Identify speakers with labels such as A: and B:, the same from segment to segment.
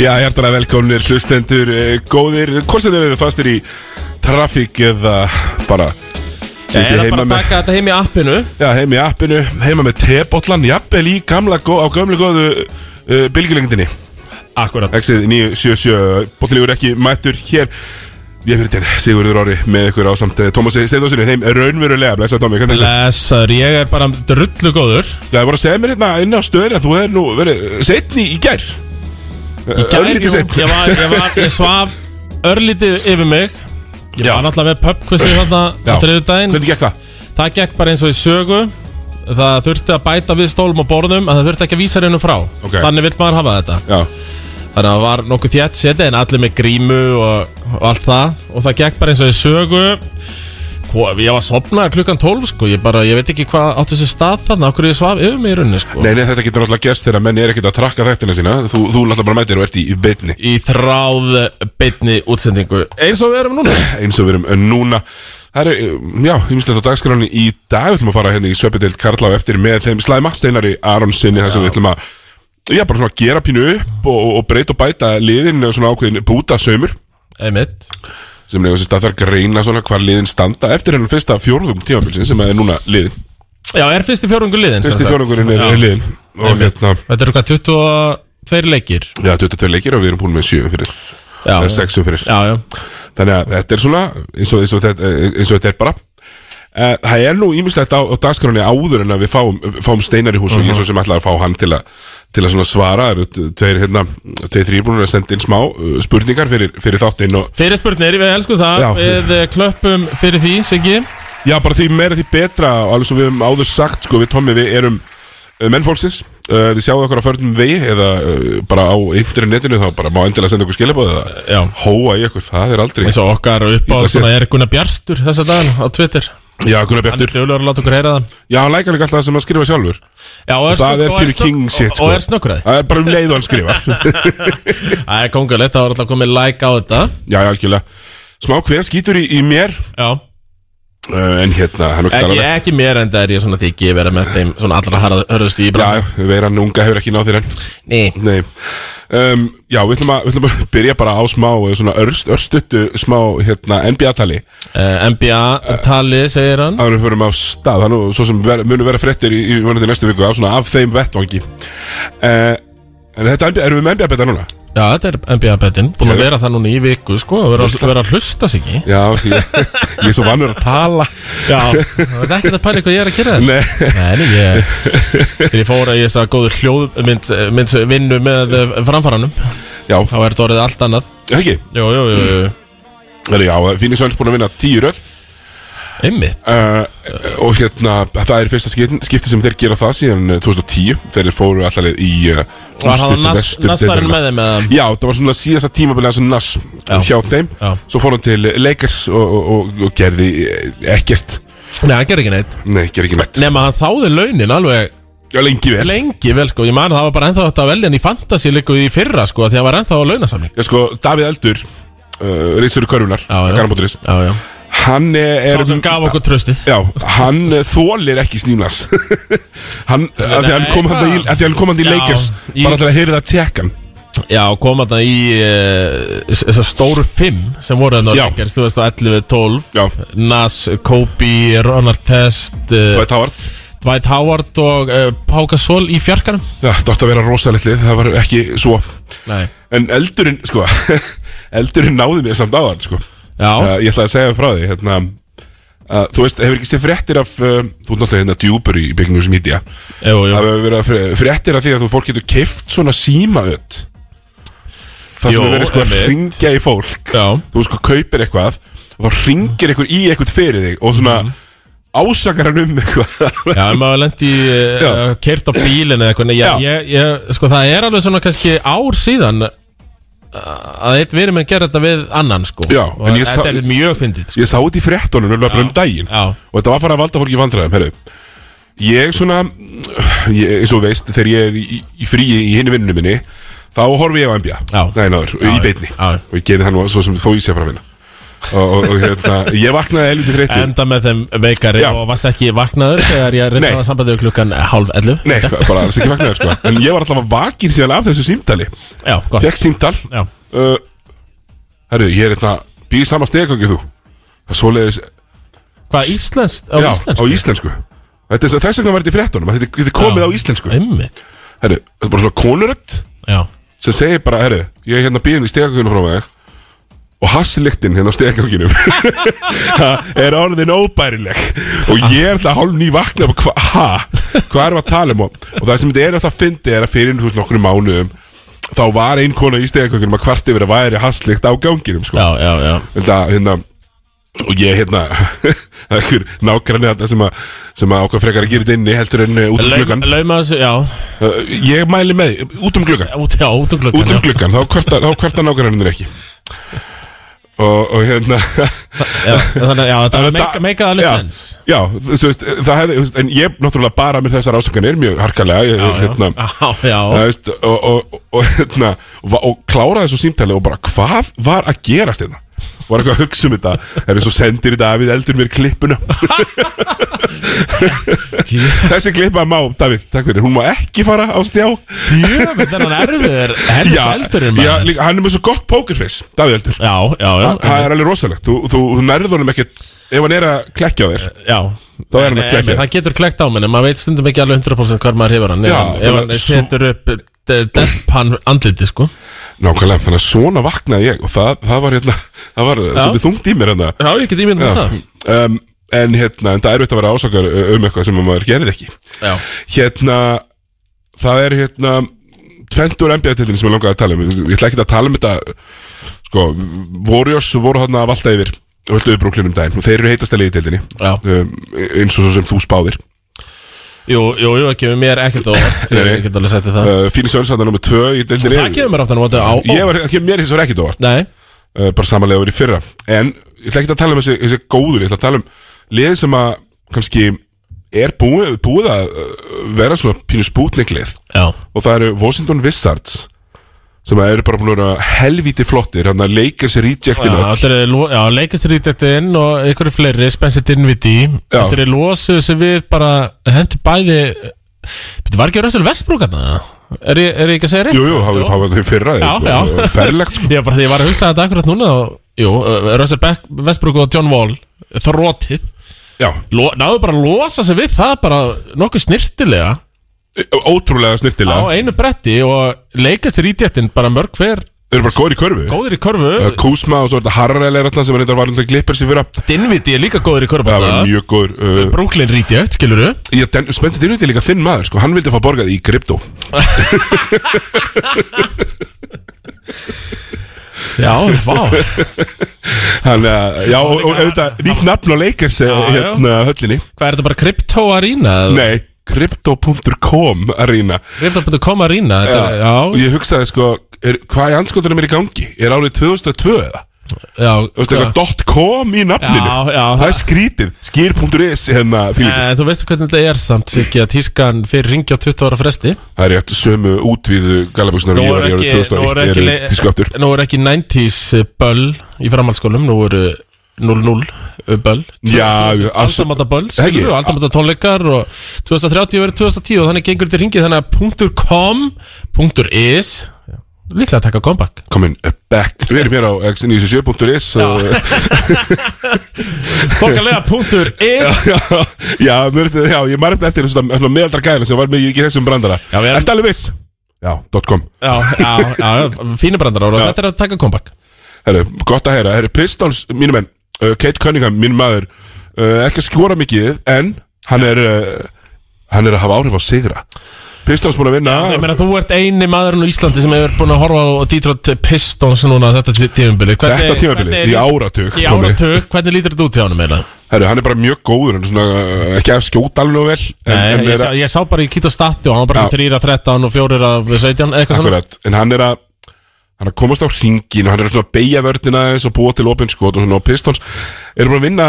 A: Já, hjartara velkomnir hlustendur eh, góðir, hvort sem þeir eru fastir í trafík eða bara
B: Ég
A: sitið
B: er að
A: heima
B: bara
A: með
B: taka þetta heim í appinu
A: Já, heim í appinu, heima með tebotlan, jafnvel í gamla, gó, á gömlu góðu uh, bylgjulengdinni
B: Akkurat
A: Exið 977, bóttlegur ekki mættur hér Ég fyrir til Sigurður Orri með ykkur ásamt eh, Tómasi Steindósinni, þeim raunverulega, blessa Tómi, hvernig er þetta?
B: Lesaður, ég er bara drullu góður
A: Það voru að segja mér hérna inn á stöðin að þú er nú verið setni í gær Örlítið
B: Jú,
A: seinn.
B: Ég var, ég var, ég svaf örlítið yfir mig Ég var náttúrulega með pubquizi þarna á
A: Já.
B: þriðudaginn
A: Hvernig gekk það?
B: Það gekk bara eins og í sögu Það þurfti að bæta við stólum og borðum En það þurfti ekki að vísa reynu frá
A: Ok.
B: Þannig vill maður hafa þetta
A: Já,
B: Þannig að það var nokkuð þjætt seti en allir með grímu og, og allt það Og það gekk bara eins og í sögu Hva, Ég var sopnaður klukkan 12 sko Ég, bara, ég veit ekki hvað átti þessi stað þarna Okkur ég svaf yfir mig í runni sko
A: nei, nei, þetta getur náttúrulega gerst þegar menn er ekkert að trakka þættina sína Þú, þú náttúrulega bara mætir og ert í, í beinni
B: Í þráð beinni útsendingu Eins og við erum núna
A: eins og við erum núna Það eru, um, já, ymmislegt á dagskráni í dag Við ætlum að fara hérna í Svepideild Karla á eftir með þeim slæma steinari Aronsinni þar sem við ætlum að, já, bara svona gera pínu upp og, og breyta og bæta liðin svona ákveðin búta sömur
B: Einmitt
A: sem nefnir þess að það er greina svona hvar liðin standa eftir hennar fyrsta fjórðum tímabilsin sem er núna liðin
B: Já, er fyrsti fjórungur liðin sem
A: Fyrsti
B: sagt.
A: fjórðungurinn er,
B: Já.
A: er liðin og
B: Einmitt.
A: hérna,
B: Þetta eru hvað 22 leikir
A: já, 22 leikir og við erum búin með 7 fyrir,
B: Já,
A: eða 6 fyrir
B: já, já.
A: Þannig að þetta er svona eins og, eins og, þetta, eins og þetta er bara Eh, Það er nú ímislegt á, á dagskráni áður en að við fáum, fáum steinar í hús
B: Mhm.
A: og ég svo sem ætlaði að fá hann til, a, til að svona svara Það eru t- tveir, hérna, tveir þrýbúnur að senda inn smá eh, spurningar fyrir, fyrir þáttinn og
B: Fyrir spurnir, við elskum það
A: Já.
B: Við eh, klöppum fyrir því, Siggi
A: já, bara því meira því betra og alveg svo við höfum áður sagt, sko, við Tommi, við erum eh, menn fólksins, uh, þið sjáðu okkur á förnum vegi eða uh, bara á internetinu þá bara má endilega senda okkur skilabóð eða
B: Já
A: hóa í okkur, það er aldrei
B: Eins og okkar upp á
A: Illa
B: svona er Gunnar Bjartur þessa daginn á Twitter
A: Já, Gunnar
B: Hann er
A: Bjartur,
B: djúlegur að láta okkur heyra það
A: já, hann lækar líka alltaf það sem hann skrifa sjálfur
B: Já, og
A: Það
B: snögg-
A: er
B: og
A: pínu
B: snögg-
A: king shit,
B: og-
A: sko.
B: Og er snökkuræði
A: Það er bara um leið og hann skrifar
B: Það er kongulegt, það var alltaf komið like á þetta
A: Já, já, algjörlega Smá hver skýtur í, í mér
B: Já
A: uh, En hérna, hann okkar
B: Ekki,
A: alveg
B: ekki mér enda er ég svona því ekki vera með þeim svona allra harða- hörðustu í
A: Já,
B: brann
A: já, veiran unga hefur ekki náð þér enn
B: Nei
A: Nei um, Já, við ætlum, að, við ætlum að byrja bara á smá eh, Svona örst, örstuttu smá hérna, NBA-tali
B: uh, NBA tali segir hann
A: Áður en við förum á stað Það er nú svo sem ver, munu vera fréttir í, í vonandi næstu viku Af, svona, af þeim vettvangi uh, En þetta NBA, erum við með NBA-beta núna?
B: Já, þetta er NBA betin Búin að
A: Já.
B: vera það núna í viku sko Það verður að vera að hlusta sig ekki
A: Já, ég, ég er svo vannur að tala
B: Já Það er ekki að pæla hvað ég er að gera
A: Nei,
B: Nei, nei, ég Þegar ég fór að ég sagði góður hljóðmynd mynd, vinnu með eh, framfaranum
A: já,
B: Þá er þetta orðið allt annað
A: ekki
B: Jú, jú, jú, jú
A: Það er já, Phoenix Suns búin að vinna tíu röð
B: Einmitt
A: Uh, og hérna, það er fyrsta skipti, skipti sem þeir gera það síðan eh, 2010 þeir fóru allaleg í uh,
B: Var hann
A: úrslit
B: nas,
A: vestur-
B: Nassarinn
A: deildarinnar.
B: með þeim eða
A: Já, það var svona síðasta tímabilið hans Nass
B: Já.
A: hjá þeim
B: Já.
A: Svo fór hann til Lakers og, og, og, og gerði eh, ekkert
B: Nei, hann gerði ekki neitt
A: Nei, gerði ekki neitt
B: Nefn að hann þáði launin alveg
A: Já, lengi vel
B: lengi vel sko Ég man að það var bara ennþá þetta að velja hann í fantasy líku í fyrra sko Því að hann var ennþá að launasamling
A: Já, sko, Davíð Eldur, uh, reisur í körfunar
B: Já, já.
A: Garnabóturis
B: Já, já
A: Hann eh, er
B: Sá sem gaf okkur tröstið
A: Já, hann eh, þólir ekki Stímlas Hann, að því hann
B: Nei,
A: kom hann í,
B: hvað?
A: að því hann kom hann í
B: Já,
A: Lakers
B: í-
A: Bara til að heyri það tjekkan
B: Já, og kom þarna í eh, þessar stóru fimm sem voru þarna á
A: Já.
B: Lakers 2011, 12
A: Já,
B: Nas, Kobe, Ronald Test eh,
A: Dwight Howard
B: Dwight Howard og uh, Pau Gasol í fjarkanum
A: Já, þetta átti að vera rosalegt lið, það var ekki svo
B: Nei
A: En eldurinn, sko Eldurinn náði mér samt á hann, sko
B: Já,
A: uh, Ég ætlaði að segja frá því, hérna uh, Þú veist, hefur ekki séð fréttir af uh, Þú er náttúrulega hérna djúpur í Big News Media
B: jú, jú
A: Það hefur verið að fre- fréttir af því að þú fólk getur keift svona símaöð Það
B: Jó,
A: sem er verið sko að
B: einmitt.
A: ringja í fólk
B: Já,
A: Þú sko kaupir eitthvað Og þá ringir eitthvað í eitthvað fyrir þig Og svona
B: Mhm.
A: ásakar hann um eitthvað
B: já, ef maður lendi
A: Já.
B: uh, Keirt á bílinu eða eitthvað Nei,
A: Já.
B: ég, ég, ég, sko það er alveg svona kannski ár síðan uh, að eitt verið menn gera þetta við annan sko
A: Já,
B: Og
A: en ég
B: þetta
A: sá-
B: er mjög fyndið sko.
A: Ég sá þetta í fréttunum nefnilega bara um daginn
B: Já.
A: Og þetta var farið að valda fólki vandræðum Herru, ég svona ég, eins og þú veist, þegar ég er í, í fríi í hinni vinnunum minni Þá horfi ég á NBA
B: Já.
A: Nei, náður, í beinni
B: já.
A: Og ég geri það nú svo sem þó ég sé að fara að vinna og, og, og hérna, ég vaknaði helviti þreytur
B: Enda með þeim veikari
A: Já.
B: og varst ekki vaknaður þegar ég
A: Nei.
B: reyndi að sambandið við klukkan hálf 11
A: Nei, bara alls ekki vaknaði sko. En ég var alltaf vakir síðan af þessu símtali
B: Já, gott
A: Fekk símtal
B: Já,
A: uh, Herru, ég er hérna Býr í sama stegangi þú Það er svoleiðis
B: hvað íslenskt? Á
A: Já,
B: íslensku?
A: á íslensku Þetta er svo- Þess vegna var þetta í fréttunum að Þetta þetta er komið
B: Já.
A: á íslensku
B: Einmitt
A: Herru, þetta er bara svona konurödd
B: Já,
A: sem segir bara, herru, ég er hérna býðin í stegagangunum frá mig og hasslyktinn hérna á stegagangunum er orðin óbærileg og ég er það hálf ný vakna bara, hva, ha, hvað erum við að tala um og, og það sem þetta er alltaf fyndið er að fyrir þú veist, nokkrum mánuðum þá var ein kona í stegagangunum að hvart yfir að væri hasslykt á ganginum sko.
B: já, já, já
A: Þetta, hérna Og ég, hérna, einhver nágranni þarna sem að, sem að ákvað frekar að gera þetta inni heldur en eh, út um
B: Laum-
A: gluggan
B: Lauma þessu, já,
A: Uh, Ég mæli með, því, út um gluggan
B: út, já, út um gluggan
A: út um
B: já.
A: gluggan, þá kvarta, þá kvarta nágranninir ekki og, og hérna
B: Já, þannig, að- já,
A: Þannig
B: þetta er
A: að
B: meika,
A: da-
B: meika alveg
A: já,
B: sens
A: Já, þú veist, það hefði, þú veist, en ég náttúrulega bara mér þessar ásakanir mjög harkalega ég,
B: Já, já,
A: hérna,
B: já, já,
A: þú veist, og, og, og, hérna, og, og kláraði þessu símtæli og bara hvað var að gerast hérna var eitthvað að hugsa um þetta er þess að sendir í Davíð eldur mér klippuna Hérna.
B: Djö-
A: þessi klippa má, Davíð, takk fyrir hún má ekki fara á stjá
B: Djöfull er hann erfiður Helvits eldurinn
A: já,
B: maður
A: líka, hann er með svo gott pokerface Davíð eldur
B: Já, já, já
A: Þa- Það er alveg rosalegt, þú, þú, þú nærður honum ekkert Ef hann er að klekkja á þér
B: Já
A: Þá er hann að
B: En-
A: klekkja.
B: en Það getur klekt á menn en maður veit stundum ekki alveg 100% hvar maður hefur hann Ef
A: Já,
B: hann- Ef
A: þannig
B: hann
A: að svo-
B: setur upp eh, deadpan andliti sko
A: Nákvæmlega, þannig að svona vaknaði ég Og það, það var hérna, það var svolítið þungt í mér hérna
B: Já, ég get ímyndað með það
A: um, En hérna, en það er veit að vera ásakar uh, um eitthvað sem maður gerði ekki
B: Já,
A: Hérna, það er hérna Tventur NBA-tildin sem ég langaði að tala um Ég ætla ekki að tala um þetta Sko, Warriors voru hann að valta yfir Höldu upp brúklinum um daginn og þeir eru heitast að leiði tildinni
B: Já.
A: um, Eins og svo sem þú spáðir
B: jú, jú, jú, ekki við mér ekkert og
A: Nei, nei.
B: Ég get alveg sagt þér það
A: uh, Fílis Jönsandan nummer 2 í tildinni
B: Það kemur mér aftan á móti á
A: Ég var, ekki, mér hins var ekkert óvart
B: Nei,
A: uh, Bara samanlega verið í fyrra En ég ætla ekki að tala um þessi, þessi góður Ég ætla að tala um lið sem að kannski er búið, búið að uh, vera svona pínu spútniklið
B: já,
A: Og það eru Washington Wizards Sem að eru bara búin að vera helvíti flottir Þannig að leikir sér
B: já,
A: rejectin öll
B: þetta er lo- já leikast rítettinn og einhverju fleiri Spensit Inviti
A: Já.
B: Þetta er losuð sem við bara hendi bæði Þetta var ekki Rössal Vestbrúk hann er, ég- er ég ekki að segja rétt?
A: Jú, jú, það var það í fyrra
B: Já, já.
A: Ferlegt sko
B: Ég, bara, ég var að hugsa þetta akkurat núna og, Jú, uh, Russell Beck, Westbrook og John Wall Þrótið
A: Já,
B: Lo, Náðu bara að losa sig við það bara nokkuð snirtilega
A: ótrúlega
B: Á
A: snirtilega
B: einu bretti og leikast rítjættin bara mörg hver
A: Þeir eru bara góður í körfu
B: Góður í körfu
A: Kúsma og svo er þetta Harrel er alltaf sem er reyndar var alltaf klippers í fyrra
B: Dinviti er líka góður í körfu
A: Það var mjög góður uh,
B: Brooklyn rítjætt, skilur du?
A: Ég den, spennti til þetta líka þinn maður sko, hann vildi fá borgað í krypto
B: Já, vá
A: Þannig að, uh, já, og, og auðvitað, nýtt nafn á Lakers já,
B: já.
A: hérna höllinni
B: Hvað er þetta bara Crypto Arena?
A: Nei, krypto.com arena
B: Crypto.com Arena þetta,
A: Og
B: já,
A: ég hugsaði sko, er, hvað í anskotunum er í gangi? Er árið 2002 eða?
B: já,
A: Þú veist
B: hvað?
A: eitthvað dot .com í nafninu
B: Sko. Já, já,
A: Það
B: það-
A: er skrítið, skýr.is hérna, Fílipur
B: Eh, Þú veistu hvernig þetta er samt Siggi að tískan fyrir ringja á 20 ára fresti
A: Það er rétt sömu útvíðu galabúsunar og ég var í árið
B: Eh. nú er
A: 2001
B: ekki,
A: eru tísku aftur
B: nú er ekki 90s böll í framhaldsskólum Nú eru 0-0 böll
A: Já, alls- ah.
B: Aldamáta böll,
A: Ekki.
B: skilur við, aldamáta tónleikar og 2030 verið 2010 og þannig gengur þetta ringið þannig að .com, .is líklega að taka comeback
A: Komin eh, back, við erum hér á x97.is og
B: Fólkalega .is
A: já, já, mér, já, ég margt eftir þessum svona meðaldra gæðina sem var mikið ekki í þessum brandara
B: Já, við erum-
A: Ertu alveg viss? Já, .com
B: Já, já, já, fínu brandar ára, þetta er að taka comeback
A: Herru, gott að heyra, herru, Pistons, mínu menn uh, Kate Cunningham, mín maður uh, ekki að skora mikið, en hann er uh, hann er að hafa áhrif á sigra Pistons búin að vinna
B: Ég meina, þú ert eini maðurinn á Íslandi sem hefur búin að horfa á Detroit Pistons núna þetta tí- tímabili Hvernig-
A: þetta tímabili, í
B: hvernig er-
A: áratug,
B: Í
A: Tommy.
B: áratug, hvernig lítur þetta út hjá hann meina?
A: Herru, hann er bara mjög góður en svona, uh, ekki að skjóta alveg nógu vel en,
B: Nei,
A: en
B: ég,
A: er
B: sá,
A: að,
B: ég sá bara í Kito Stati og hann var bara
A: Já.
B: 3 af 13 og 4 af 17 eitthvað svona
A: akkurat, en hann er að hann er að komast á hringin og hann er svona að beigja vördina eins og búa til opinskot og svona og Pistons eru búin að vinna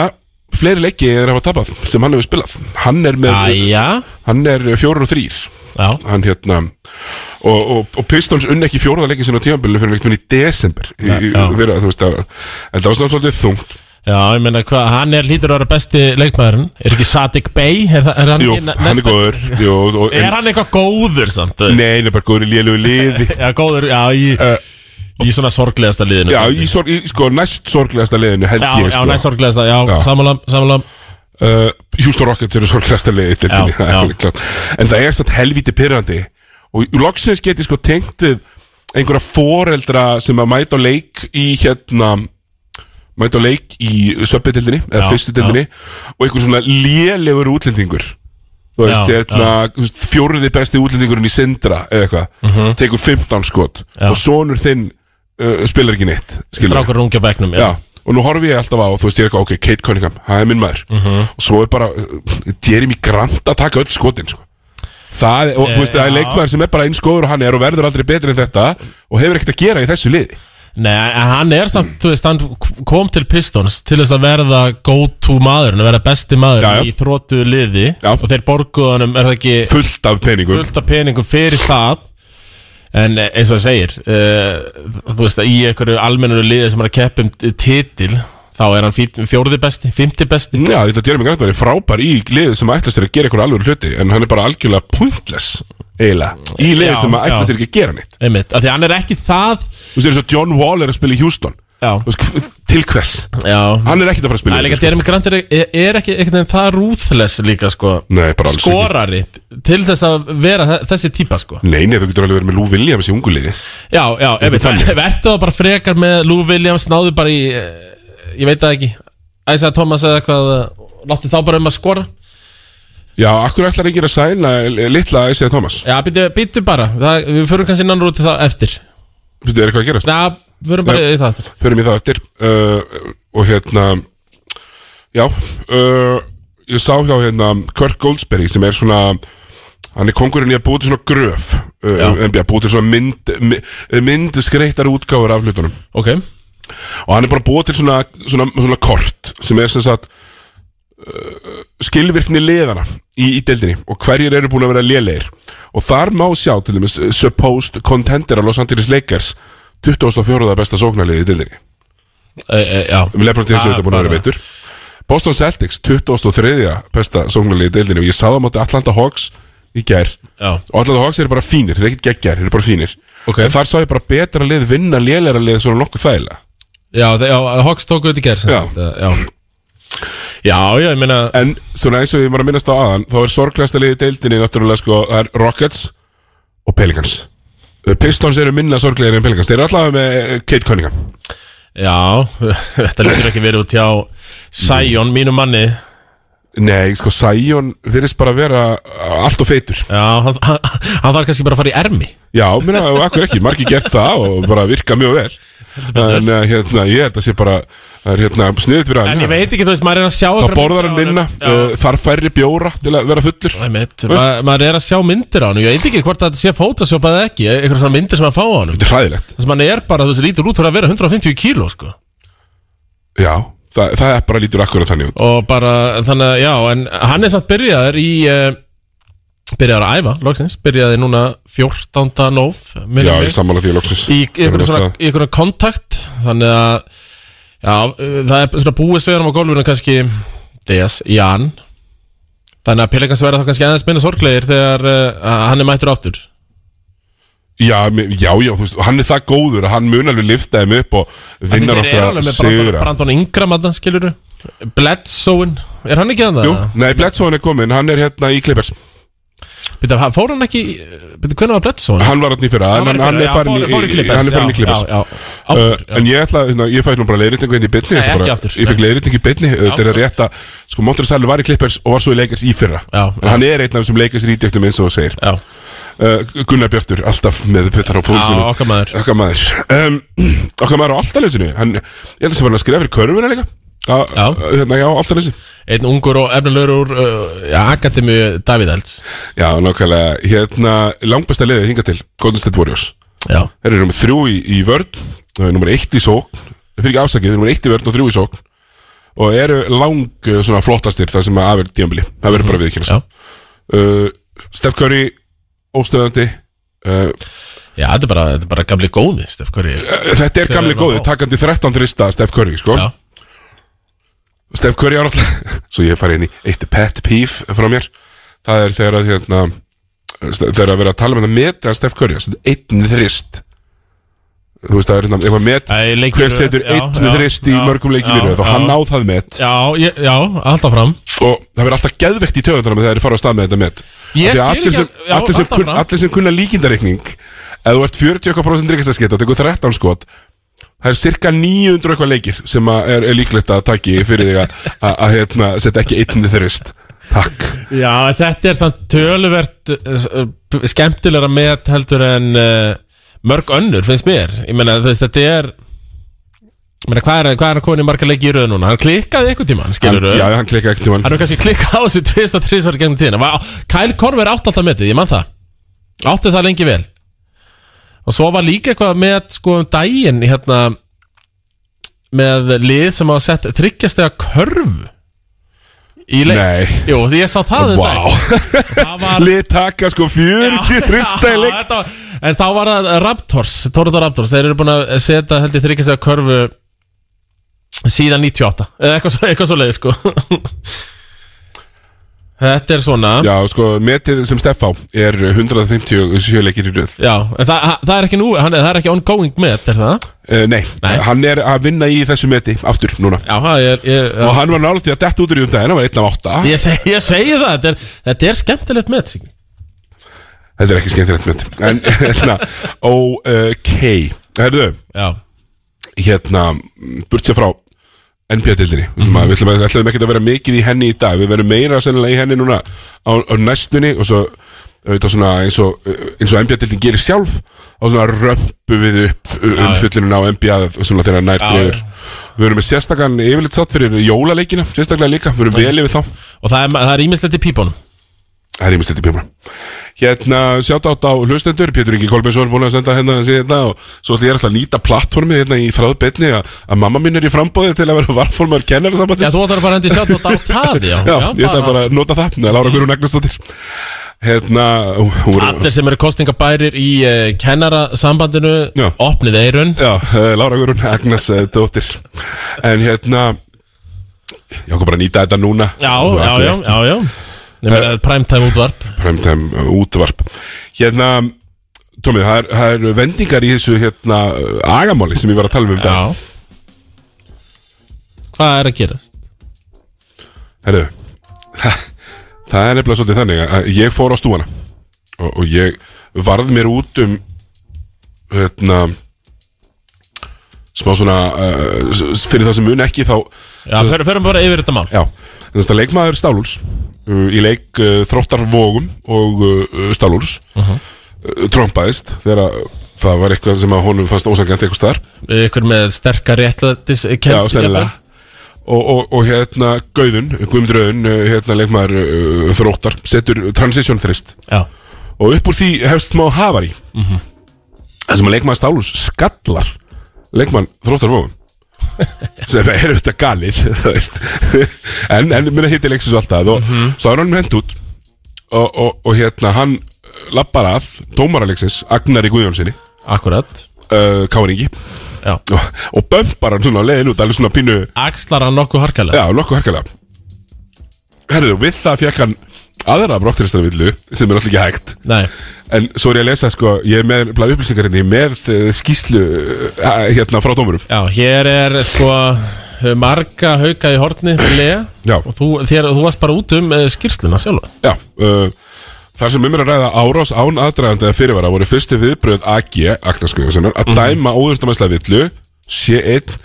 A: fleiri leiki eða hafa tapað sem hann hefur spilað hann er með
B: Æja,
A: Hann er fjórar og þrýr
B: Já.
A: hann hérna og, og, og Pistons unn ekki fjóraða leikin sinna á tímabilinu fyrir einhvern veginn í desember í, í,
B: Já.
A: vera, þú veist, að, en það var svona svolítið þungt
B: Já, ég meina, hva, hann er lítur að vera besti leikmaðurinn Er ekki Sadik Bey? Er, það- er hann,
A: Jú,
B: ekki næ-
A: hann
B: næst
A: er góður jú, og,
B: besti- Er hann eitthvað góður samt?
A: en, Nei, hann er bara góður í lélegu liði
B: Já, góður, já, í, í svona sorglegasta liðinu
A: Já, í, sorg, í sko, næst sorglegasta liðinu held
B: já,
A: ég
B: já
A: sko.
B: næst sorglegasta, já,
A: Já.
B: sammála, sammála
A: uh, Houston Rockets eru sorglegasta liði í deildinni,
B: Já,
A: það er
B: já.
A: alveg klárt. En það er satt helvíti pyrrandi Og loksins geti sko tengt við einhverja foreldra sem að mæta á leik í hérna mæta á leik í söpbytildinni eða
B: Já,
A: fyrstutildinni og einhver svona lélegur útlendingur þú veist,
B: Já,
A: hérna, þú veist, fjóruði besti útlendingurinn í Sindra eða eitthvað, tekur 15 skot
B: Mhm. Já.
A: og sonur þinn uh, spilar ekki neitt skilurðu.
B: Strákur rungja bæknum, já,
A: Já, og nú horfi ég alltaf á, þú veist, ég er eitthvað, ok, Kate Cunningham, það er minn maður
B: Mhm.
A: Og svo er bara, uh, Jeremy Grant að taka öll skotin, sko Það, er- og, þú veist, það er
B: já.
A: leikmaður sem er bara eins góður og hann er og verður aldrei betri en þetta Og hefur ekkert að gera í þessu liði
B: Nei, en hann er samt, þú veist, hann kom til Pistons til þess að verða go-to maðurinn að verða besti maður
A: Já, já.
B: í þrótu liði
A: Já.
B: og þeir borguðu honum, er það ekki
A: Fullt af peningum
B: fullt af peningum fyrir það en eh, eins og það segir uh, þú veist að í einhverju almennuru liði sem er að keppa um titil þá er hann fí- fjórði besti, fymti besti
A: Já, ég ætla að Jeremy Grant væri frábær í liði sem ætla sér að gera eitthvað alveg hluti En hann er bara algjörlega pointless, eiginlega Í liði
B: Já,
A: sem ætla
B: já.
A: sér ekki að gera neitt
B: einmitt, af því hann er ekki það
A: Þú veist, það er svo John Wall er að spila í Houston
B: já,
A: Þú veist, hv- Til hvers?
B: já
A: Hann er ekkert að fara að spila
B: Það er
A: í
B: líka
A: þetta,
B: að Jeremy Grant er, er ekki einhvern veginn það rúðless líka sko
A: sko. Nei, bara alls ekki
B: skorari til þess að vera þe- þessi típa sko
A: Nei, nei, þú getur alveg verið með Lou Williams í ungu liði
B: Já, já, einmitt,
A: þannig.
B: verðu það bara frekar með Lou Williams náðu bara í, eh, ég veit það ekki Æsa Thomas eða eitthvað láttu þá bara um að skora
A: Já, akkur ætlar enginn að sæna eh, litla Isaiah Thomas
B: Já, býttu, býttu bara það, Við förum kannski innan rúti það eftir
A: Þetta er eitthvað að gerast,
B: Já, við förum bara í það
A: förum í það eftir uh, Og hérna Já uh, Ég sá hjá hérna Kirk Goldsberry sem er svona Hann er kongurinn í að búið til svona gröf
B: Já.
A: uh, NBA, búið til svona mynd, mynd, mynd skreittar útgáfur af hlutunum
B: Ok, Eh,
A: og hann er bara búið til svona, svona, svona kort sem er sem sagt uh, skilvirkni liðana í, í deildinni og hverjir eru búin að vera lélegir og þar má sjá til dæmis uh, supposed contender af Los Angeles Lakers 24. besta sóknarliði í deildinni
B: e, e, já
A: við lefnum til þessu
B: Ah,
A: auðvitað búin að vera
B: bara.
A: veitur Boston Celtics 23. besta sóknarliði í deildinni og ég sá það á móti Atlanta Hawks í gær
B: Já,
A: og Atlanta Hawks eru bara fínir, þeir eru ekkert geggjær, þeir eru bara fínir
B: Ok.
A: en þar sá ég bara betra lið vinna lélegra lið svona nokkuð þægilega
B: já, þe- já Hawks tóku þetta í gerð
A: Já.
B: eh, já Já, já, ég meina
A: En svona eins og ég var að minnast á aðan Þá er sorglegasta liðið í deildinni Náttúrulega sko, það er Rockets og Pelicans Eh, Pistons eru minna sorglegir en Pelicans Þeir eru allavega með eh, Kate Cunningham
B: Já, þetta lítur ekki verið út hjá Sion, mínu manni
A: Nei, sko, Sion virðist bara að vera eh, allt og feitur
B: Já, hann, hann, hann þarf kannski bara að fara í ermi
A: Já, minna, og akkur ekki, margir gert það og bara virka mjög vel En eh, hérna, ég held að sé bara Það er hérna sniðut fyrir
B: En ég
A: hann
B: veit ekki, þú veist, maður er að sjá
A: Þá
B: einhverja
A: borðar hann
B: myndir
A: minna,
B: af honum. Já.
A: eh, þarf færri bjóra til að vera fullur
B: Nei, mitt, ma maður er að sjá myndir á hann Ég veit ekki hvort þetta sé Photoshop eða ekki Einhverjum svona myndir sem að fá á hann
A: Þetta er hræðilegt
B: Þess að mann er bara, þú veist, lítur út fyrir að vera 150 kíló, sko
A: Já, það, það er bara lítur akkur þannig út
B: og bara þannig að já en hann er samt byrjaður í uh, byrjaður að æfa, loksins byrjaði núna 14. nóf
A: Já, ég sammála því loksins
B: í
A: Mér
B: einhvern
A: fannst
B: svona
A: það-
B: í einhvern kontakt þannig að já, eh, það er svona búist við hann á gólfinu kannski DS, Jan þannig að Pelikans verða þá kannski aðeins minna sorglegir þegar uh, hann er mættur aftur
A: Já, mér- já, já, þú veist, hann er það góður að hann mun alveg lifta þeim upp og vinna
B: Þeir eru
A: nokkra
B: alveg með Brandon,
A: sigra
B: Brandon Ingram að það skilur Bledsoe, er hann ekki að
A: Jú,
B: það?
A: nei, Bledsoe er komin, hann er hérna í Clippers
B: Býta, fór hann ekki, býta, hvernig var Bledsoe?
A: Hann var hann í fyrra, en hann, hann er farin í,
B: Fór í Clippers
A: hann er farin í
B: já,
A: Clippers
B: já, já.
A: Uh,
B: Aftur, já.
A: en ég ætla, hérna, ég fæði nú bara leiðrýtingu inn í bytni
B: Nei, ekki aftur,
A: Ég fekk
B: nei.
A: leiðrýtingu í bytni, þetta er að rétta Sko, Montrezalli var í Clippers og var svo í Lakers í fyrra
B: Já,
A: En hann er einn af þessum Lakers rítjöktum eins og þú segir
B: já.
A: uh, Gunnar Bjartur, alltaf með puttar á púlsinu
B: Já, okkar maður.
A: Okkar maður um, Okkar maður á alltalesinu Hann, ég held að sem var hann að skrifa fyrir körfuna líka Já,
B: Já.
A: hérna, já, alltalesi
B: Einn ungur og efnilegur úr uh, já, Akademi Davidels
A: Já, nákvæmlega, hérna langbæsta liðið hinga til, Golden State Warriors
B: Já,
A: Þeir eru nummer þrjú í, í vörn eh, Nummer eitt í sókn, fyrir ekki afsakið Nummer eitt í vörn og þrjú í sókn Og eru lang eh,
B: Mhm.
A: svona flottastir Það sem að aðverð djambili, það verður bara
B: Já.
A: viðkynast uh, Eh, Steph Curry óstöðandi uh,
B: Já, þetta er bara, þetta er bara gamli góði Stef Curry
A: Þetta er gamli
B: Hver er
A: góði,
B: það?
A: takandi 13 þrista Steph Curry, sko
B: Já,
A: Steph Curry á náttúrulega Svo ég farið inn í eitt pet peeve frá mér Það er þegar að hérna Ste- Þegar að vera að tala með það meta Steph Curry þessi Einn þrist Þú veist, það er hérna, ef að met
B: Æ, í leikjum
A: Hver
B: röð,
A: setur
B: já,
A: einn
B: já,
A: þrist í
B: já,
A: mörgum leikin
B: já,
A: í röð Og hann
B: já.
A: á það met
B: já, ég- já alltaf fram
A: Og það verður alltaf geðvegt í töðundunum Þegar þeir fara á stað með þetta met
B: Ég
A: Af því að allir sem,
B: skil ekki að- já,
A: allir, sem
B: alltaf
A: kun,
B: bara.
A: allir sem kunna líkindareikning Ef þú ert 40% ríkastaskett og tekur 13 skot Það er cirka 900 eitthvað leikir sem að er, er líklegt að taki fyrir þig að- að að, hérna, setja ekki einni þurrist Takk
B: Já, þetta er samt töluvert eh, skemmtilegra met heldur en uh, mörg önnur, finnst mér Ég meina, þú veist, þetta er ég meina, hvað er, hvað er hann komin í marga leiki í röð núna? Hann klikkaði einhvern tímann,
A: hann,
B: skilur
A: Já, hann klikkaði ekkert tímann
B: Hann hefur kannski klikkað á þessu tvist og trísvar gegnum tíðina Va- Kyle Korver átti alltaf metið, ég man það Átti það lengi vel Og svo var líka eitthvað með sko um daginn hérna með lið sem hafa sett þryggjastega körfu í leik
A: Nei.
B: Jú, því ég sá það um
A: Vá
B: Það var
A: Lið taka sko 40 þrista í leik
B: Þetta var- En þá var það Raptors, Toronto Raptors Þeir eru búin að setja held ég þryggjast að körfu síðan 98 eða eitthvað svo, eitthvað svo leið sko Þetta er svona Já,
A: Já, sko, metið sem Steffá er 157 leikir í röð
B: en það, það er ekki nú hann, er- Það er ekki ongoing met, er það?
A: uh, nei,
B: Nei.
A: hann er að vinna í þessu meti aftur núna
B: Já, það er- ég,
A: Og hann var nálægt í að detta út úr í um daginn, hann var einn af átta
B: ég, ég, seg, ég segi það Þetta er, þetta er skemmtilegt met Siggi.
A: Þetta er ekki skemmtilegt mynd En hérna, ok Herðu,
B: Já,
A: hérna Burt sér frá NBA-dildinni mm -hmm. Við ætlum að- ætlum ekki að vera mikið í henni í dag Við verum meira sennilega í henni núna á, á næstunni og svo auðvitað svona eins og, eins og NBA-dildin gerir sjálf og svona römpu við upp um fyllununa á NBA svona þegar nær dregur Við verum með sérstakann yfirleitt sátt fyrir jólaleikina sérstaklega líka, við verum vel yfir þá
B: og það er, það er ímislegt í pípunum
A: Það er ímislegt í pímuna Hérna, sjátt átt á hlustendur Pétur Ingi Kolbjörnsson búin að senda hérna þessi hérna og svo ætla ég alltaf að nýta plattformið hérna í þráðbetni að að mamma mín er í frambóði til að vera varformar
B: Já,
A: kennarasambatis
B: þú ætlar bara að hendi sjátt og dá það Já, Mm.
A: Já, ég ætla bara að nota það Nei, Lára Guðrún Agnarsdóttir Hérna, hún er
B: Allir sem eru kostningabærir í uh, kennarasambandinu
A: Já.
B: Opnið eirun
A: Já, eh, Lára Guðrún Agnarsdóttir En hérna Ég ákvað bara að nýta þetta núna
B: Já,
A: Svo
B: já,
A: ætla ég
B: já, já, já Ég meina primetime útvarp
A: primetime uh, útvarp hérna Tómið, það, er- það eru vendingar í þessu hérna uh, agamáli sem ég var að tala um um dag
B: Já Hvað er að gerast?
A: Herru, það, það er nefnilega svolítið þannig að ég fór á stúana og, og ég varð mér út um hérna smá svona uh, s- fyrir það sem mun ekki þá
B: Já,
A: sem sagt-
B: förum, förum bara yfir þetta mál
A: Já, þess að leikmaður Stálúls uh, í leik uh, Þróttarvogum og uh, Stálúls uh trompaðist þegar að það var eitthvað sem að honum fannst ósangjant eitthvað staðar
B: Ykkur með sterkar réttlætis
A: Já, sennilega Og, og, og hérna Gauðun, Guðmundröðun, hérna leikmaður uh, þróttar, setur transition þrist
B: Já,
A: og upp úr því hefst smá hafari mm sem að leikmann Stálus skallar leikmann þróttarfóðum sem er auðvitað galið þú veist. en, en minna hitti leiksins alltaf og svo er hann hent út og, og, og hérna hann lappar að tómaralegsins Agnari Guðjónsinni
B: akkurat
A: uh, Káringi
B: Já
A: og, og bömpar hann svona á leiðin út alveg svona pínu
B: Axlar hann nokkuð harkalega
A: Já, nokkuð harkalega Herðu, við það fekk hann aðra brottristarvillu sem er alltaf ekki hægt
B: Nei,
A: En svo er ég að lesa, sko, ég er með blað upplýsingar henni með eh, skýslu eh, hérna frá dómurum.
B: já, hér er sko marga hauka í horni Lea
A: Já.
B: Og þú, þér, þú varst bara út um eh, skýrsluna sjálfa
A: Já, uh, þar sem um er að ræða árás án aðdragandi eða fyrirvara voru fyrstu viðbröð AG, Agnes Guðjónssonar, að
B: Mhm.
A: dæma óðurndamæsla villu, sé einn,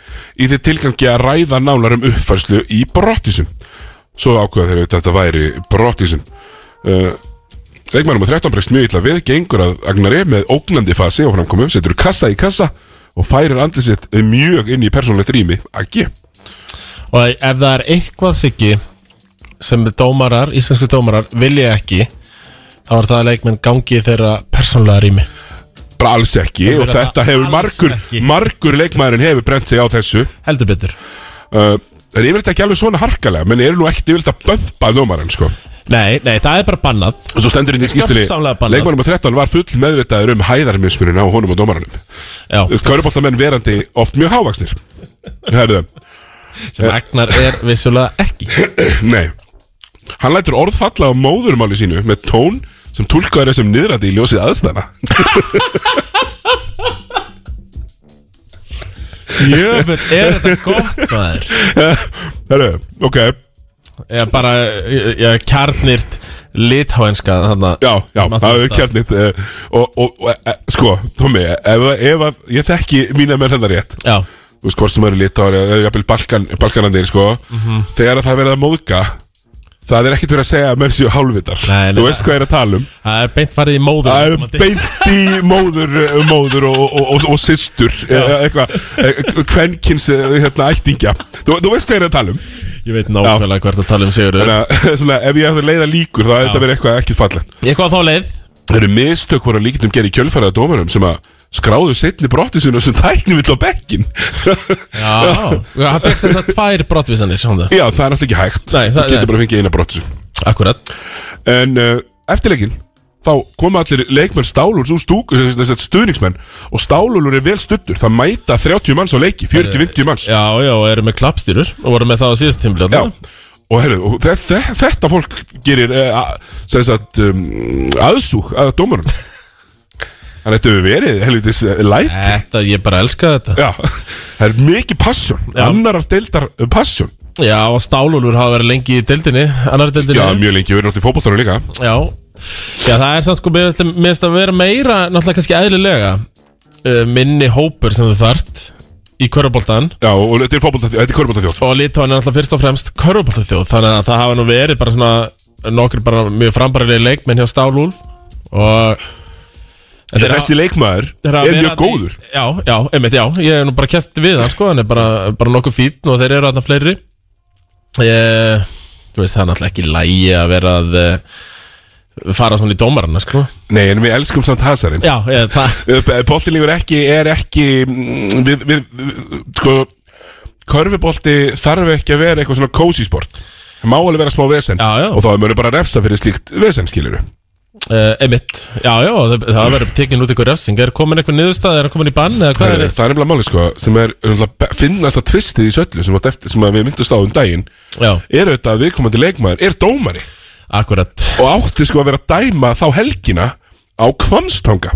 A: í því tilgangi að ræða nánar um uppfærslu í brottísum. Svo ákveða þeir auðvitað að þetta væri brottísum. Uh, Leikmannum og 13 breyst mjög illa við, gengur að Agnari með ógnandi fasi og framkomu, setur kassa í kassa og færir andlið sitt mjög inn í persónlegt rými, AG.
B: Og ef það er eitthvað siggi sem dómarar, íslensku dómarar vilja ekki þá er það að leikmenn gangi í þeirra persónlega rými
A: bara alls ekki og
B: verður
A: þetta
B: það
A: hefur
B: alls
A: margur,
B: ekki.
A: margur leikmaðurinn hefur brent sig á þessu
B: heldur betur
A: Eh, uh, en yfirleitt ekki alveg svona harkalega menn eru nú ekkert yfirleitt að bömpa dómarann sko
B: Nei, nei, það er bara bannað
A: Og svo stendur hérna í
B: Gjörsamlega
A: skýrstunni
B: bannað.
A: Leikmann nummer 13 var full meðvitaður um hæðarmismunina á honum og dómaranum
B: Já,
A: Köruboltamenn verandi oft mjög hávaksnir Herðu,
B: sem Agnar er vissulega ekki
A: nei Hann lætur orð falla á móðurmáli sínu með tón sem tólkaður er sem niðrandi í ljósið aðstæðna
B: Jöfnveld, er þetta gott maður
A: Herðu, ok,
B: Ég bara, ég, ég kjarnirt litháenska þarna
A: já, já,
B: Maður
A: það er
B: þarf
A: kjarnið eh, Og, og, og eh, sko, Tommi, ef, ef að ég þekki mína menn hennar rétt
B: Já,
A: þú veist hvort sem eru litári eða jafnvel Balkan, Balkanandir sko
B: Mhm.
A: þegar að það er verið að móðga það er ekkert verið að segja að menn séu hálfvitar
B: Nei, nei,
A: þú veist hvað er að tala um
B: það er beint farið í móður um
A: það er beint í móður, eh, móður og, og, og, og systur eða eitthvað eh, kvenkins eh, hérna, ættingja þú, þú veist hvað er að tala um
B: Ég veit nákvæmlega hvert að tala um Sigurður
A: Þannig að, svona, ef ég hefði leiða líkur þá er þetta verið eitthvað ekki fallegt
B: Eitthvað á þá leið
A: það eru mistök voru líkitum gerði í kjölfæraða dómarum sem að skráðu setni brottisinn og sem tæknum vill á bekkin
B: Já, það fyrst þetta tvær brottvísanir hann það.
A: Já, það er náttúrulega ekki hægt
B: Nei,
A: Þú
B: það-
A: getur
B: nei.
A: bara að fengið eina brottisu
B: Akkurat
A: En uh, eftir leikin Þá koma allir leikmenn stálur Svo stúk, þess að stuðningsmenn Og stálur er vel stuttur Það mæta 30 manns á leiki 40-50 manns
B: Já, já, og eru með klappstýrur og voru með það á síðust tímli
A: Já Og heyrðu, og þe þe þetta fólk gerir uh, Sess að um, Aðsúk að dómarun Þannig þetta hefur verið helvitis uh, læt
B: Þetta, ég bara elska þetta
A: Já, það er mikið passion
B: Já.
A: Annar af deildar uh, passion
B: Já, og Stálúlur hafa verið lengi í deildinni Annari deildinni
A: Já, mjög lengi, við erum alltaf í fótbolltarum líka
B: Já, já það er samt sko mér finnst- mér finnst að vera meira náttúrulega kannski eðlilega uh, minni hópur sem þú þart í körfuboltan
A: Já, og þetta er fótbolltaþjóð, þetta er körbóltaþjóð
B: og Litóan er náttúrulega fyrst og fremst körfuboltaþjóð þannig að það hafa nú verið bara svona nokkur bara mjög frambærilega leikmenn hjá Stálúlf og
A: En þessi leikmaður
B: þeir hafa
A: er
B: verið
A: mjög
B: þarna í-
A: góður
B: Já, já, einmitt, já, ég hef nú bara kæft við hann sko, hann er bara, bara nokkuð fín og þeir eru þarna fleiri ég, Þú veist, það er náttúrulega ekki lægi að vera að eh, fara svona í dómarana sko
A: Nei, en við elskum samt Eh, Hazarinn
B: Já, ég, það
A: Bóltinleikur ekki, er ekki mm, við, við, við, sko Körfibólti þarf ekki að vera eitthvað svona cozy sport Það Má alveg vera smá vesen
B: Já, já.
A: Og þá er mörg bara að refsa fyrir slíkt vesen, skilur
B: Uh, einmitt, já, já, það, það verður tekin út ykkur refsing, er komin eitthvað niðurstað, er hann komin í bann eða hvað
A: Það
B: er
A: er nefnilega máli, sko sem er náttúrulega be- finnasta tvistið í söllu sem, átt eftir, sem að við myndast á um daginn
B: þetta? Já,
A: er auðvitað að viðkomandi leikmaður er dómari
B: akkurat,
A: og átti sko að vera að dæma þá helgina á kvamstanga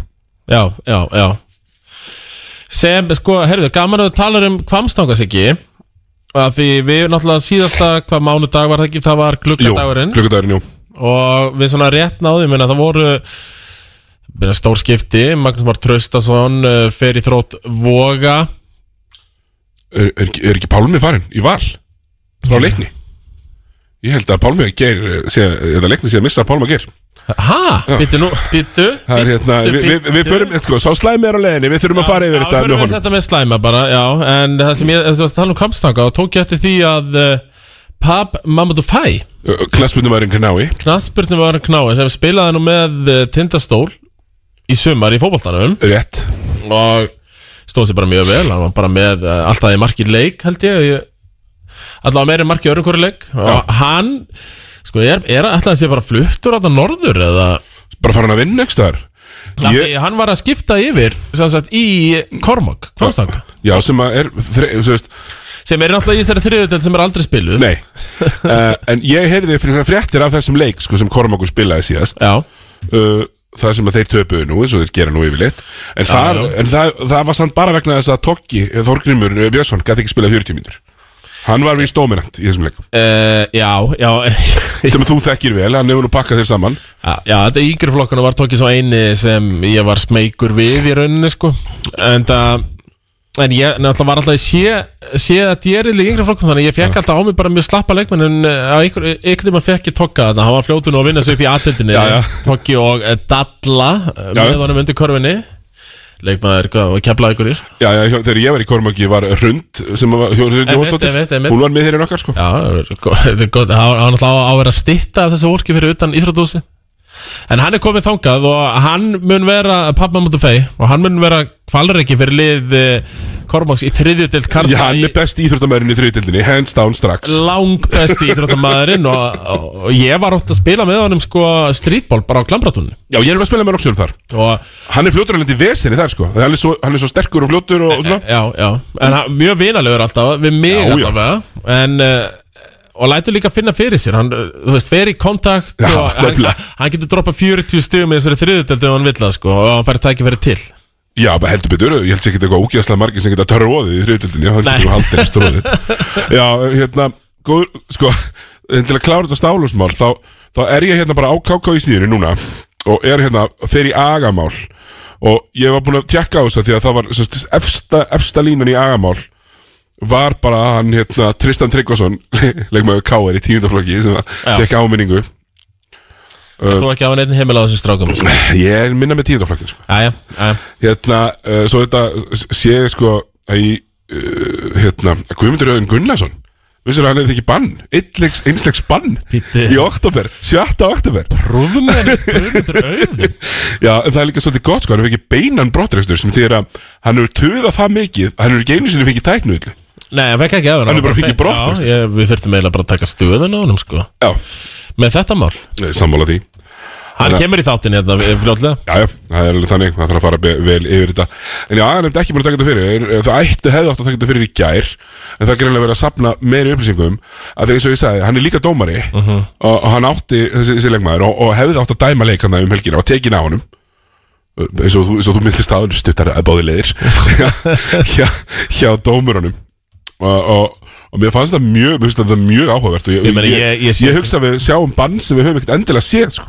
B: já, já, já sem, sko, herðu, gaman að þú talar um kvamstangas ekki að því við náttúrulega síðasta hvað mánudag var það ekki, það var glukkadagurinn
A: klukkudagurinn, jú
B: og við svona rétt náðum en það voru byrja, stór skipti, Magnús Már Traustason uh, fer í þrótt Voga
A: er, er, ekki- er ekki Pálmi farin í val frá leikni ég held að Pálmi ger sé, eða leikni sé að missa að Pálma ger
B: Ha, býttu nú, býttu
A: það er hérna,
B: Bíddu,
A: við, við, við
B: bíddu.
A: förum sko, sá slæmi er á leiðinni, við þurfum að fara yfir
B: Já,
A: þetta með
B: við förum
A: honum
B: þetta með slæma bara, já En það sem ég, þú veist, tala um kampstanga Og tók ég eftir því að uh, Pab Mamadou Fai
A: Eh, klassbundumæðurinn Knái
B: Knatsbyrnum var knái sem spilaði nú með uh, Tindastól í sumar í fótboltanum
A: rétt,
B: Og stóð sér bara mjög vel Hann var bara með uh, alltaf í marki leik held ég, ég Alltaf meira en marki öðrum hverju leik Og hann, sko, er, er alltaf að sé bara fluttur Alltaf norður eða
A: bara farin að vinna ekki þar
B: ég... Hann var að skipta yfir sem sagt, í Kormok, Kvamstanga
A: já, sem að er þre, þú veist,
B: sem er náttúrulega í þessari þriðutel sem er aldrei spiluð
A: nei uh, en ég heyrði fyrir það fréttir af þessum leik sko, sem Kormakur spilaði síðast
B: Já,
A: uh, það sem að þeir töpuðu nú eins og þeir gera nú yfirleitt en, þar,
B: já.
A: en það, það var samt bara vegna þess að Tokki Þorgrymur eh, Björnsson gæti ekki spilað 40 mínútur hann var víst dominant í þessum leikum
B: uh, já, já,
A: sem þú þekkir vel, hann hefur nú pakkað þér saman
B: já, já, þetta yngri flokkana var tókið svo eini sem ég var smeykur við í rauninni sko en, það, en ég náttúrulega var alltaf í sé, sé að djeril í yngri flokkum þannig að ég fekk alltaf á mig bara mjög slappa leikmenn en eh, á ykkur, ykkur tíma fekk ég tokka þannig að hann var fljótun og vinna svo upp í aðtildinni
A: Já, já.
B: tokki og eh, dalla já,
A: Já.
B: með honum undir körfinni leikmaður hvað, og kepla ykkur ír
A: já, já, hjá- þegar ég var í Kormaki var Rund sem var, hjá, Rund
B: Einmitt, einmitt,
A: Jónsdóttir
B: einmitt.
A: hún var með þeirinn okkar sko
B: Já, það er gott- það var náttúrulega á að vera að stitta af þessu orki fyrir utan íþrótúsi En hann er komið þangað og hann mun vera Pappa Mútu Fey og hann mun vera kvalreiki fyrir lið eh, Kormáks í þriðjutild
A: Já,
B: Karla
A: hann
B: í
A: er best íþróttamæðurinn í þriðutildinni Hands down strax
B: lang besti ídráttamæðurinn og, og, og ég var ótt að spila með honum sko streetball bara á klambratunni
A: Já, ég er með að spila með Roxjón þar
B: og
A: Hann er fljótur að lendi vesinni þar sko Hann er svo, hann er svo sterkur og fljótur og, og svona
B: já, já, en hann, mjög vinalegur alltaf við mig
A: Já, já.
B: alltaf já. en uh, og lætur líka finna fyrir sér hann, eh, þú veist, fer í kontakt
A: Já,
B: og hann,
A: nefnilega.
B: hann getur droppað 40 stugum í þessari þriðuteldu ef hann vill það sko og hann fær tækifæri til
A: Já, bara heldur betur, ég held sér ekki eitthvað ógeðslega margir sem geta törru óðið í þriðutildinni Hann
B: Nei.
A: getur haldið eftir óðið Já, hérna, góður, sko en Til að klára þetta stálusmál þá, þá er ég hérna bara á KK í síðinu núna Og er hérna, fer í agamál Og ég var búin að tjekka á þess að því að það var sest, efsta, efsta línan í agamál Var bara hann, hérna, Tristan Tryggvason Leikmaður K.R. í tíundaflokki Sem að tjekka áminningu Uh.
B: þú ekki hafa neitt heimil á þessum strákum
A: Ég er minna með tíundaflokkin, sko
B: Jæja, jæja.
A: hérna, uh, svo þetta sé ég sko að í uh, hérna, að Guðmundur Öðun Gunnarsson vissir að hann hefði ekki bann, einslegs, einslegs bann
B: Bíddu.
A: í oktober, 7. oktober
B: Rúðum með Guðmundur auðin
A: já, en það er líka svolítið gott sko, hann hefur ekki beinan brottrekstur sem þýðir að hann hefur töða það mikið, að hann hefur ekki einu sinni fengið tæknuðli
B: Nei, hann fekk ekki aðeins
A: Hann er bara fengið brottrekstur.
B: Já, ég, við þurftum eiginlega bara að taka stöðun á honum sko
A: já,
B: Með þetta mál
A: eh, sammála því
B: Hann
A: Þannig að-
B: kemur í þáttinni þetta við- fljótlega
A: Já, já, það er alveg þannig, það þarf að fara be- vel yfir þetta En já, það er nefndi ekki búin að taka þetta fyrir Er- Það ættu hefði átt að taka þetta fyrir í gær En það er greinlega verið að sapna meiri upplýsingum Að þegar eins og ég sagði, hann er líka dómari
B: Mhm.
A: og, og hann átti þessi, þessi leikmaður og, og hefði átt að dæma leik hann um helgina og tekin á honum Uh, eins og, þú- eins og þú myndist að stuttar að báði leiðir hjá, hjá dómurunum og, og, og mér fannst það mjög, mér finnst það mjög áhugavert og ég,
B: Ég meina, ég- ég sé-
A: ég hugsa að við sjáum bann sem við höfum ekkert endilega séð sko.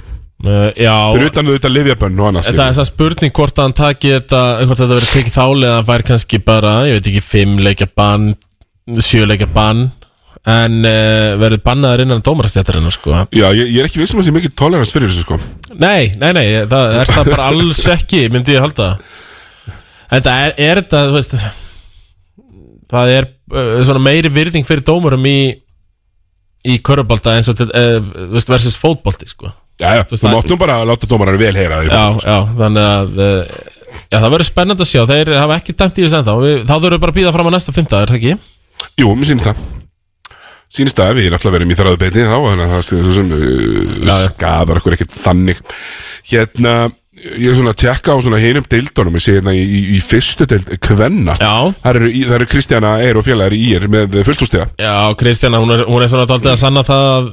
B: uh, Já,
A: fyrir utan við auðvitað lifjabönn og annars
B: En Það er það spurning hvort að hann taki þetta hvort þetta verið tekið þálið að hann fær kannski bara ég veit ekki, fimm leikja bann sjö leikja bann en uh, verið bannaður innan dómarastjættarinn sko.
A: Já, ég, ég er ekki vissum að sé mikið tolerans fyrir þessu sko
B: Nei, nei, nei, það er það bara alls ekki myndi ég halda En það er, er þetta, þú veist það er uh, svona meiri virðing fyrir dómurum í í körubalda eins og til, uh, þú veist, versus fótbolti sko.
A: Já, já,
B: veist,
A: þú
B: það-
A: máttum bara að láta dómarar vel heyra því
B: já, já, þannig að uh, Já, það verður spennandi að sjá, þeir hafa ekki dæmt í þessu ennþá Við, Þá þurfum við bara að býða fram á næsta fimmta, er það ekki?
A: Jú, mér sýnist það Sýnist það, við erum alltaf verið í þræðu beinni þá Þannig að það sé svo sem uh,
B: já.
A: skadar okkur ekkert þannig Hérna, ég er svona að tjekka á svona hinum deildunum Ég sé hérna í, í, í fyrstu deild Kvenna
B: Já,
A: Þar eru, í- þar eru Kristjana Eir og félagar í ír með fulltústega
B: já, Kristjana, hún er, hún er svona dálítið að sanna það að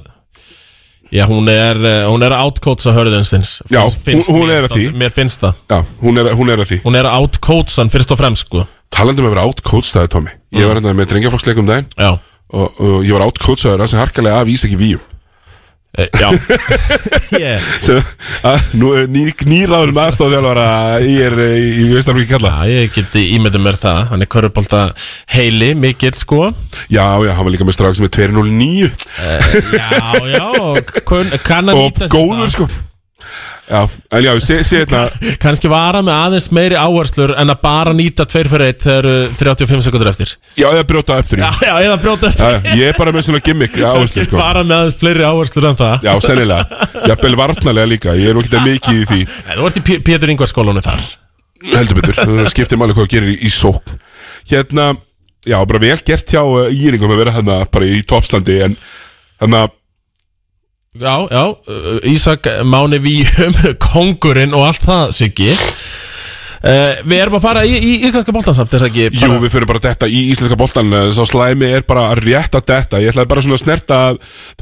B: Já, hún er, eh, hún er outcoats að hörðunstins
A: Já, hún- hún er að því.
B: Mér finnst það
A: Já, hún er, hún er að því um
B: Hún er outcoatsan fyrst og fremst, sko
A: Talandum hefur átkótstaði, Tommy
B: Mm.
A: Ég var hérna með drengjaflokksleikum daginn
B: Já,
A: Og, og ég var átkótstaður að sem harkalega af Ísaki Víum
B: e, já yeah.
A: sem að nú er ný, nýráður með aðstofþjálfara í er í, í Vestarvík kalla
B: Já, ég geti ímyndið mér það Hann er körubalda heili, mikill, sko Eh,
A: já, já, hann var líka með strák sem er 209
B: Já, já, og kun, kann að
A: og
B: nýta sér það.
A: góður sko já, en já, sé, sé hérna
B: kannski vara með aðeins meiri áherslur en að bara nýta 2 fyrir 1 þegar eru 35 sekundur eftir
A: já, ég brjóta upp þrjú
B: Já,
A: já,
B: já, eða brjóta eftir
A: já, ég er bara með svona gimmick áherslu sko
B: Vara með aðeins fleiri áherslur en það
A: já, sennilega, jafnvel varnalega líka ég er nú ekki það mikið í því
B: En Þú ert í P- Pétur Ingvar skólanu þar
A: heldur betur, það skiptir máli hvað þú gerir í, í sók hérna, já, bara vel gert hjá uh, íringum að vera hérna bara í topslandi en hérna,
B: Já, já, uh, Ísak Máni Víum, Kongurinn og allt það, Siggi uh, Við erum að fara í, í íslenska bóltansamt, er það ekki?
A: Jú, við fyrir bara að detta í íslenska boltan Sá slæmi er bara að rétta detta Ég ætlaði bara svona að snerta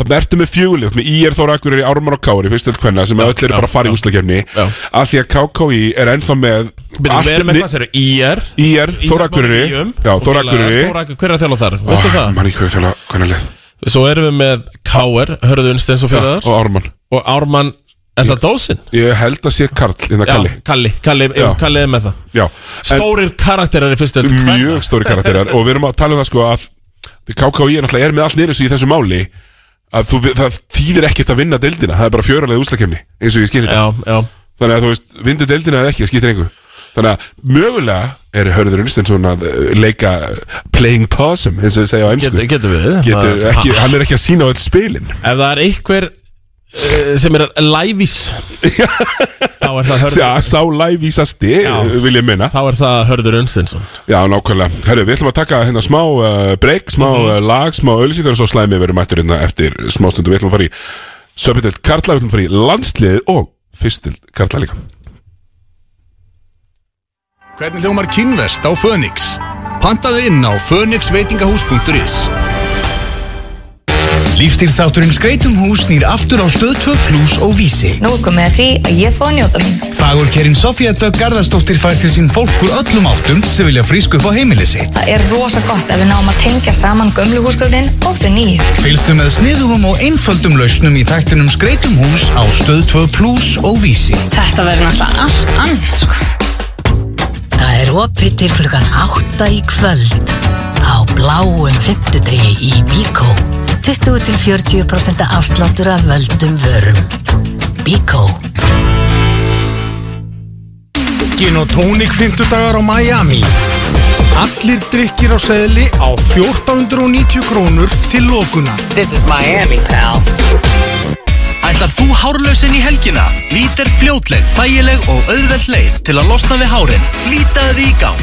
A: Það ertu með fjöguleg Þú veist, með IR Þóra Akurir í Ármann og Kári Fyrst til hvenna sem öll eru
B: já,
A: bara að fara í
B: já.
A: úslakefni
B: Já.
A: Af því að KKI er ennþá með
B: Byrjum, Við erum með
A: ni-
B: hvað sér, IR
A: IR Þóra Akureyri Já, Þóra Akureyri
B: Þórakurri, hver er að þjála þar?
A: Ó,
B: Veistu það?
A: Mann í hverju þjóla, hvernig leð
B: Svo erum við með KR, Hörðu Unsteins og Fjöðar
A: Og Ármann
B: Og Ármann, er það dósin?
A: Ég held að sé Karl, hérna
B: Já,
A: Kalli
B: Kalli, Kalli, já.
A: Já. Mm.
B: Kalli er með það
A: Já, en
B: Stórir karakterar í fyrstu öld
A: mjög stóri karakterar Og við erum að tala um það sko að KKI er náttúrulega er með allt nýrið sig í þessu máli að þú, það þýðir ekkert að vinna deildina, það er bara fjöralega úslakefni eins og ég skynir þetta
B: Já, já
A: Þannig að þú veist, vindu deildina eða ekki, það skiptir engu Þannig að mögulega er Hörður Unstensson að uh, leika uh, playing possum, eins og við segja á ennsku
B: Getur, getur við
A: Getur
B: Það-
A: ekki, Hann er ekki að sína á öll spilin
B: Ef það er einhver eh, sem er lævís þá er það hörður
A: Sá, sá lævísasti, vil ég minna
B: þá er það hörður Unstinsson
A: Já, nákvæmlega Herru, við ætlum að taka hérna smá uh, break, smá uh, lag, smá auðlýsingar og svo slæmi verið mættur hérna eftir smástundu Við ætlum að fara í Söpindelt Karla, við ætlum að fara í landsliðið og fyrstil Karla líka
C: Hvernig hljómar kynvest á Fönix? Pantaðu inn á fönixveitingahús.is
D: Lífstilsþátturinn Skreitum um hús nýr aftur á stöð 2 plus og vísi.
E: Nú er komið að því að ég fóði að njóta mín.
D: Fagurkerinn Sofía Dögg Garðarsdóttir fær til sín fólk úr öllum áttum sem vilja frísku upp á heimili sitt.
E: Það er rosa gott að við náum að tengja saman gömlu húsgögnin og þau nýju.
D: Fylgstu með sniðugum og einföldum lausnum í þættinum Skreitum hús á stöð 2 plus og vísi.
F: Þetta verður náttúrulega allt annað sko.
G: Það er opið til klukkan 8 í kvöld á bláum 50 í Bíkó. 20-40% afsláttur af völdum vörum. Bíkó.
D: Gin og tónik 50 dagar á Miami. Allir drikkir á seðli á 1490 krónur til lokuna.
H: Ætlar þú hárlausin í helgina? Lít er fljótleg, þægileg og auðveld leið til að losna við hárin. Lítaðu því í gang.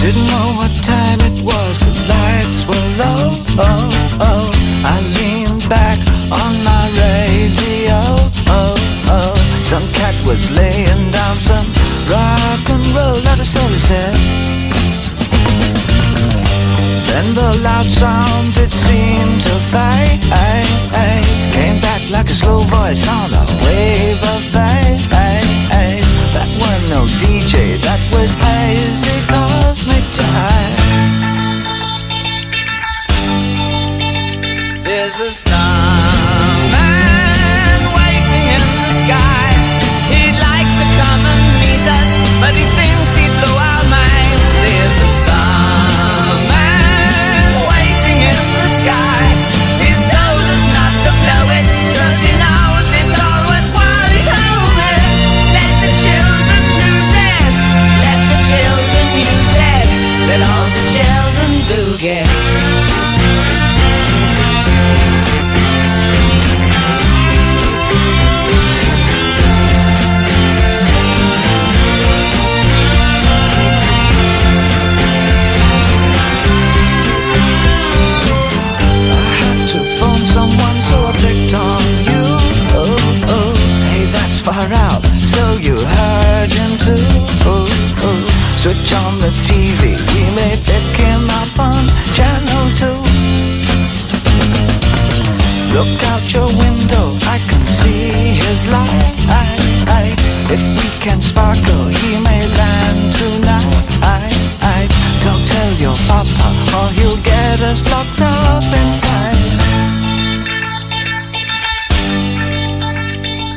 I: Didn't know what time it was, the lights were low, oh, oh. I leaned back on my radio, oh, oh. Some cat was laying down some rock and roll, not a soul he said. Then the loud sound, it seemed to fade, came back like a slow voice on a wave of haze. That were no DJ, that was hazy cosmic jazz. There's a starman waiting in the sky. He'd like to come and meet us, but he thinks he blew our minds. There's a starman waiting in the sky. He's told us not to blow it, cause he knows it's all worthwhile. He's over. Let the children use it. Let the children use it. Let all the children boogie. had to phone someone, so I picked on you. Oh, oh, hey, that's far out. So you heard him too. Oh, oh, switch on the TV. We may pick him up on channel two. Look out your window, I can see his light. If we can sparkle, he may land tonight. Don't tell your papa, or he'll get us locked up in fights.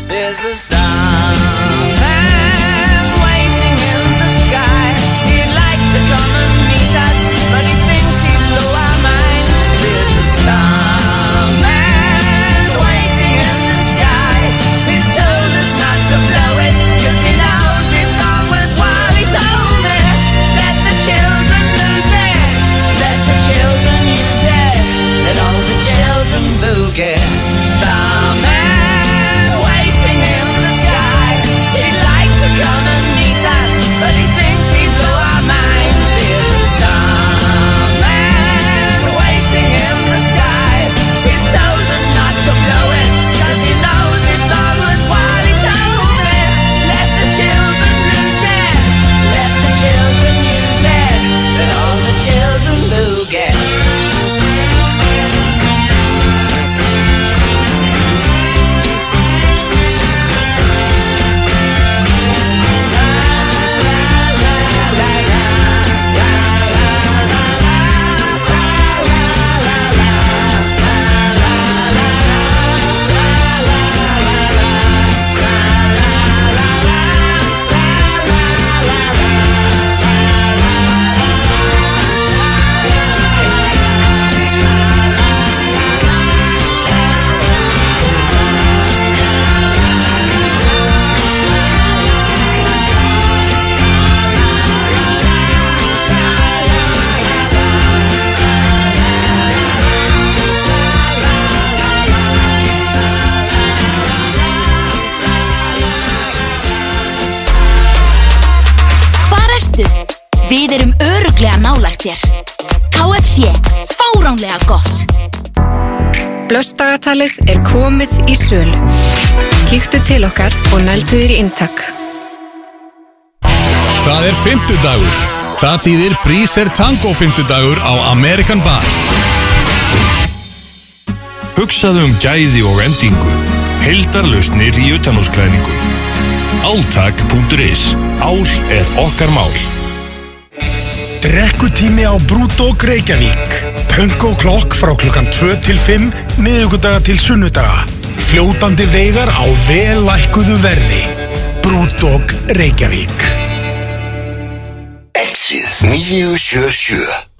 I: There's a starman waiting in the sky. He'd like to come and meet us, but he thinks he blew our minds. There's a starman waiting in the sky. He's told us not to blow it, 'cause he knows it's all worthwhile. He told me, let the children lose it, let the children use it, let all the children boogie. Starman waiting in the sky.
J: Bíddu, við erum öruglega nálægt þér. KFC, fáránlega gott.
K: Blöstdagatalið er komið í sölu. Kíktu til okkar og nældu þér í inntak.
C: Það er fymtudagur. Það þýðir Breezer Tango fymtudagur á American Bar. Hugsaðu um gæði og endingu. Hildarlausnir í utanhúsklæningu. Alltak.is Ál er okkar mál.
D: Drekkutími á Brúdók Reykjavík. Punk og klokk frá klukkan 2 til 5, miðugudaga til sunnudaga. Fljótandi veigar á velækkuðu verði. Brúdók Reykjavík.
L: Exið 977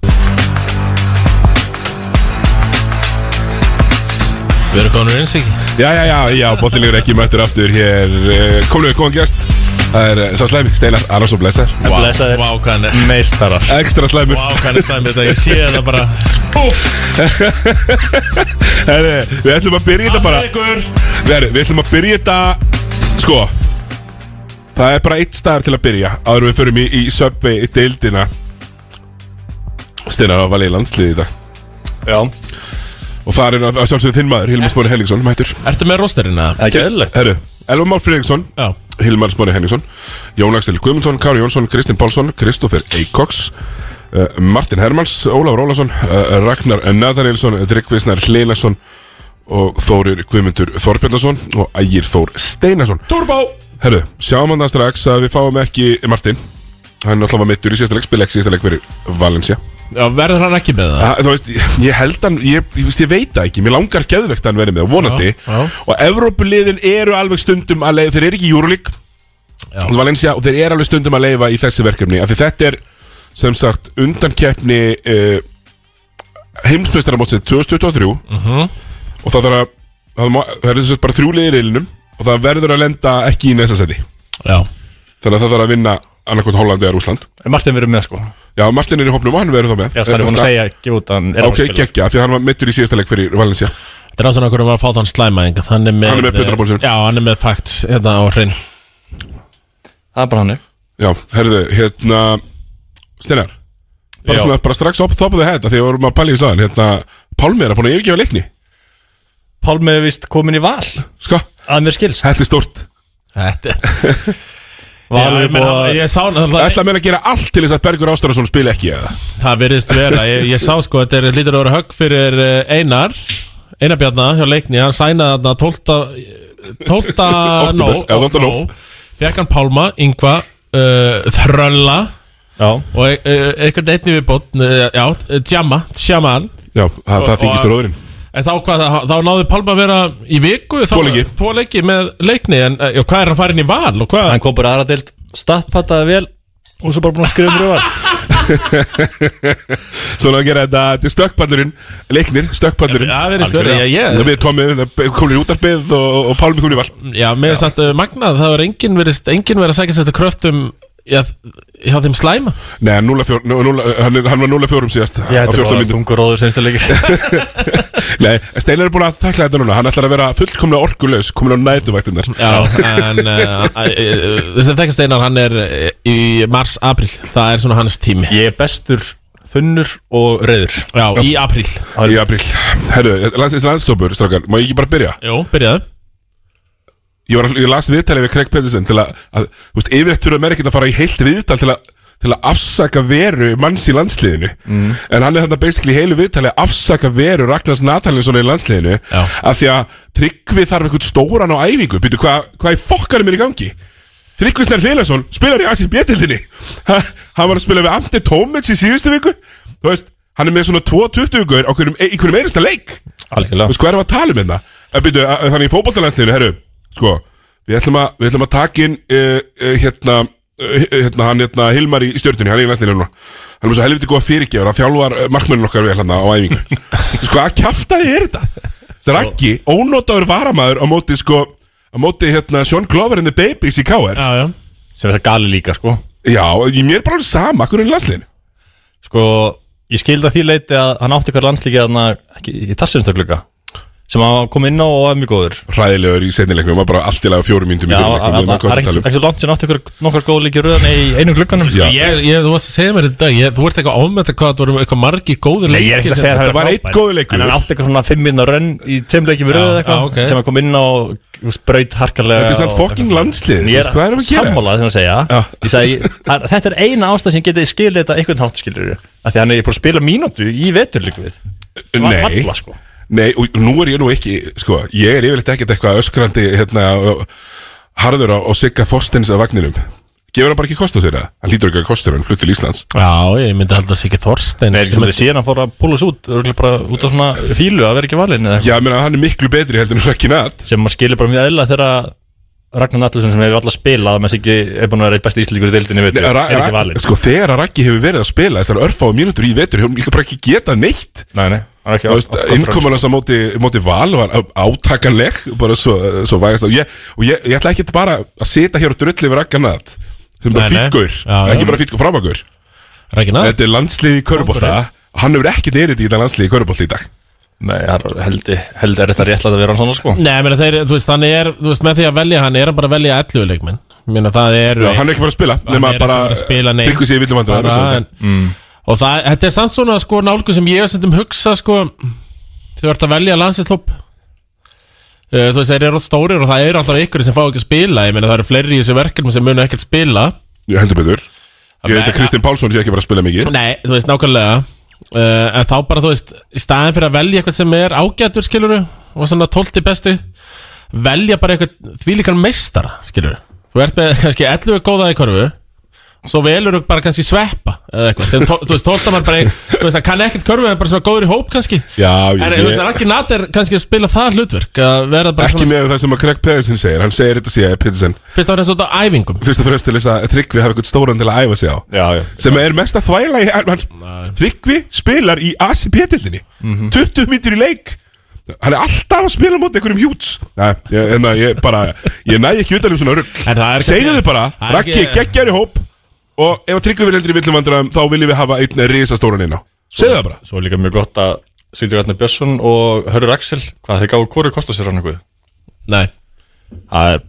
B: Við erum konur eins ekki
A: Já, já, já, já, bóttilegur ekki mættur aftur hér eh, Komum við góðan gest Það er eh, sá slæmi, Steinar Arnarsson Blesser
B: Vá, vá, hvað hann er
A: Meistarar Ekstra slæmur
B: Vá, hvað hann er slæmur þetta Ég sé þetta bara
A: Herri, við ætlum að byrja þetta bara
B: Passa ykkur.
A: Herri, við ætlum að byrja þetta Sko Það er bara eitt staðar til að byrja Áður en við förum í, í söpvi í deildina Steinar á valið landslið í dag Já Og það er að að sjálfsögðu þinn maður Hilmar Smári Henningsson, mættur
B: Ertu með rosterinn eða?
A: Ekki eðlilegt Herru, Elvar Már Fredriksson Hilmar Smári Henningsson Jón Axel Guðmundsson, Kári Jónsson, Kristinn Pálsson Kristoffer Eikoks uh, Martin Hermans, Ólafur Ólason uh, Ragnar Nathanielsson, Tryggvisnar Hleilason og Þórir Guðmundur Þorbjörnason og Ægir Þór Steinason Turbo Herru, sjáum hann það strax að við fáum ekki Martin Hann alltaf var mittur í síðasta leik, spila ekki síðasta leik fyrir Valencia
B: Já, verður hann ekki með það?
A: Þú veist, ég held hann, ég, ég, veist, ég veit það ekki, mér langar geðvegt að hann verið með og vonandi
B: Já, já.
A: Og Evrópuliðin eru alveg stundum að leiða, þeir eru ekki júrulík Valencia, og þeir eru alveg stundum að leiða í þessi verkefni af Því þetta er, sem sagt, undankeppni uh, heimsmeistaramótsið 2023
B: Mhm.
A: Og það þarf að, það má- það eru sem sagt bara þrjúliðir í reilinum Og það verður að lenda ekki í næsta seti
B: Já
A: Þannig að það þarf að vinna annarkot Holland eða Rúsland
M: Martin verður með sko
A: Já, Martin er í hópnum og hann verður þá með Hérna,
M: Já, það er hún að segja ekki út að hann er
A: Ok, geggja, því að hann var mittur í síðasta leik fyrir Valencia
B: Þetta er ástæðan okkur að var að fá þann slæmæðing Hann er með
A: Hann er með puttana
B: Já, hann er með fakt Hérna á hrein
M: Það er bara hann
A: Já, herðu, hérna Steinar, bara
M: Já.
A: svona bara strax upp top of the head af Því að vorum að pæla í þess aðan hérna, Pálmi er að búin að yfirgefa leikni
M: Pálmi er vist komin í val
A: Sko
M: Að mér skilst
A: Þetta er stórt
B: Þetta
M: Valur
B: Já,
M: er
B: ég meina,
M: búið að
B: Ég sá náttúrulega
A: Ætla að meina að gera allt til þess að Bergur Ástararsson spila ekki eða
B: Það virðist vera, ég, ég sá sko Þetta er lítur að vera högg fyrir eh, Einar Einar Bjarnar hjá leikni Hann sænaði þarna 12. 12.
A: Október,
B: nóg-
A: já, 12.
B: nóg. Fékk hann Pálma, Yngva uh, Þrölla
M: já.
B: Og uh, eitthvað einnig viðbót uh, Já, eh, Djama, Djamal
A: Já, það, það
B: Og-
A: þykist
B: og-
A: róðurinn
B: En þá, hvað, þá, þá náði Palma að vera í viku þá-
A: Tvo leiki.
B: Tvo leiki með leikni En eh, já, hvað er hann farin í val og hvað
M: Hann kom bara aðra deild Stattpattaði vel Og svo bara búin að skrifa fyrir val
A: Svona að gera þetta, þetta er stökkpallurinn Leiknir, stökkpallurinn
B: Já, það verið stökkpallurinn, já, ég-
A: Við komum, komum í útarpið og, og Pálmi komum í val
B: Já, mér er satt uh, magnað Það var engin verið, engin verið að sækja sér þetta kröftum já, Hjá þeim slæma
A: Nei, 0-4, 0, hann, er- hann var 0-4 síðast
M: Ég
A: á 14
M: þetta var
A: mínútum.
M: tungur róður senstu leikir
A: Nei, Steinar er búin að tekla þetta núna Hann ætlar að vera fullkomlega orkulaus Komin á nætuvættinnar
B: Já, en uh, þess að þekka steinar hann er eh, í mars, april Það er svona hans tími
M: Ég er bestur, þunnur og reyður
B: Já, í april
A: Í apríl Herru, landsins landstópur, strákar Má ég ekki bara byrja?
B: Jó, byrjaðu
A: Ég, var, að- ég las viðtalið við Craig Peterson Til að, að þú veist, yfirleitt þurfa mér ekkert að fara í heilt viðtal Til að, til að afsaka veru manns í landsliðinu En hann er þetta basically í heilu viðtalið að Afsaka veru Ragnars Natalinsson í landsliðinu Já. Af því að Tryggvi þarf einhvern stóran á æfingu Býtu, hvað hva í fokkanum er í gangi? Tryggvi Snær Hlilason spilar í Asi B-tildinni Ha- Hann var að spila við Ante Tómits í síðustu viku Þú veist, hann er með svona 2-20 gaur á hverjum, e- í hverjum einasta leik
M: Algjörlega
A: Þú veist, hvað erum við að tala um hérna? En byrju, að- Þannig í fótboltalandsliðinu, herru Sko, við ætlum að, við ætlum að taka inn uh, uh, hérna, uh, hérna hann hérna Hilmar í í stjörnunni, hann er í landsliðinu núna Hann er með svo helviti góða fyrirgefur að þjálfar markmennin okkar vel hann á æfingu Sko, að kjaftaði er þetta?
M: Sko-
A: Raggi, ónótaður varamaður á móti sko, á móti hérna Sean Glover and the Babies í KR
B: Já, já
M: Sem er það gali líka sko
A: Já, ég- mér er bara alveg sama, hvernig er landsliðin?
M: Sko, ég skildi að því leiti að hann átti hver landslíki að hann ekki, ekki þar sinnstakluga sem hann kom inn á og var mjög góður
A: Ræðilegur í setnilegnum, var bara allt í laga fjórum myndum í
M: Já,
A: fyrri leiknum, við erum
M: það
A: ekki
M: er
A: að tala
M: ekki svo-
A: um.
M: ekki svo langt sem átti ykkur nokkar góð leikir röðan í einum glugganum sko.
B: ég, ég, þú varst að segja mér þetta í dag, ég, þú ert eitthvað ámætt hvað það voru eitthvað margi góðir hérna.
M: Nei, ég er ekki að segja að
B: Þetta
M: hann
B: var
M: er
B: einn
M: frábær.
B: góður leikur
M: En hann átti eitthvað svona fimm minna rönn í tveim leikjum við
B: Já,
M: röðu
B: já,
M: eitthvað
B: ok.
M: sem hann kom inn á og braut harkalega
A: Þetta er samt
M: og-
A: fucking landslið,
M: Ég
A: þú veist, hvað erum við að gera?
M: Sammála þess að segja Ég sagði, ég- það- Þetta er eina ástæð sem getið skilið þetta einhvern hátt skilur Því hann er búin að spila mínútu í vetur líka við Það var
A: Nei.
M: varla, sko.
A: Nei, og nú er ég nú ekki, sko, ég er yfirleitt ekkert eitthvað öskrandi, hérna, og- harður á, á sigga Þorsteins af vagninum. Gefur hann bara ekki kost á sér það? Hann lítur ekki að kosta sér, hann flutt til Íslands.
B: Já, ég myndi held að það sé ekki Þorstein
M: Nei, ekki svolítið síðan hann fór að púla svo út örugglega bara út á svona fílu að vera ekki valinn eða eitthvað.
A: Já, ég meina, hann er miklu betri heldur en Rökki Natt.
M: sem maður skilur bara mjög eðla þegar Ragnar Nathlusson sem hefur alltaf spilað að maður sé ekki er búin að vera eitt besti íslíkur í deildinni veitur, er ekki valinn
A: Sko, þegar að Raggi hefur verið að spila þessar örfáu mínútur í vetur, hefur líka bara ekki getað neitt.
M: Nei, nei, hann er ekki
A: Þú veist,
M: off- off control,
A: innkoman hans á móti, móti val var átakanleg bara svo, svo vægast og, ég, og ég, ég ætla ekki bara að sita hér og drulli við raggarnat sem bara
B: Nei, nei.
A: fýtgur,
B: Já, já.
A: ekki bara fýtgur framagur
B: Ragnar?
A: þetta er landslið í körubólta hann hefur ekkert erið í þetta landslið í körubólta í dag
M: Nei, held, held er þetta réttlega að vera hann svona sko
B: Nei, menn þeir, þú veist, hann er, þú veist, með því að velja hann er hann bara að velja 11 leikmenn Mér að það er
A: Já, hann er ekki fara að spila, nema
B: Hann er
A: bara
B: ekki fara að spila, nei.
A: Tryggvi sé í villum vandræðum,
B: Bara,
A: þessu
B: en- Og það, þetta er samt svona, sko, nálgu sem ég er stundum hugsa, sko Þau ert að velja landsittlopp Þú veist, þeir eru alltaf stórir og það eru alltaf ykkur sem fá ekki að spila Ég meina, það eru fleiri í þessu verkefnum sem munu ekkert spila
A: ég heldur betur ég veit að Kristinn Pálsson sé ekki fara að spila mikið
B: Nei, þú veist, nákvæmlega uh, En þá bara, þú veist, í staðin fyrir að velja eitthvað sem er ágætur, skiluru Og svona tólti besti Velja bara eitthvað þvílíkan meistara, skiluru Þú ert með kannski 11 góða í korfu Svo velur þú bara kannski sveppa Eða eitthvað, sem, tó- þú veist, tólta maður bara í- Þú veist, það kann ekkert korfu, það er bara svona góður í hóp kannski
A: Já, ég-
B: En þú veist, það er ekki natir kannski að spila það hlutverk Að vera bara
A: ekki með það sem að Craig Pedersen segir hann segir þetta sé Pedersen
B: Fyrst að vera svona á æfingum
A: fyrst og fremst til þess að Tryggvi hafi eitthvað stóran til að æfa sig á
M: já, já.
A: sem er mest að þvæla í hann, Tryggvi spilar í ACP-tildinni
B: Mhm.
A: 20 myndir í leik hann er alltaf að spila móti einhverjum hjúts Nei, ég, en það ég bara ég næ ekki utan um svona
B: er
A: rugg
B: ekki-
A: segðu þið bara,
B: það er
A: Raggi
B: ekki-
A: ekki... geggjar í hóp og ef að Tryggvi vil heldur í villum vandræðum þá viljum við hafa einn risastóran inn á segðu það bara
M: Svo er líka mjög gott að Sigurður Arnar Björnsson og Hörur Axel hvað þeir gáðu hvoru kosta sér hann eitthvað
B: Nei
M: Það er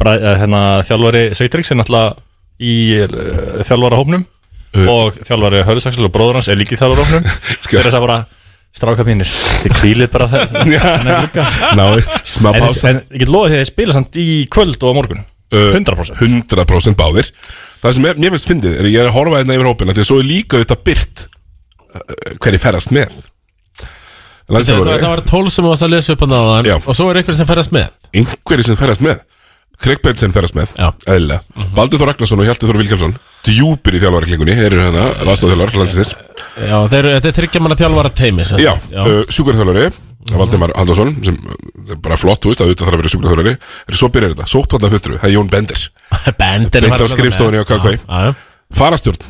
M: bara, eh, hérna, þjálfari Sveitryggs er náttúrulega í uh, þjálfara hópnum
A: Eh.
M: og þjálfari Hörur Axel og bróður hans er líki í þjálfara hópnum þeir er þess að bara stráka mínir þið kvílið bara það
A: Ná, smá
M: En-
A: pása.
M: en ég get loðið því að þið spila samt í kvöld og á morgun
A: Uh,
M: 100%
A: 100% báðir Það sem er, mér finnst fyndið er að ég er að horfa hérna yfir hópina Því að svo er líka auðvitað byrt Hverju ferðast með
B: Þetta var- þetta
A: Landsliðsþjálfari,
B: var tól sem þú varst að lesa upp á náðan Og svo er ykkur sem ferðast með
A: Einhverju sem ferðast með Craig Benson ferðast með, eðlilega Baldur Þór Ragnarsson og Hjalti Þór Vilkjálsson Djúpir í þjálfariklingunni, þeir eru hérna Vastaþjálfar, landsins
B: Já, þeir, eru- þetta er þryggja manna þjálfara teimi sem sagt.
A: Já, Mhm. uh, sjúkurþjálfari Valdimar Haldarsson sem uh, það er bara flott, þú veist að auðvitað þarf að vera sjúkurþjálfari En svo byrjar þetta, sóttvarnar fyrtru, það er Jón Bender
B: Bender
A: Beint
B: var
A: á
B: allavega
A: skrifstofunni á
B: með.
A: KK Farastjórn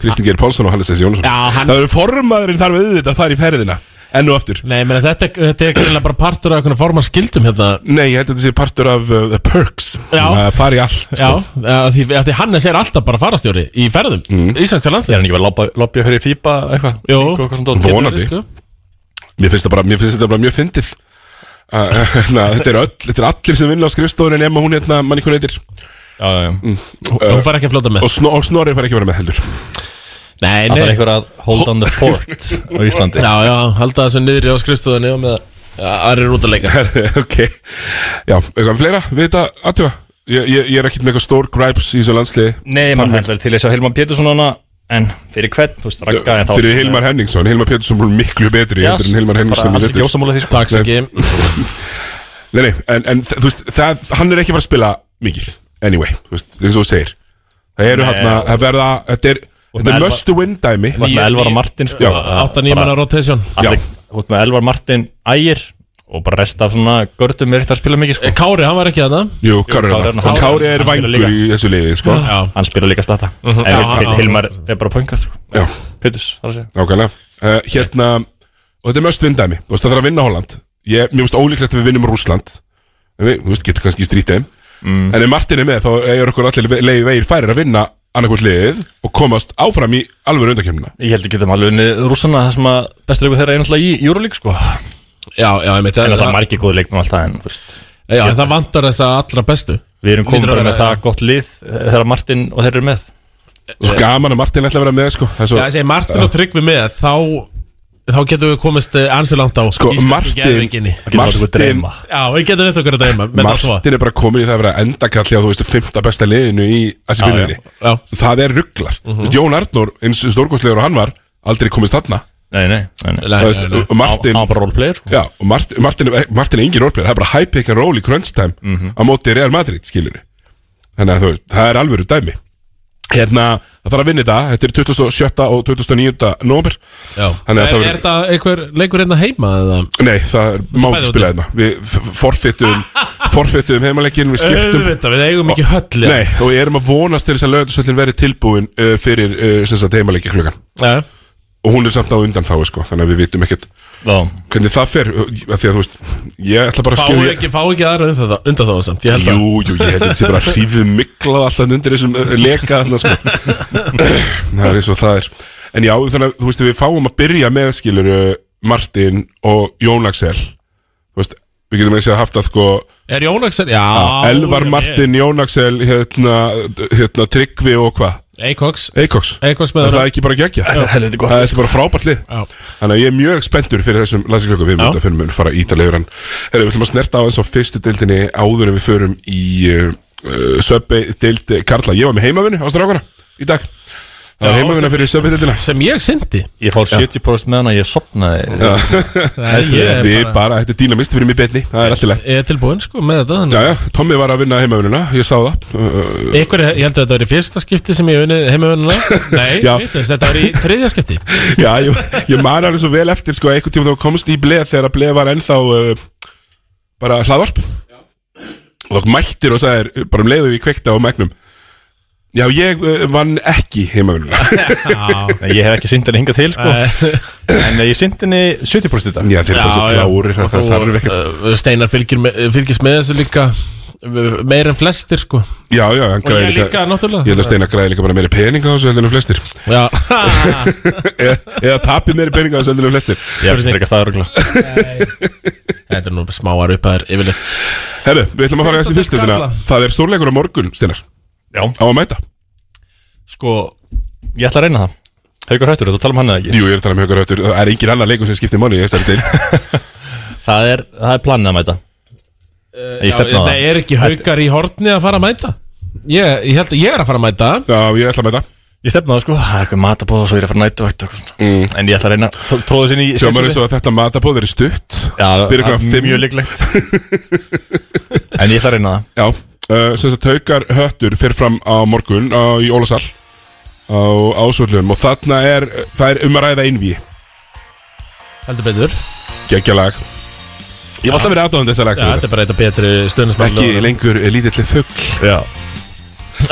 A: Kristinn Geir Pálsson og Hannes S. Jónsson Það eru formaðurinn þarf auðvitað að fara í ferðina Enn og aftur
B: Nei, meni, þetta, er- þetta er greinlega bara partur af einhvern forman skildum hérna
A: Nei, ég held að þetta sé partur af uh, the perks
B: Já.
A: Það fara í allt sko.
B: Já, að því, að því Hannes er alltaf bara farastjóri í ferðum mm. Íslandska landslið
M: Er hann ekki verið að lobby að höra í FIBA eitthvað?
B: Jó,
M: eitthvað svona dót?
A: Vonandi. Mér finnst það bara, mér finnst þetta bara mjög fyndið Uh, na, þetta, er öll, þetta er allir sem vinna á skrifstofunni nema hún hérna manni hún heitir
M: Já, já, já
A: mm.
B: Hún fær ekki að flota með.
A: Og, snor, og Snorri fær ekki að vera með heldur
B: Nei,
M: Það er einhver að hold on the fort á Íslandi
B: Já, já, halda þessu niðri á skrifstofunni og með Já, aðrir er út að leika
A: Ok, já, eitthvað fleira við þetta aðtjóða ég, ég, ég er ekkert með eitthvað stór gripes í þessu landsli
M: Nei, maður heldur til þess að Hilmar Pétursson hana En fyrir hvern, þú veist, ragga en þá
A: Fyrir Hilmar Henningsson, Hilmar Pétursson er miklu betri
M: Já,
A: heldur en Hilmar
M: bara
A: Henningsson
M: alls ekki ósammála því, sko. Takk, Siggi.
A: Nei, nei, en, en þ- þú veist, það, hann er ekki að fara að spila mikið Anyway, þú veist, eins og þú segir Það eru
M: Nei,
A: hann
M: og-
A: það verða, þetta er, þetta
M: með
A: er
M: Elvar-
A: must to win dæmi
M: Þú ert með Elvar og Martin sko.
A: Já.
B: Átta nýja manna rotation
M: Já Þú ert með Elvar Martin Ægir Og bara resta af svona görðum er ekkert að spila mikið sko
B: Kári, hann var ekki þarna
A: Jú, Kári er það En Kári er vængur í þessu liði, sko
B: Já.
M: Hann spila líka stata
A: Mhm.
M: En Hil-
A: Já, já.
M: Hil- Hilmar er bara poingar sko
A: Já.
M: Péturs, það er að segja
A: Nákvæmlega uh, Hérna Og þetta er mjöst vindæmi Þú veist það þarf að vinna Holland ég, Mér finnst ólíklegt að við vinnum Rúsland En við, Þú veist, getur kannski strítið þeim En ef Martin er með þá er okkur allir ve- leiði vegir færir að vinna annarkvæmt liðið og komast áfram í alvöru undakemna
M: Ég held að getum alveg unni rússana Það sem að bestu leikur þeirra er einhverja í Euroleague sko
B: Já, já, ég
M: En það er margir góð leikmenn alltaf en, þú veist
B: Já, en það vantar þess að allra bestu
M: Við erum komin
B: Lítur að
M: bara
B: vera-
M: með það gott lið eh, þegar Martin og þeir eru með
A: Svo gaman að Martin ætla að vera með sko Það er
B: Já,
A: svo-
B: þessi Martin og Tryggvi með þá þá getum við komist eh, ansi langt á
A: Sko,
B: íslensku
A: Martin-
B: geðveikinni.
A: Getum við látið okkur dreyma.
B: Já, við getum neitt okkur að dreyma með Martin
A: Martin er bara komin í það að vera endakall Já, þú veist, fymta besta liðinu í
B: Já,
A: Assibílinni
B: já, já.
A: Það er rugglar
B: Mhm.
A: mm -hmm. Jón Arnór, eins stórkostlegur og hann var Aldrei komist þarna
M: Nei, nei, nei, nei.
A: Þú veist, og Martin
M: Á- á bara roleplayer sko.
A: Já, og Martin, Martin, eh, Martin er engin roleplayer Það er bara high pick and roll í crunch time
B: Mhm.
A: Á móti Real Madrid, skilurðu Þannig að þú veist, það er alvöru dæmi Hérna, það þarf að vinna þetta Þetta er 27. og 29. nómur Þannig að
B: Er,
A: það
B: er þetta einhver leikur hérna heima eða?
A: Nei, það er má
B: Bæði
A: ekki spila hérna Við forfittum Forfittum heimaleikinn, við skiptum
B: Auðvitað, við eigum ekki höll
A: Nei, og ég erum að vonast til þess að lögðarsöllin verði tilbúin uh, fyrir uh, sem sagt heimaleiki klukkan
B: Nei.
A: og hún er samt á undan þá sko, þannig að við vitum ekkert
M: Já.
A: hvernig það fer, uh, af því að þú veist Sko, ég ætla bara að
B: Fá
A: skilja
B: ekki, fá ekki aðra um undan það, undan það samt ég held að-
A: Jú, jú, ég held að þetta sé bara hrífið miklað alltaf undir þessum uh, leka þarna sko það er eins og það er en já, þannig að þú veist, við fáum að byrja með skilur uh, Martin og Jón Axel þú veist, við getum eins og haft að sko
B: Er Jón Axel? Já,
A: Já, Elvar
B: ég-
A: Martin, Jón Axel hérna, hérna Tryggvi og hvað
B: Eikoks
A: Eikoks
B: Eikoks með
A: Er það
B: honum.
A: ekki bara geggja?
B: Þetta er helviti gott
A: Það
B: lið,
A: er bara frábært lið
B: Já.
A: Þannig að ég er mjög spenntur fyrir þessum landsiklöku Við myndum að fyrir mun fara ítalegur en Herra, við ætlum að snerta á eins og fyrstu deildinni áður en við förum í uh, Söbbi deild Karla Ég var með heimavinnu á strákana í dag Það
B: Já,
A: var heimavinna
B: sem-
A: fyrir Söbbi deildina
B: Sem ég syndi
M: Ég fór 70% með hana, ég sopnaði
B: Nei, ég er
A: Við bara, þetta er dýna mist fyrir mig betni Það er alltaf leið
B: Ég er tilbúinn sko með þetta þannig.
A: Já, já, Tommi var að vinna heimavinnuna, ég sá það Uh,
B: Ykkur, ég held að þetta var í fyrsta skipti sem ég hef unnið heimavönnuna Nei,
A: Já.
B: vitlaust, þetta var í þriðja skipti
A: Já, ég, ég man alveg svo vel eftir sko, einhvern tíma þá komst í bleð þegar að bleð var ennþá uh, bara hlaðvarp og þá mættir og sagðir uh, bara um leiðu í kveikta á megnum Já, ég uh, vann ekki heimavinnuna
M: Nei, Ég hef ekki synd henni hingað til sko. En eh, ég synd henni 70% í dag
A: Já, þeir eru bara svo klárir að það
B: Og þú,
A: þarf ekki
B: uh, Steinar fylgir, me- fylgist með þessu líka uh, meir en flestir sko
A: Já, já, hann
B: Og ég líka, náttúrulega.
A: Ég held að Steinar græði líka bara meiri peninga á þessu heldur en flestir
B: Já,
A: eða, eða tapir meiri peninga á þessu heldur en flestir
M: Já, þetta er ekki að það örgla
B: þetta er nú smáar upphæðir yfirleitt
A: Herru, við ætlum að fara í þessi
B: Fyrsta
A: fyrstu
B: deild
A: deildina.
B: karla.
A: Það er stórleikur á morgun, Steinar
M: Já
A: Á að mæta
M: Sko, ég ætla að reyna það Haukur Hættur, þú tala um hann eða ekki
A: Jú, ég er að tala um högur höttur Það er engin annar leikur sem skiptir máli í þessari deil
M: Það er, það er planið að mæta Eh, Ég stefna á það
B: Nei, er ekki haukar í horni að fara að mæta? Ég, ég held að ég er að fara að mæta
A: Já, ég ætla að mæta
M: Ég stefna á það sko, það er eitthvað matabóð og svo ég er að fara nættu og eitthvað svona. En ég ætla að reyna, tró- tróðu sinni í
A: Mm. Sjáum bara eins og að þetta matabóð er í stutt
M: Já,
A: Byrja
M: það
A: klukkan
M: er
A: fimm.
M: mjög líklegt En ég ætla að reyna það
A: Já, uh, sem sagt Haukar Höttur fyrir fram á morgun á, í Ólasal á ásvöllum og þarna er, það er um að ræða einví
B: Heldur betur
A: geggja lag Ég hef alltaf verið aðdáðan þessa lag
B: Já, þetta
A: Sigurður.
B: er bara eitthvað betri stöðnismann
A: Ekki lengur eh, lítill fugl
M: Já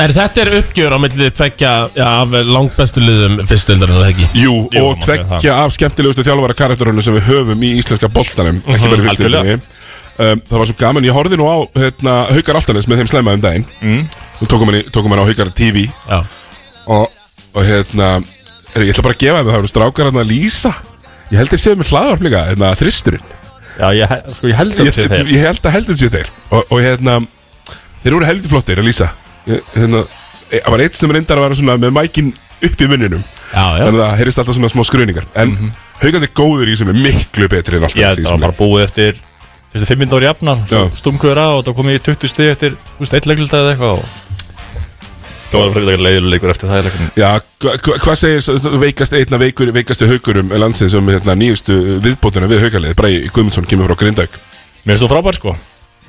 B: Er þetta er uppgjör á milli tveggja já, af langbestu liðum fyrstöldar en það ekki?
A: Jú,
M: Jú,
A: og
M: má segja
A: tveggja af skemmtilegustu þjálfara karakterunum sem við höfum í íslenska boltanum ekki bara í
M: Mhm, algjörlega.
A: fyrstöldinni um, Það var svo gaman, ég horfði nú á hérna, Haukar Altanes með þeim slæma um daginn
M: Mm.
A: Nú tókum hann, í- tókum hann á Haukar TV
B: Já.
A: og, og hérna er, Ég ætla bara að gefa þeim, það eru strákar hann að lýsa Ég held þeir séu með hlaðarflika, hérna, þristurinn
M: Já, ég, he- sko, ég held að
A: ég,
M: það sé þeir
A: ég held að held þetta séu þeir og, og hérna, þeir eru heldur flottir að lýsa Ég- hérna, e- það var eitt sem reyndar að vera svona með mækin upp í munninum
B: Já, já.
A: þannig að það heyrist alltaf svona smá skruningar en mm haugandi góður í sem er miklu betri en alltaf
M: Mhm. Já,
A: þessi í
M: það
A: þessum
M: var bara búið eftir Fyrstu 5 minútur jafnar,
A: Já.
M: stumkuður á og það komið í 20 stið eftir, þú veist, eitt leikluta eða eitthvað og það var frekar leiðilegur eftir það leikunum
A: leik. Já, hva- hva- hvað segir s- s- veikast einna veikur, veikastu haugurum landsins um hérna, nýjustu viðbótuna við haugalið Bræði Guðmundsson kemur frá Grindag
M: Mér finnst þú frábær sko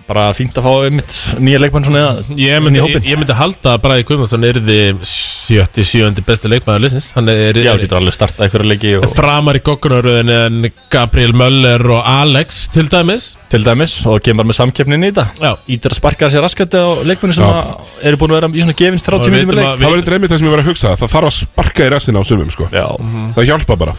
M: Bara fínt að fá einmitt nýja leikmann svona eða
B: Ég
M: inn í
B: myndi,
M: hópinn.
B: ég, ég myndi halda að Bræði Guðmundsson er því sjötti, sjöndi besti leikmaður liðsins Hann er,
M: Já,
B: er,
M: getur alveg startað einhverja leiki og,
B: framar í goggunaröðin en Gabriel Möller og Alex til dæmis
M: til dæmis og kemur bara með samkeppnin í þetta Ítir að sparka sér raskat á leikmennu sem
A: Já.
M: að eru búin að vera í svona gefins 30 minnum leik
A: Það var eitthvað einmitt það sem ég var að hugsa það þarf að sparka í restina á sumum sko.
M: Já.
A: það hjálpa bara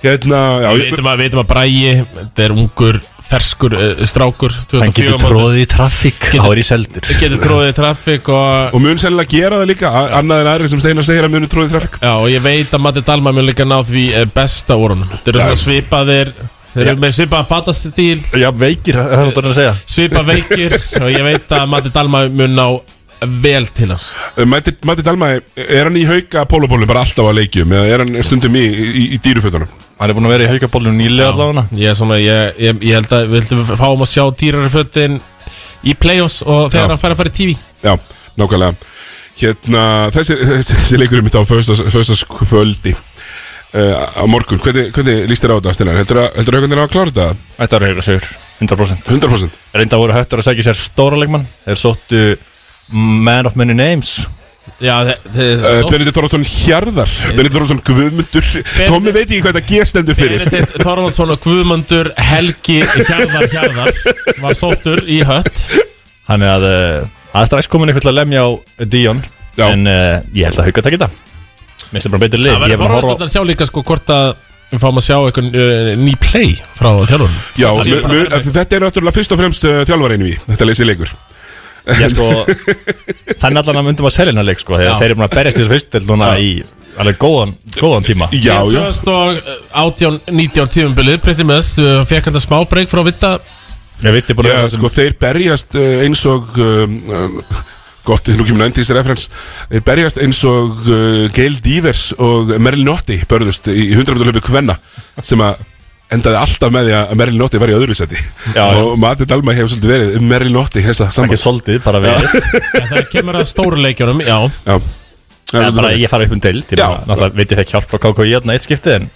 A: hérna, já,
B: Við veitum að, vitum að Bræði, þetta er ungur, ferskur, uh, strákur 2004
M: Hann getur
B: móti.
M: tróðið í traffic
B: Getur-
M: Þá er í seldur
B: Getur tróðið í traffík og,
A: Og mun sennilega gera það líka, a- annað en aðri sem Steinar segir að munu tróði trafík
B: já, og ég veit að Matti Dalma mjög líka náð því eh, besta úr honum Þetta eru svona svipaðir Þeir eru með svipa fatastíl
M: Já, veikir, það er náttúrulega að segja
B: Svipa veikir og ég veit að Matti Dalma mun á vel til hans
A: Eh, Matti, Matti Dalma, er hann í hauka pólabólum bara alltaf að leikjum eða er hann stundum í, í, í dýrufötunum?
M: Hann er búin að vera í hauka pólunum nýlega allavega
B: ég, er svona, ég, ég, ég held að við ætlum að fáum að sjá dýrari fötin í play-offs og þegar
A: Já.
B: hann fær að fara í TV
A: Já, nákvæmlega Hérna, þessi, þessi, þessi leikur er mitt á föstaskvöldi uh, á morgun, hvernig, hvernig líst þér á þetta, Stinar? Heldur að auðvitað að klára þetta?
M: Þetta er hauka sigur, 100%
A: 100%
M: Reynda voru höttur að segja sér stóra leikmann Þeir sóttu Man of Many Names
B: Já, þeir
A: Uh, Benedikt Þorvaldsson Hjarðar Benedikt Þorvaldsson Guðmundur Tommi veit ekki hvað þetta G stendur fyrir
B: Benedikt Þorvaldsson og Guðmundur Helgi Hjarðar Hjarðar var sóttur í hött
M: Þannig að eh, það er strax komin eitthvað að lemja á Dion Já. En uh, ég held að hauka takk þetta Mér finnst það bara betur lið
B: Það
M: Ég er
B: verður
M: búin að
B: forvænt
M: horfa á-
B: að sjá líka sko hvort að við fáum að sjá einhvern uh, ný play frá þjálfurinn
A: Já, mu- mu- þetta er náttúrulega fyrst og fremst uh, þjálfarinn við Þetta leysi leikur
M: Ég sko, þannig allan að myndum að selja hennar leik sko,
A: Já.
M: þegar þeir eru búin að berjast í þessu fyrst núna í alveg góðan, góðan tíma
A: Já, já.
B: 2018-19 tífumbilið Pretty Mess uh, fekk hann það smá breyk frá Vita
M: Ég veit ég búin
A: Já, sko, þeir berjast uh, eins og um, um, Gott, nú kemur nöndis referens Þeir berjast eins og uh, Gail Divers og Merlin Notti Börðust í 100 meter hlaupi kvenna Sem að endaði alltaf með því að Merlin Notti var í öðru seti
M: Já, já.
A: Og Mati Dalma hefur svolítið verið Merlin Notti þessa samans
M: Ekki svolítið, bara verið.
B: Það kemur að stóru leikjunum, já
A: Já,
M: Eða bara ég fara upp um deild, ég
B: Já.
M: bara, náttúrulega veit ég fekk hjálp frá KK í hérna eitt skiptið en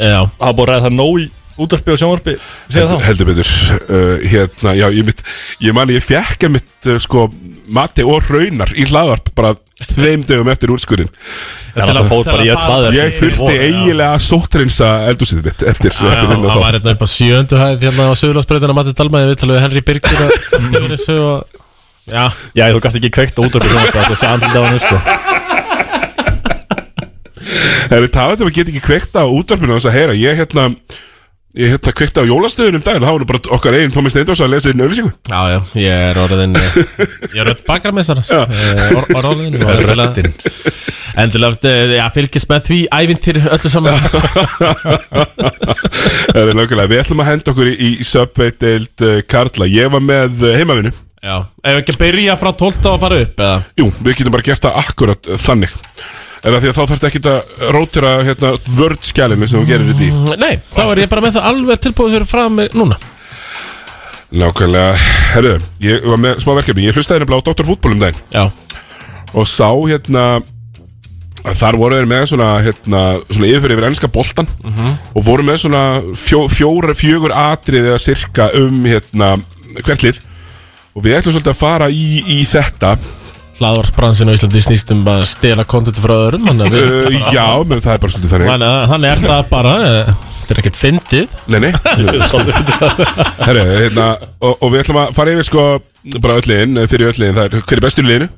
B: Já
M: Það er búin að ræða það nóg í útvarpi og sjónvarpi
A: Heldur, heldur betur uh, hérna, já, ég, mitt, ég mani ég fjekk mitt uh, sko, mati og raunar í hlaðvarp bara tveim dögum eftir úrskurinn
M: Þetta er að fór bara í öll hlaðvarp.
A: Ég þurfti
M: Já.
A: eiginlega að sóttrinsa eldúsið mitt eftir,
B: Já,
A: eftir þennan
B: það var
A: þátt.
B: hérna upp á sjöndu hæð hérna á Suðurlandsbreytina Matti Dalma, ég viðtal við Henry Birgir og Jónis og Já
M: Já, þú gafst ekki kveikt og útvarpi og sjónvarpi, það er svo andlið á hann, sko
A: Hefur talað um að geta ekki kveikta á útvarpinu þess að heyra Ég hérna, ég hérna kveikta á jólastöðunum um daginn Það var nú bara okkar eigin Tómi Steindós að lesa inn auðlýsingu
B: Já, já, ég er orðin eh, Ég er orðin bakramessarans Orðin Eh, og
M: Röddin.
B: Endurlöft, eh, já, fylgist með því Ævintir öllu saman
A: Það er nákvæmlega, við ætlum að henda okkur í, í Subway deild uh, Karla Ég var með uh, heimavinu
B: Já, ef ekki að byrja frá 12 og fara upp eða?
A: Jú, við getum bara gert það akkurat uh, þannig En að því að þá þarfst ekki að rótira hérna, vörðskjælinu sem þú gerir þetta í
B: Mm, Nei, þá er ég bara með það alveg tilbúið fyrir fram mig núna
A: Nákvæmlega, herðu, ég var með smá verkefni Ég hlustaði nefnilega á Dr. Fútbol um daginn
B: Já.
A: Og sá hérna að Þar voru þeir með svona, hérna, svona yfir yfir ennska boltan Og voru með svona fjó, fjóra, fjögur atrið eða sirka um hérna, hvert lið Og við ætlum svolítið að fara í, í þetta
B: Hlaðvarsbransin á Íslandi snýst um að stela kontent frá öðrum Þannig að við-
A: uh, Já, menn það er bara svolítið þannig
B: Þannig að- þannig er það bara eh, Þetta er ekkert fyndið
A: Nei, nei Herru, hérna, og, og við ætlum að fara yfir sko bara öll liðin, fyrir öll liðin, það er hver er bestur í liðinu,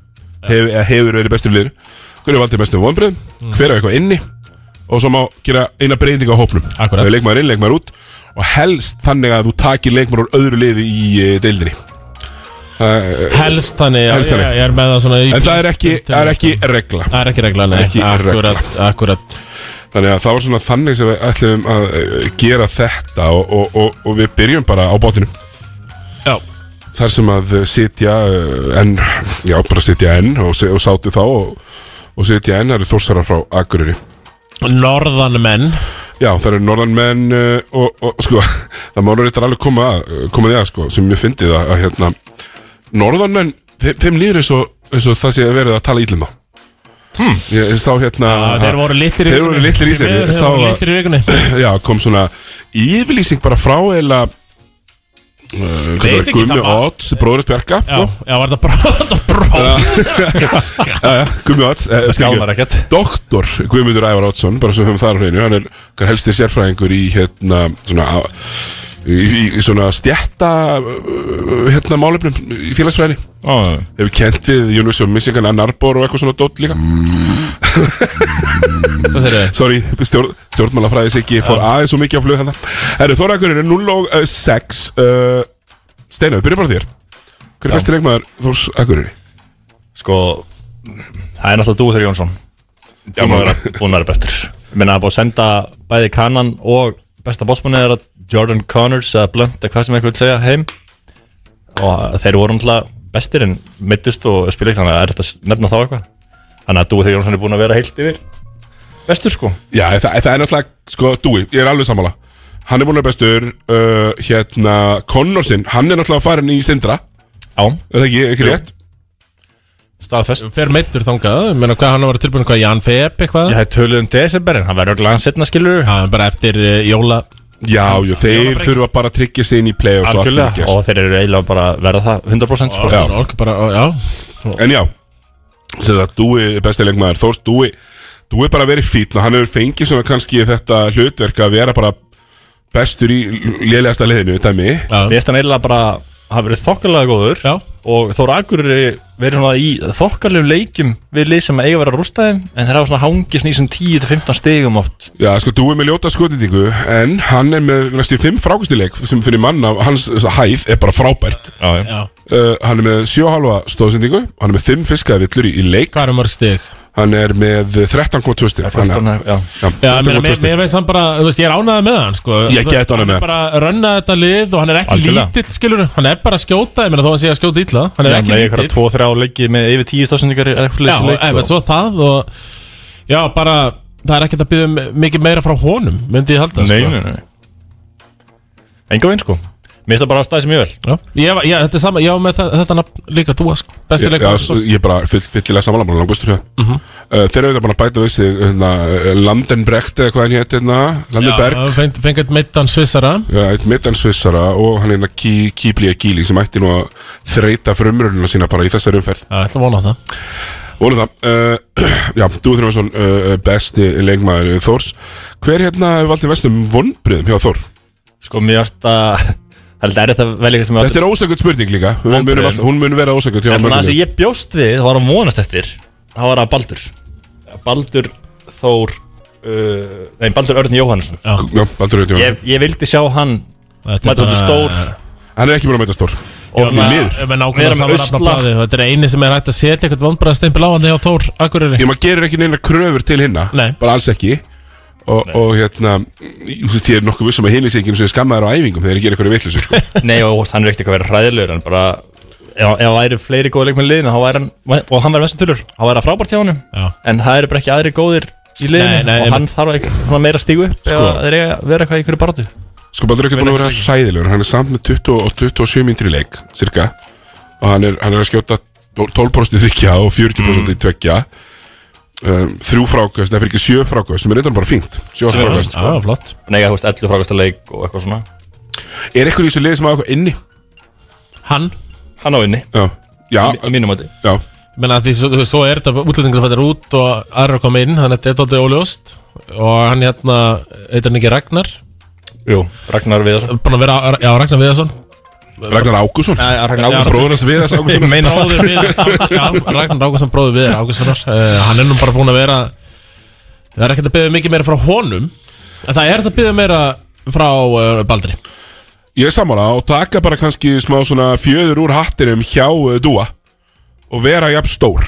A: hef, eða hefur verið bestur í liðinu hver er valdið bestur vonbröðum, hver er eitthvað inni og svo má gera eina breyting á hópnum
B: Akkúrat.
A: Það er leikmaður inn, leikmaður út og helst þannig að þú takir leikmaður úr öðru liði í eh, deildinni Það-
B: Helst þannig, já,
A: Helst þannig.
B: Ég, ég er með það svona í-
A: En það er ekki, það er ekki regla
B: Það er ekki regla, nei
A: Ekki regla.
B: akkurat, akkurat
A: Þannig að það var svona þannig sem við ætlum að eh, gera þetta og, og, og, og við byrjum bara á bátinu
B: Já
A: Þar sem að eh, sitja eh, enn, já bara sitja enn og, se- og sátu þá og, og sitja enn, það eru þórsarar frá Akureyri
B: Norðanmenn
A: Já, það eru norðanmenn eh, og, og sko, það má nú reyndar alveg koma, að, eh, koma því að sko, sem ég fyndið að, að hérna, norðanmenn, þeim, þeim líður eins og, eins og það sé verið að tala ítlum þá Hmm. Ég ég sá hérna
B: Já, þeir voru litlir í
A: Þeir voru
B: vikunni.
A: litlir í
B: Því
A: sér
B: miður,
A: Ég
B: þeir
A: sá
B: voru
A: að- Sko?
B: litlir í vikunni.
A: Já, kom svona yfirlýsing bara frá eila uh,
B: Veit ekki,
A: Gummi
B: það var-
A: Odds, bróðurins Bjarka sko.
B: Já, já, var þetta bróð
A: Jæja, Gumi Odds eh,
M: Skánar
A: skilur. Doktor Guðmundur Ævar Oddsson Bara sem höfum það á hreinu Hann er okkar helsti sérfræðingur í hérna Svona á- Í, í, í svona stjætta uh, Hérna málefnum Í félagsfræðinni
M: ah.
A: Hefur kent við University of Michigan Ann Arbor og eitthvað svona dótt líka Sorry, stjórn, stjórnmálafræði Siggi Fór aðeins svo mikið á flug hérna Herru, Þórakurinn er 0 og uh, 6 uh, Steinar, við byrjum bara á þér Hver er besti leikmaður Þórs Akureyri?
M: Sko, það er náttúrulega Dúþur Jónsson Búin að vera- búinn að vera bestur Ég meina, það er búin að senda bæði kannan og besta bossmanni er að Jordan Connors eða Blunt eða hvað sem eitthvað vil segja heim og þeir voru náttúrulega bestir en mittust og spila ekki þannig að er þetta s- nefna þá eitthvað þannig að Dúi Þegar Jónsson er búin að vera heilt yfir bestur sko
A: Já, það, það er náttúrulega, sko, Dúi, ég er alveg sammála Hann er búin að vera bestur uh, Hérna, Connorsinn, hann er náttúrulega farin í Sindra
M: Já Er
A: það ekki, ekki rétt?
M: staðfest
B: Fer meittur þangað, menna hvað hann var tilbúin hvað Jan Feb eitthvað
M: Ég hef töluð um desember en hann verður glæðan setna skilur
B: Já, bara eftir uh, jóla
A: Já, jú, þeir þurfa bara að tryggja sig inn í play-offs og allt
M: Algjörlega,
A: gerist.
M: og þeir eru eiginlega bara að verða það 100% sko.
A: Já.
B: bara, já.
A: En já, sem það, Dúi er besti leikmaður Þórs, Dúi, Dúi er bara verið fítn og hann hefur fengið svona kannski þetta hlutverk að vera bara bestur í lélegasta leiðinu, þetta er mig
M: Mér finnst hann eiginlega bara hafa verið þokkalega góður
B: Já.
M: og Þóra Akureyri verið svona í þokkalegum leikjum við lið sem eiga að vera að rústa þeim en þeir hafa svona hangið svona í sem 10-15 stigum oft
A: Já, sko, Dúi er með ljóta skotendingu en hann er með næstu fimm frákustileik sem fyrir mann af hans hæð er bara frábært
M: já,
B: já.
A: Uh, Hann er með 7,5 stóðsendingu Hann er með 5 fiskaði villur í, í leik
B: Hvað er mörg stig?
A: Hann er með 13,2 stig Hann er-
M: Já,
B: Já, ég meina,
A: 13,2
B: mér,
A: stig.
B: mér veist hann bara, þú veist, ég er ánæðið með hann sko.
A: Ég er gett ánægður með hann.
B: hann Hann er bara að rönna þetta lið og hann er ekki
M: Algjörlega.
B: lítill, skilur Hann er bara að skjóta, ég meina þó að sé að skjóta illa Hann er
M: Já, með
B: ekki
M: einhverja
B: lítill
M: 2-3 leikið með yfir 10 stóðsendingar eða eitthvað
B: Já,
M: leysi leik
A: sko.
B: en svo það og Já, bara, það er ekkert að byggja mikið meira frá honum, myndi ég halda
M: Nei,
B: sko.
M: nei, nei Enga veginn sko Mér finnst það bara að staði sem ég vel
B: Já, ég, var- já, þetta er sama, já, með það, þetta nafn líka þú, sko, besti
A: Ég- Já,
B: leikur
A: s- ég er bara fyll, fyllilega samanlega bara langbustur hjá mm Þeir eru þetta bara að bæta við sig hérna, Landenbrecht eða hvað hann hétt hérna, Landenberg
B: Já, feng- fengið meittan svissara
A: Já, eitt middansvissara og hann er hérna Kí- Kýblía Gíli sem ætti nú að þreita frumrununa sína bara í þessari umferð
B: Já, ætla að vona það
A: Vonu það, uh, já, Dúi Þrjóðsson uh, besti leikmaður Þórs Hver hérna hefur valdið vestum vonbriðum hjá Þór?
M: Sko, mér finnst að Það er þetta vel eitthvað sem ég átti-
A: Þetta er ósækjöld spurning líka Hún mun,
M: Vonbrigðum.
A: alltaf, hún mun vera ósækjöld hjá
M: En það sem
A: mörgum.
M: ég bjóst við, það var að vonast eftir Það var að Baldur Baldur Þór uh, Nei, Baldur Örn Jóhannsson
A: Já, Baldur Rauti
M: ég, ég vildi sjá hann
B: Þetta er
M: Mæta út í
B: bara-
M: stór
A: Hann er ekki búin að mæta stór
M: Og
B: Ég
M: hérna- svona-
B: meina- ég meina nákvæmlega
M: vera með
B: sama nafn á
M: usla
B: blaði og Þetta er eini sem er hægt að setja eitthvað vondbræðastempil á hann hjá Þór Akureyri
A: Ég maður gerir ekki neina kröfur til hinna
B: Nei.
A: Bara alls ekki Og, og hérna, þú veist, ég er nokkuð vissum að hinni sé ekki einu sinni skammaður á æfingum þegar ég gerir eitthvað vitleysu sko.
M: Nei, og hann er ekkert eitthvað að vera hræðilegur En bara, ef ef það væri fleiri góði leikmenn í liðinu þá væri hann, Og hann væri mestum tölur Þá væri það frábært hjá honum
B: Já.
M: En það eru bara ekki aðri góðir í liðinu
B: Nei, nei,
M: Og hann
B: einmitt.
M: þarf ekki, svona meira stígu upp
A: Sko.
M: sko. Eða þeir eiga að vera eitthvað í hverju barðu
A: Sko Baldur er ekki búin að vera hræðilegur Hann er samt með 20 og 27 mínútur í leik Cirka Og hann er, hann er að skjóta 12% í þykja og 40%
M: Mm.
A: í tvekja um, Þrjú frákvæst, það fyrir ekki sjö frákvæst Sem er eitthvað bara fínt Sjö
M: Sem er-
A: frákvæst
B: Já, flott
M: Nei, þú veist, 11 frákvæmsta leik og eitthvað svona
A: Er eitthvað í þessu liði sem á eitthvað inni?
B: Hann
M: Hann á inni
A: Já, já
M: Í- Í mínum mati
A: já
B: Ég meina að því svo, þú veist, svo er þetta útlendingur fættir út og aðra koma inn, þannig að þetta er tóttið óljóst og hann hérna, heitir hann ekki Ragnar
M: Jú, Ragnar Viðarsson
B: búin að vera, já, Ragnar Viðarsson
A: Ragnar Ágússon
M: Nei, Ragnar Ágússon.
A: Bróður hans Viðars Ágússon
M: Ég meina það.
B: Bróðir Viðarsson, já, Ragnar Ágússon bróðir Viðar Ágússonar uh, hann er nú bara búin að vera það er ekkert að byggja mikið meira frá honum en það er þetta að byggja meira frá uh, Baldri
A: Ég er sammála og taka bara kannski smá svona fjöður úr hattinum hjá uh, Dúa Og vera jafn stór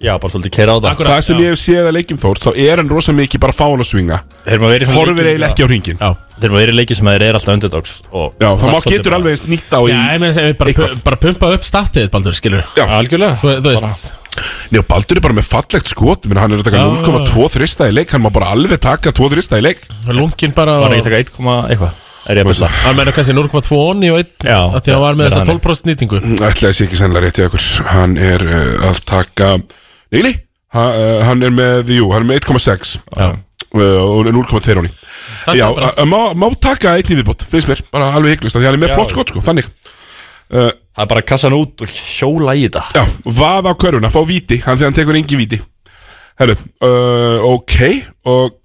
M: Já, bara svolítið kera á það
B: Akkurat.
A: Það sem ég hef séð að leikjum Þór Þá er hann rosa mikið bara fáan að svinga
M: Þeir maður verið
A: Horfir eiginlega ekki á ringin
B: já,
M: Þeir maður verið leikið sem þeir eru alltaf underdogs og
A: Já,
M: og
A: það má
M: svolítið
A: getur
M: bara-
A: alveg eins nýtt á í
B: já ég meina sem við bara,
A: Eitthvað.
B: pu- bara pumpa upp statið Baldur, skilur
A: Já.
M: Algjörlega
B: þú, þú veist,
A: Nei og Baldur er bara með fallegt skot menn hann er að taka
B: Já.
A: 0,2 þrista í leik hann má bara alveg taka 2 þrista í leik
B: lunkin bara
M: Var
B: og,
M: ekki að taka 1, komma eitthvað Er ég að byrja
B: hann meina kannski 0,2 onni og 1
M: Já,
B: að því að hann var með
M: meira
B: þessa
M: þannig.
B: 12% nýtingu
A: Ætlaði sé ekki sennilega rétt í okkur Hann er uh, að taka Nei, nei, ha, uh, hann er með Jú, hann er með 1,6
B: Já.
A: uh, og 0,2 róni
B: Þetta
A: Já,
B: er bara-
A: uh, má, má taka einn í viðbót finnst mér, bara alveg hygglust því hann er með
M: Já.
A: flott skot sko, þannig uh,
M: Það er bara að kassa hann út og hjóla í þetta
A: Já, vaða á körfuna, fá víti hann þegar hann tekur engi víti Herru, uh, ok og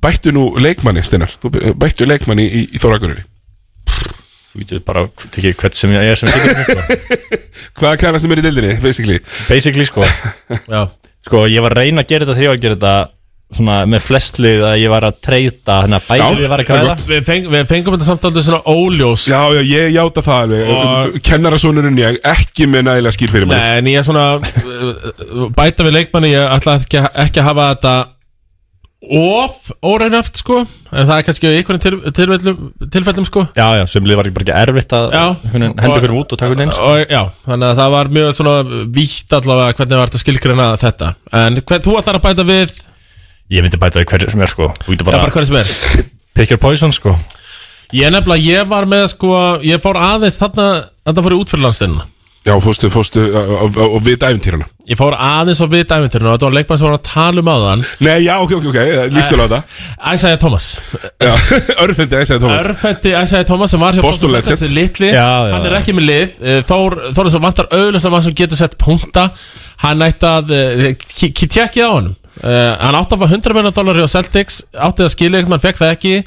A: bættu nú leikmanni Steinar, þú byr- bættu leikmanni í, í Þórakurri
M: Þú veitir bara, tekið hvert sem ég er sem getur þetta, sko.
A: Hvað er kæra sem er í dildinni, basically?
M: Basically, sko
B: já,
M: Sko, ég var að reyna að gera þetta þegar ég var að gera þetta Svona með flestlið að ég var að treyta Þannig að
A: Já,
M: bæði við var
A: það
M: að
A: er
M: græða
A: gott.
B: við, feng, við fengum þetta samt aldrei svona óljós
A: Já, já, ég játa það alveg
B: Og-
A: Kennarasonurinn ég, ekki með nægilega skýr fyrir manni
B: Nei, en ég er svona uh, uh, bæta við leikmanni, ég ætla ekki, ekki að hafa þetta of óraunöft sko en það er kannski í einhvern til, tilfellum, tilfellum sko
M: Já, já, sem liði var ekki bara ekki erfitt að hérna,
B: Já.
M: henda hverjum út og taka hvernig eins
B: og, Já, þannig að það var mjög svona vítt allavega hvernig var þetta skilgreina þetta en hver, þú ætlar að bæta við
M: Ég myndi bæta því hverju sem er sko Þú getur
B: Já, bara hverju sem er
M: Pick your poison sko
B: Ég nefnilega, ég var með sko ég fór aðeins þarna, þarna fór ég út fyrir landstinn
A: Já, fórstu, fórstu og við dæfintýrana
B: Ég fór aðeins á við dæmyndirinu og þetta var leikmann sem var að tala um á þann
A: Nei, já, ok, ok, ok, lífsjóla þetta
B: Æsæja Thomas
A: Örfendi, æsæði Thomas
B: Örfendi Æsæja Thomas sem var hjá
A: Boston
B: Boston Celtics,
A: legend.
B: þessi litli
A: Já, já,
B: Hann er
A: já.
B: ekki með lið Eh, Þór, Þór sem vantar auðvitað mann sem getur sett punta Hann ætti að eh, Kitja ekki á honum uh, Hann átti að fá 100 miljonar dólar hjá Celtics Átti að skilja eitthvað, hann fekk það ekki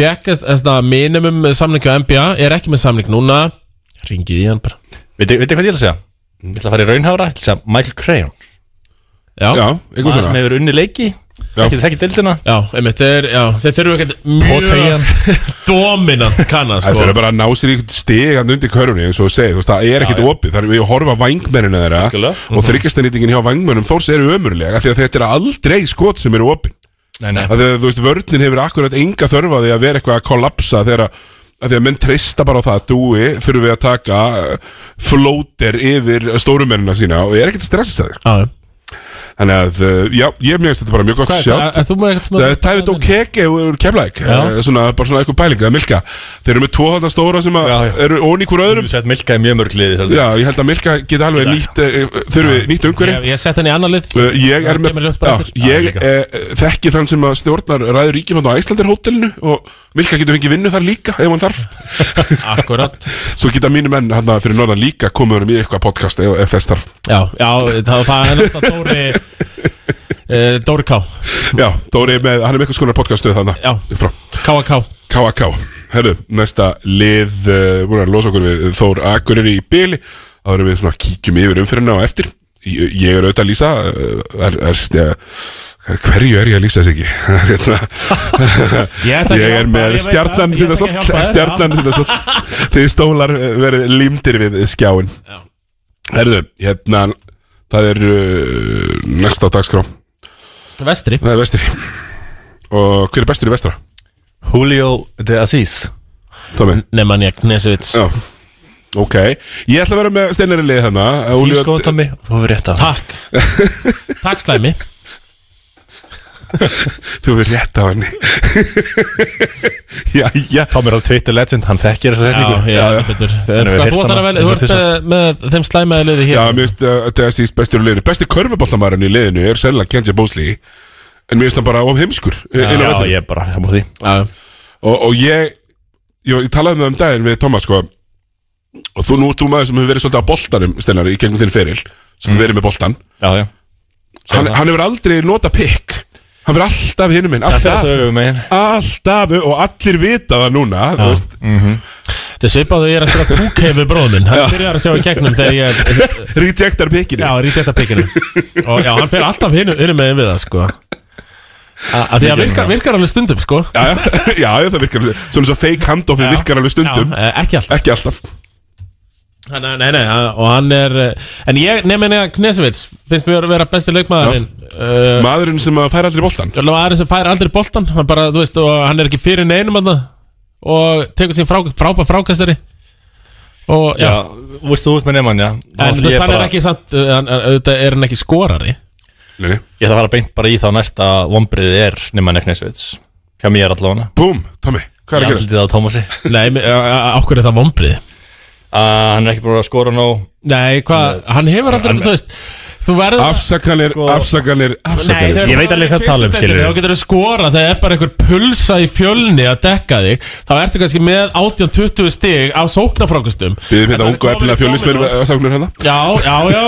B: Fekk þetta minimum samning á NBA Er ekki með samning núna Ringið í hann bara
M: Veitu veitu hvað ég ætla að segja? Ég ætla að fara í raunhára, ég ætla að segja Michael Crayon
B: Já,
A: Já,
M: einhver svona sem hefur unni leiki, ekki þekki deildina
B: Já, einmitt, þeir, já, þeir þurfum ekkert
M: Potayan.
B: mjög dominant kanna
A: Það
B: sko.
A: fyrir bara að ná sér í stig hann undir körunni eins og þú segir, þú veist, það er ekkit opið það er við að horfa á vængmennina þeirra og þryggjastennýtingin hjá vængmennum þórs eru ömurlega því að þetta er aldrei skot sem eru opið
M: Nei, nei.
A: að því að þú veist, vörnin hefur akkurat enga þörf á því að vera eitthvað að kollapsa þegar að að því að menn treysta bara á það að dúi fyrir við að taka uh, flóter yfir stórumennina sína og ég er ekkert að stressa þig
B: ah,
A: Þannig að, uh, já, ég meðist þetta bara mjög gott
B: Hvað er
A: sjátt
B: það? Er þú með ekkert sem að-
A: Það er Tæfið Okeke úr Keflæk
M: Já.
A: svona, bara svona eitthvað pælinga, Milka þeir eru með tvo þarna stóra sem að eru ón í hver öðrum
M: Þú sett Milka í mjög mörg liði
A: Já, ég held að Milka geti alveg nýtt eh, þurfi nýtt umhverju
B: Ég, ég sett hann í annar lið
A: Uh, ég er
B: Það kemur
A: með,
B: ljóst bara
A: já,
B: eftir.
A: ég eh, þekki þann sem að stjórnar ræður ríkjum á Æslandir hótelinu og Milka getur fengið vinnu þar líka ef hann þarf
B: Akkurat
A: Svo geta mínu menn hann fyrir norðan líka komið honum í eitthvað podcast ef, ef þess þarf
B: Já, já það, það er náttúrulega Dóri uh, Dóri K
A: Já, Dóri er með, hann er með eitthvað skonar podcastuð þannig
B: Já,
A: frá
B: K.A.K.
A: K.A.K. Herru, næsta lið uh, búin að losa okkur við Þór Akur er í byli þá erum við svona kíkjum yfir umfyrirna og eftir ég, ég er auðvitað að lýsa uh, er, er, er, hverju er ég að lýsa þess ekki Það er hérna-
B: Ég ætla ekki
A: ég
B: að
A: er
B: hjálpa, ég
A: með
B: veit
A: stjarnan
B: það, ég ætla
A: þetta
B: ekki að
A: svo
B: hjálpa þér,
A: stjarnan
B: já.
A: þetta svo þið stólar uh, verið límdir við skjáin herðu, hérna það er uh, næsta á dagskrá
B: Vestri
A: það er vestri og hver er bestur í vestra?
M: Julio de Aziz
A: Tómi
B: Neman ég, Nesvits
A: Já Ok, ég ætla að vera með steinari liði hérna
M: Þín skoðan Tommy, þú hefur rétt að
B: Takk Takk slæmi
A: Þú hefur rétt á henni Jæja
M: Tommy er á Twitter legend, hann þekkir þessa setningu
B: Já, já, já. betur En sko, þú ætlar að velja, þú ert með, með þeim slæmaði liði hér
A: Já, mér finnst uh, þetta er síst bestur í liðinu Besti körfuboltamæðurinn í liðinu er sennilega Kenji Bosley En mér finnst hann bara of heimskur eh, inn á
M: Já,
A: vellinum.
M: ég er bara, það múið því
B: Já,
A: og, og ég, ég, ég talaði með það um daginn við Thomas sko Og þú nú, þú maður sem hefur verið svolítið á boltanum Steinari, í gegnum þinn feril Sem mm. verið með boltan
M: Já, já
A: hann, hann hefur aldrei nota pikk Hann verið alltaf hinum minn Alltaf,
M: Það höfum megin
A: alltaf Og allir vita það núna Þú veist
B: Þetta er svipað og ég er að spila túkeifu bróðminn Hann byrjar að sjá í gegnum þegar ég
A: Rejectar pikkinu
B: Já, rejectar pikkinu Og já, hann fer alltaf hinu, hinu með við það sko Að því að virkar, virkar alveg stundum sko
A: Já, já, já, já, það virkar alveg- Svona svo fake handoffið
B: Já.
A: virkar alveg stundum
B: Já, eh, ekki alltaf
A: Ekki alltaf
B: Nei, nei, nei, nei, hann- og hann er eh, En ég, nefnir nefnir Knesevits Finnst mér að vera besti leikmaðurinn uh,
A: Maðurinn sem að fær aldrei boltan
B: Jólum að aðeins sem fær aldrei boltan Hann bara, þú veist, og hann er ekki fyrir neinum hann Og tekur sín frá, frábæ frákastari Og, já,
M: Já, þú veist þú út með nefnann, já
B: En þú
M: ég
B: veist, hann
M: bara-
B: er ekki samt eh, hann, er- Auðvitað er hann ekki skorari
A: Nei, nei.
M: Ég ætla að fara beint bara í þá næsta Vombriðið er nema Neknesvits Hjá mér allavega
A: Búm, Tommy, hvað er að gerast?
M: Ég andlitið á Tómasi
B: Nei, eh, mi- á- á- á okkur er það vombrið
M: uh, Hann er ekki búin að skora nóg
B: Nei, hvað, hann hefur aldrei,
M: Hann-
B: þú veist Þú verður
A: Afsakanir, afsakanir,
B: Sko- Nei,
A: afsakanir
B: þegar
M: Ég veit
B: þú
M: alveg
B: færð
M: hvað
B: í
M: tala um,
B: fyrstu
M: skilurðu.
B: deildinni, Þá getur þú skora, það er bara einhver pulsa í fjölni að dekka þig Þá ertu kannski með 18-20 stig á sóknarfrákustum
A: Við erum
B: En
A: hérna
B: hann er
A: ungu og
B: kominn í
A: efnilega fjölinnsmenn
B: Dominos.
A: Afsakanir hérna
B: Já, já, já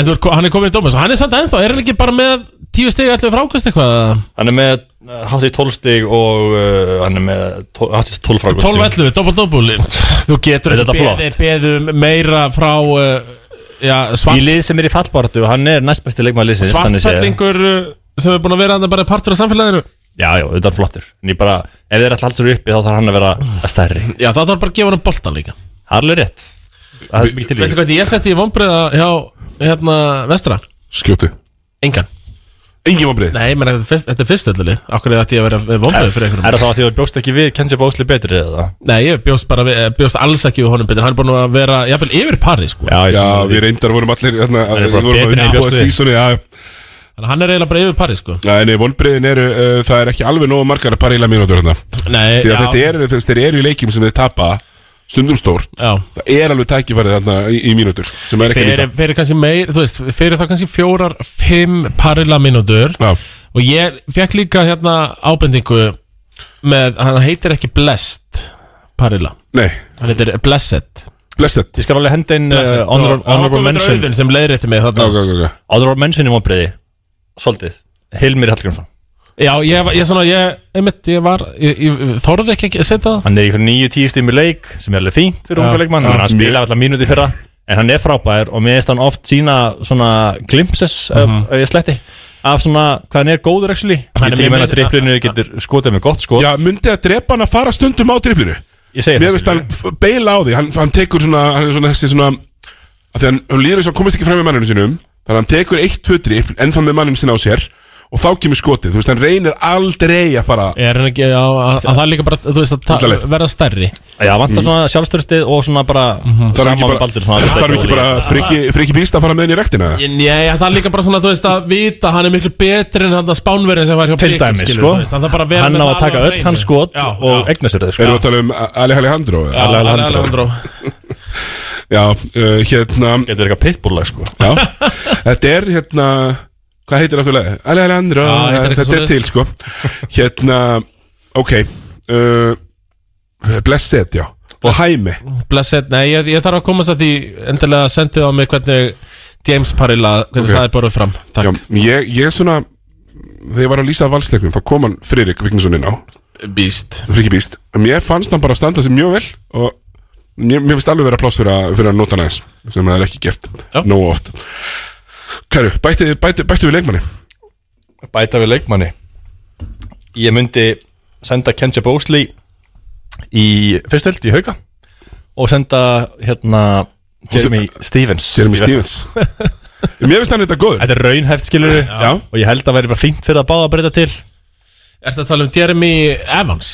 B: En þú, ert ko- hann er komin í Dómas og hann er samt ennþá Er hann ekki bara með 10 stig allir frákust eitthvað eða?
M: Hann er með uh, hátt í 12 stig og uh, hann er með tó- hátt í 12 frákvæmst
B: 12 ellu, dobbul-dobbul Þú getur
M: Er þetta flott?
B: beðið- beðið um meira frá uh, já,
M: Í
B: svart,
M: lið sem er í fallbaratu og hann er næstbæsti leikmaður liðsins þannig séð.
B: svartfellingur uh, sem er búin að vera hann bara partur af samfélaginu
M: Já, já, þetta er flottur En ég bara, ef þeir ætla alltaf uppi þá þarf hann að vera að stærri
B: Já, þá þarf bara að gefa hann boltan líka
M: Það er alveg rétt Það er mikið til í
B: Veistu
M: því.
B: hvað ég setti í vonbreiða hjá hérna vestra?
A: Skjótu
B: Engan
A: Engin vonbrið
B: Nei, menn þetta er fyrst- þetta er fyrst öllu Akkur er þetta ég að vera vonbrið fyrir einhverjum
M: Er það þá að því að þú bjóst ekki við Kenji Bósli betri eða?
B: Nei, ég bjóst, bara, við- eh, bjóst alls ekki við honum betur Hann er búin að vera, jafnvel, yfir pari sko.
M: Já,
A: Já, við reyndar vorum allir hérna,
M: er
A: Við
M: bara
A: vorum að
M: betri en ég
A: undirbúa
M: bjóst við.
A: sísoni Já,
B: Þannig að hann er eiginlega bara yfir pari sko.
A: Nei, nei, vonbreiðin eru, uh, það er ekki alveg nógu margar að parila mínútur hérna
B: Nei,
A: Því að
B: já.
A: þetta eru, þú veist, þeir eru í leikjum sem þeir tapa stundum stórt
B: Já.
A: Það er alveg tækifærið þarna í, í mínútur sem er ekki að
B: fyrir,
A: nýta
B: fyrir kannski meir þú veist, fyrir þá kannski fjórar, fimm parilla mínútur
A: Já.
B: og ég fekk líka hérna ábendingu með, hann heitir ekki Blessed parilla,
A: Nei.
B: hann heitir Blessed
A: Blessed
M: Ég skal alveg henda inn uh,
B: Blessed.
M: honor,
B: Og- og
M: honorable
B: ákominn
M: mention
B: Auðun sem leiðrétti mig þarna.
A: okay, okay.
M: Honorable mention í vonbreiði Svolítið Hilmir Hallgrímsson
B: Já, ég, var- ég, svona, ég, einmitt, ég var ég, ég þorði ekki ekki að setja það
M: Hann er í fyrir nýju tíu stími leik sem er alveg fínt fyrir
B: Já.
M: unga leikmann
B: Já.
M: en hann spilaði alltaf mínúti fyrra en hann er frábær og mér finnst hann oft sína svona glimpses mm
B: Mhm.
M: ef ég sletti af svona hvað hann er góður actually
B: Hann
M: ég
B: er
M: til
B: mjög
M: meina
B: mis-
M: dripplinu getur skotað með gott skot
A: Já, myndi að drepa hann að fara stundum á driplinu
M: Ég segi
A: Mér
M: það,
A: veist hann f- beila á því Hann, hann tekur svona, hann er svona þessi svona að Því hann, hann líður þess að komist ekki fram með manninu sínum Þannig að hann tekur eitt, tvö dripl Ennþá með manninu sinna á sér Og þá kemur skotið, þú veist, hann reynir aldrei að fara
B: er hann ekki, já, að, að það er líka bara þú veist, að
A: Alla
B: ta-
A: leið.
B: verða stærri
M: Já, vantar svona sjálfstörstið og svona bara mm
B: Mhm.
M: -hmm.
A: Þarf
M: saman
A: ekki
M: með
A: bara,
M: baldur svona
A: þarf ekki bara friki, friki býst að fara með henni í rektina
B: Nei, það er líka bara svona, þú veist, að vita að hann er miklu betri en hann að spánverðin sem var hjá
M: Til
B: Blikum,
M: dæmis,
B: skilur,
M: sko.
B: þú veist, hann þarf bara að vera
M: Hann
B: með
M: á að
B: það
M: taka
B: alveg á
M: öll
B: hreinu.
M: hans skot
B: Já,
M: og eigna sér það sko
A: Erum við að tala um Ali Alejandro? eða?
B: Já,
M: Alejandro.
B: Alejandro.
A: Já, uh, hérna
M: Getur eitthvað pitbullag sko
A: Já, þetta er hérna Hvað heitir afturlega? Ali Alejandro,
B: Já, heitir eitthvað
A: þetta er
B: svoleiðis.
A: til sko Hérna, ok uh, Blessed, já Og Hæmi
B: Blessed, nei, ég, ég þarf að komast að því endilega sendið á mig hvernig James Parilla, hvernig
A: Ok.
B: það er borðið fram
A: já, ég, ég svona Þegar ég var að lýsa að valsleiknum Þá kom hann Fririk Vignisson inn á
B: Býst
A: Friki Býst Mér fannst hann bara standa sig mjög vel Og mér, mér finnst alveg vera pláss fyrir, að- fyrir að nota hann aðeins Sem það er ekki gert Nógu oft Kæru, bættu, bættu, bættu við leikmanni
M: bæta við leikmanni ég myndi senda Kenji Bósli í fyrstöld í hauka og senda hérna Jeremy Stevens
A: Jeremy
M: í verkefni.
A: Stevens Mér finnst hann þetta góður
M: Þetta er raunhæft skilur Já. og ég held að það væri bara fínt fyrir að báða að breyta til
B: Ertu að tala um Jeremy Evans?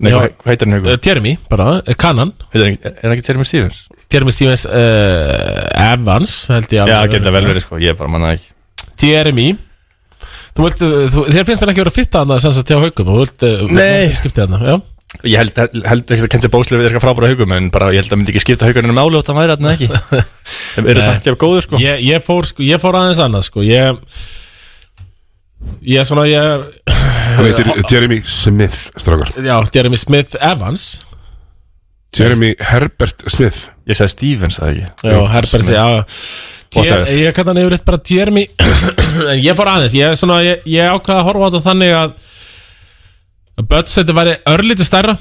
M: Nei, hvað hvað heitir hann í
B: Uh,
M: hauka?
B: Jeremy, bara, uh, Kanan
M: Heitir hann ekki- Er hann ekki Jeremy Stevens?
B: Jeremy Stevens uh, Evans, held ég
M: Já,
B: að
M: það getur vel verið sko, ég bara manna ekki
B: Jeremy Þú vilt, uh, þú, þér finnst hann ekki vera fitta hann að sensa til á haugum Þú vilt, uh,
M: Nei.
B: skiptið hann, já
M: Ég held, held ekki að Kenji Bósli er eitthvað frábæra haugum en bara ég held að myndi ekki skipta haugunum máli og það væri hann ekki Þeim eru
B: Nei.
M: samt jafn góður sko
B: ég, ég, fór, sko, ég fór aðeins annað sko. ég, ég svona ég,
A: Hann heitir Jeremy Smith, strákar
B: Já, Jeremy Smith Evans
A: Jeremy Herbert Smith
M: Ég sagði Stevens, það ekki
B: Já, Herbert
M: Smith.
B: já,
M: Whatever.
B: Jer, Ég kallar hann yfir eitt bara Jeremy En ég fór aðeins Ég, svona, ég, ég ákvaða að horfa á þetta þannig að að Budsetti væri örlítið stærra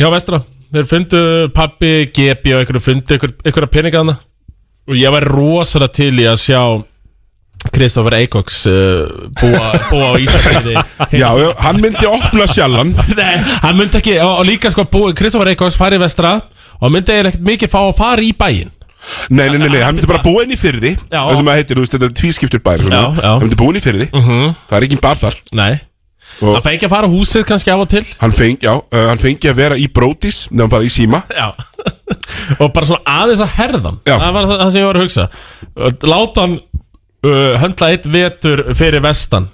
B: Já, vestra Þeir fundu pappi, GB og einhverju fundu einhver- einhverja peningana og ég væri rosalega til í að sjá Kristoffer Eikoks uh, búa, búa á Ísafjörði
A: Já, já, hann myndi opna sjallan
B: Nei, hann myndi ekki og, og líka sko búið Kristoffer Eikóks farið vestra og hann myndi eiginlega ekkert mikið fá að fara í bæinn
A: Nei, nei, nei, nei, hann myndi bara búa inn í fyrði
B: Já.
A: Það sem að heitir, þú veist, þetta er tvískiptur bær svona.
B: Já, Mhm. já.
A: Hann myndi búa inn í fyrði Það er ekki bar þar
B: Nei,
A: Og-
B: hann fengi að fara á húsið kannski af og til
A: Hann fengi, já, uh, hann fengi að vera í brótis Nefnum bara í síma
B: Já Og bara svona aðeins að herðan
A: Já.
B: Það var það sem ég var að hugsa Láta hann uh, höndla eitt vetur fyrir vestan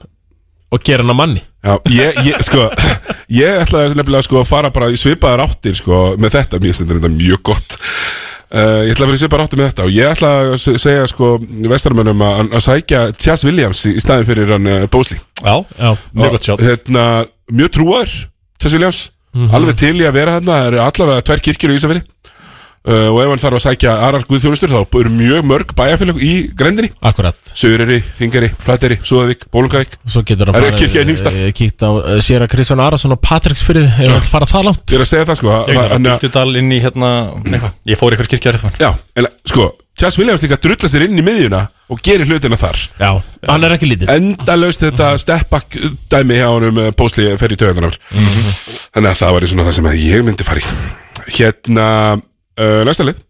B: og gera hann að manni
A: Já, ég, ég, sko Ég ætlaði nefnilega sko að fara bara í svipaðar áttir Sko, með þetta, mér stendur þetta mjög gott uh, Ég ætlaði að fara í svipaðar áttir með þetta Og ég ætlaði að se- segja, sko Vestarmönnum að, að sækja Tjás Williams Í, í staðin fyrir hann uh, Bósli
M: Já,
B: Já,
M: mjög gott sjátt
A: hérna, Mjög trúar Tess Williams
M: Mhm.
A: Alveg til í að vera hérna Það eru allavega tvær kirkjur í Ísafirði uh, Og ef hann þarf að sækja aðrar guðþjónustur Þá eru mjög mörg bæjarfélag í grendinni
B: akkurat
A: Söðurri, Þingari, Flateri, Súðavík, Bólungavík
B: Svo getur hann
A: Það eru kirkja í Hnífsdal.
B: eh, kíkt á uh, Sera Kristján Arason og Patricksfyrði ef hann fara það langt
A: Ég er að segja það sko að- að-
M: Ég var
A: hann að-
M: bíldudal inn í hérna eitthvað. Ég fór í eitthvað kirkja rétt mann
A: Já, en sko Tess Williams líka drulla sér inn í miðjuna Og gerir hlutina þar
B: Já, hann er ekki lítið
A: Endalaust
B: Mhm.
A: þetta steppback dæmi hjá honum Pósli fer í töðunar
B: Mhm.
A: Þannig að það var í svona það sem að ég myndi fara í Hérna uh, Læsta lið Eh,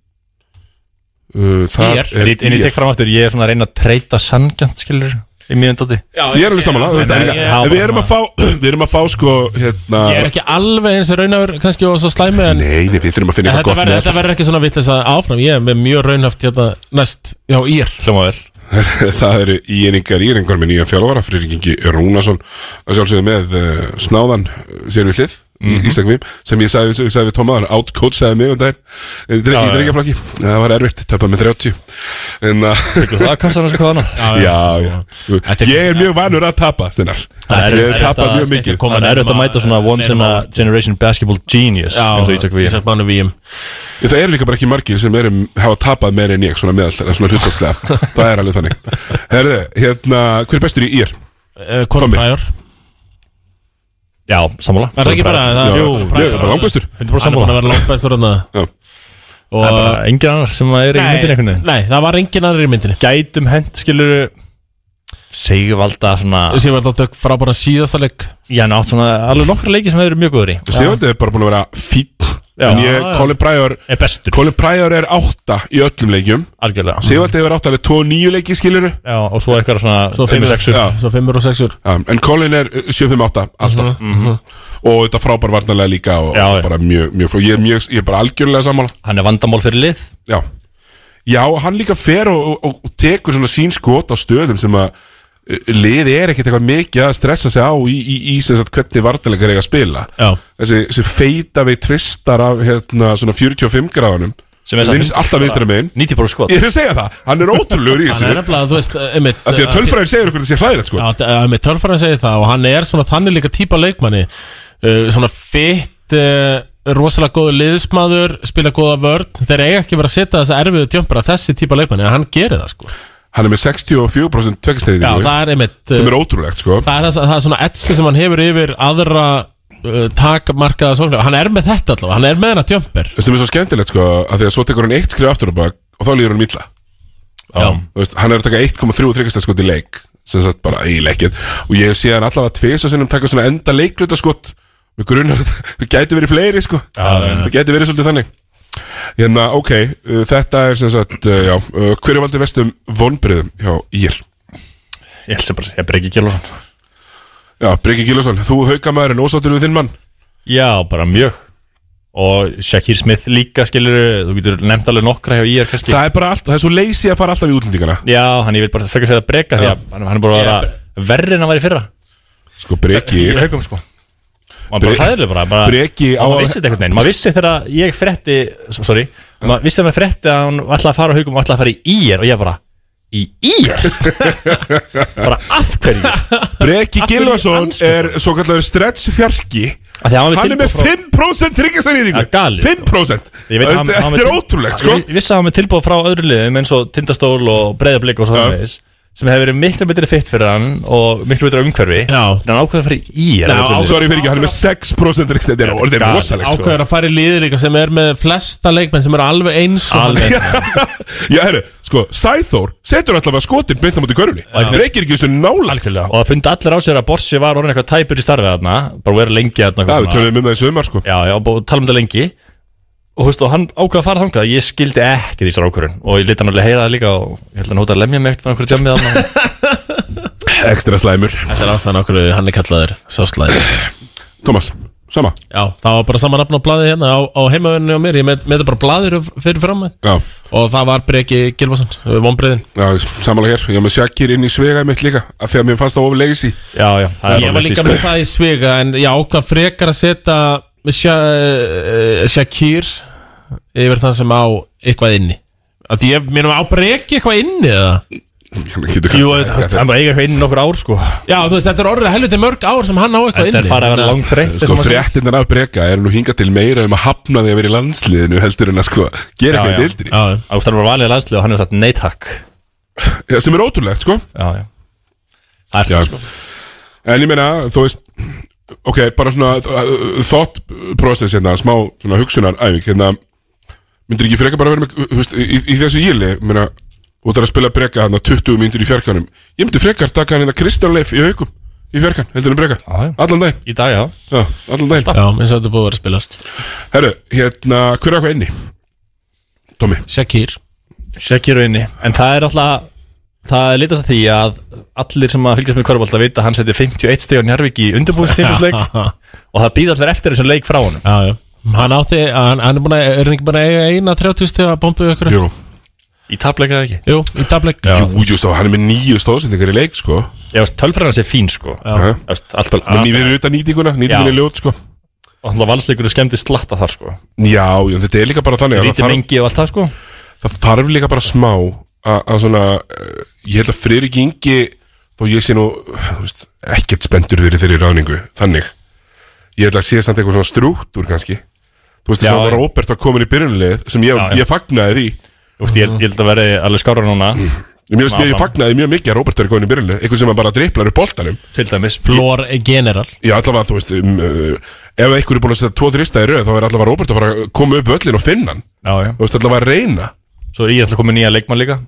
A: Uh, það
B: IR.
A: er
M: En ég tek fram aftur, ég er svona að reyna að treyta sangjant skilur í mjög dóti
A: Ég er alveg samanlega, þú veist, en líka- en við erum að fá Við erum að fá sko, hérna
B: Ég er ekki alveg eins og raunar kannski og svo slæmi en
A: Nei, nei, við þurfum að finna eitthvað
B: En þetta
A: gott
B: verður-
A: með
B: Þetta verður ekki svona vitleis að áfram Ég er með mjög raunhaft hérna næst Já, ír
M: Hljóma vel
A: Eh, Það eru íeiningar íeiningar með nýja fjálfara Friðrikingi Rúnason að sjálfsögðu með uh, snáðan eh, sér við hlið mm
M: Mhm.
A: -hmm. Ísak Vim sem ég sagði, ég sagði við Tómaðan outcoach sagði mig um daginn eh, dre-
M: Já,
A: í
M: já.
A: drengaflaki það var erfitt, töpað með 30 en að
M: Það kastar hans eitthvað annað
A: já, já, ég er mjög vanur að tapa Steinar ég hef tapað mjög mikið
M: Það er auðvitað að mæta svona once in a generation basketball genius
A: Já,
M: eins og Ísak Víum
A: Ísak
B: Manu Víum
A: Það eru líka bara ekki margir sem erum, hafa tapað meira en ég svona meðal, svona hlutastlega það er alveg þannig Herðu, hérna, hver er bestur í ír?
B: Conor Eh, Pryor
M: Já, sammála
B: Er það ekki bara það-
A: Jú,
B: Conor
A: ég er bara langbestur
B: Hann er búin að vera langbestur hann Og-
M: Það er bara engin annar sem er í
B: Nei,
M: myndinni einhvern veginn
B: Nei, það var engin annar í myndinni
M: Gætum hent, skilur Sigvalda svona
B: Sigvalda tök frábæra síðasta leik
M: Já, hann átt svona alveg nokkra leiki sem hefur verið mjög góður í
A: Sigvaldi er bara búin að vera fín
M: Já.
A: En ég,
M: Já, já.
A: Colin Pryor
M: Er bestur
A: Colin Pryor er átta í öllum leikjum
M: Algjörlega
A: Sigvaldi hefur átta, hann er 2-9 leiki skilur
M: Já, og svo eitthvað
B: Svo
M: svona
B: fimmur-
M: 5-6
A: Já.
B: Svo fimmur og sexur
A: En Colin er uh, 7-5-8 alltaf
M: Mhm.
A: Og þetta frábær varnarlega líka og, og bara mjög, mjög fló ég, er mjög, ég er bara algjörlega sammála
M: Hann er vandamál fyrir lið
A: Já, Já hann líka fer og, og, og tekur svona sín skot á stöðum sem að uh, liði er ekkert eitthvað mikið að stressa sig á í, í, í sem sagt hvernig vartalega er eiga að spila
B: Já.
A: þessi, þessi feita við tvistar af hérna svona 45 gráðunum
M: Sem er samt
A: Vinst, alltaf vinstra megin
M: 90% skot
A: Ég er að segja það, hann er ótrúlegur í þessu
B: Hann er nefnilega, þú veist, eh, einmitt
A: Af því að tölfræðin segir okkur þessi hlæðilegt sko
B: Já, það- einmitt, tölfræðin segir það og hann er svona þannig líka típa leikmanni uh, Svona fitt, uh, rosalega góður liðsmaður, spila góða vörn Þeir eiga ekki verið að setja þessa erfiðu tjömpara þessi típa leikmanni, en hann gerir það sko
A: Hann er með 64% tveggjastæði
B: Já, það er einmitt uh,
A: Sem er ótrúlegt sko
B: það, er, það er svona etsi sem hann hefur yfir aðra uh, takmarkaða sóknir Hann er með þetta allavega, hann er með hennar tjömpar
A: sem er svo skemmtilegt sko að því að svo tekur hann eitt skrif aftur á bak og þá líður hann illa
B: Já.
A: Þú veist, hann er að taka 1,3 tryggjastaskot í leik sem sagt bara í leikinn og ég sé hann allavega tvisa sinnum taka svona enda leiklutaskot með grunar að það gæti verið fleiri sko já,
M: já, já.
A: það gæti verið svolítið þannig hérna ok, uh, þetta er sem sagt uh, já, uh, hverju valdi vestum vonbriðum hjá ír
M: Ég held að bara, ég breyki Gjölason
A: já, Bryggi Gílason, þú haukamæður en ósáttur við þinn mann
M: Já, bara mjög Og Shakir Smith líka skilur Þú getur nefnt alveg nokkra hjá IR kannski
A: það er bara allt, það er svo leysi að fara alltaf í útlendingana
M: Já, hann ég vil bara frekar segja að breyka því að hann- hann er bara að vera verri en hann var í fyrra
A: sko Bryggi
M: Í haugum sko Hann bara
A: Bre-
M: hræðileg bara, bara
A: Breki á-
M: Og maður vissi þetta einhvern veginn Maður vissi þegar ég fretti Sorry Maður vissi þegar maður fretti að hann ætlaði að fara á haugum og ætlaði að fara í IR Og ég bara Í IR? bara af hverju?
A: Breki Gilvason er svo kallar stretch fjarki
M: Af því að hann var við
A: Hann er með
M: tilboð frá-
A: 5% tryggisæringu
M: Það er galið, sko.
A: 5%
M: Ég veit að hann-
A: Þetta
M: hann-
A: þetta er ótrúlegt sko
M: Ég vissi að hann með tilbúið frá öðru liðum eins og tindastól og breyðablík og svo það veis sem hefur verið miklu betri fitt fyrir hann og miklu betri umhverfi Já. en hann ákveða fyrir í er
B: Já,
M: öllu liði.
A: Sorry fyrir ekki, hann er með 6% tryggisæringu Þetta er orðið
M: galið.
A: rosalegt sko
B: Ákveður að fara í liði líka sem er með flesta leikmenn sem eru alveg eins og hann
M: Alveg
B: er.
A: Já, herru, sko, Sæþór setur allavega skotin beint á móti körunni Breki er ekki þessu nála
M: Algjörlega. og það fundi allir á sér að Borsi var orðin eitthvað tæpur í starfið þarna bara verið lengi þarna
A: Já,
M: eitthvað
A: við tölum um
M: svona.
A: það í sömar sko
M: Já, já, og tala um þetta lengi og, þú veist, og hann ákveða að fara þangað ég skildi ekki þessar ákvörðun og ég liti hann alveg heyra það líka og ég held að hann hóta að lemja mig eitthvað með einhverju tjámið þarna
A: Ekstra slæmur
B: Þetta er ástæðan okkur hann er kallaður sáslæði
A: Thomas, sama
B: Já, það var bara sama nafn á blaði hérna á, á heimavörinni á mér, ég met, meti bara blaðir fyrir fram mig
A: Já,
B: og það var Breki eh, Gilvason, vonbreiðin
A: já samanlega hér Ég er með Shakir inn í svega mitt líka af Því að mér fannst það of lazy
M: Já, já, það er
B: Ég var
M: alveg
B: líka
M: síst.
B: með það í svega en ég ákvað frekar að setja Sha, uh, Shakir yfir þann sem á eitthvað inni að því ég minnum á Breki eitthvað inni eða
M: Jú, þetta- þú veist, hann bara eiga eitthvað inn í nokkur ár sko
B: Já, þú veist, þetta er orðið helviti mörg ár sem hann á eitthvað inni
M: Þetta er farið að vera langþreytt
A: Sko fréttindan af breka er nú hingað til meira um að hafna því að vera í landsliðinu heldur en að sko gera eitthvað í deildinni
M: Það var bara valið landslið og hann hefur sagt nei takk
A: Já, sem er ótrúlegt sko
M: Já, já Það er
A: Já.
M: það sko
A: En ég meina, þú veist Ok, bara svona uh, thought process hérna, smá svona hugsunaræfing hérna, myndir ekki freka bara vera með þú veist, í, í þessu íli, meina og það er að spila breka hérna 20 myndir í fjarkanum ég myndi frekar taka hann hérna Kristján Leif í haukum í fjarkan, heldur en breka
M: Já, já.
A: allan daginn,
M: Í dag, já
A: já, allan daginn
B: Já, eins og þetta er búið að vera að spilast
A: Herru, hérna, hver er eitthvað inni? Tommy
B: Shakir
M: Shakir og inni En það er alltaf það er litast að því að allir sem að fylgjast með Körbólta vita að hann seti 51 steg á Njarvík í undirbúðstímisleik og það býða allir eftir þessum leik frá honum
B: já, já. Hann átti, hann, hann er búin að, er hann ekki búin að eiga eina 30 steg að bombu ykkur?
A: Jú.
M: Í tapleika ekki?
B: Jú, í tapleik
A: Jú, jú, þá hann er með nýju stóðsendingar í leik, sko
M: Já, tölfræðan sé fín, sko
A: Já.
M: Alltaf
A: Menn ég verið auðvitað nýtinguna, nýtinguna er ljót, sko
M: Og alltaf valsleikur er skemmti slatta þar, sko
A: Já, já, þetta er líka bara þannig að
M: Lítið mengi og allt það, sko
A: Það þarf líka bara smá að að svona, eh, ég held að Friðrik Ingi þó ég sé nú, þú veist, ekkert spendur fyrir þeirri ráðningu, þannig Ég held að sé samt eitthvað svona strúttur kannski Þú veist,
M: Já,
A: þess að
M: já.
A: Robert var komin í byrjunlið sem ég,
M: Já, já.
A: ég fagnaði því
M: Þú veist, ég, ég held að verði alveg skára núna
A: Mér finnst ég fagnaði mjög mikið að Robert er komin í byrjunlið eitthvað sem að bara driplar upp boltanum
M: Til dæmis
B: Flor General
A: Já, allavega, þú veist, um, uh, ef einhver er búin að setja tvo þrista í röð, þá er allavega Robert að fara að koma upp völlin og finna hann.
M: Já, já
A: Þú veist, allavega að reyna.
M: Svo er ég alltaf komið nýja leikmann líka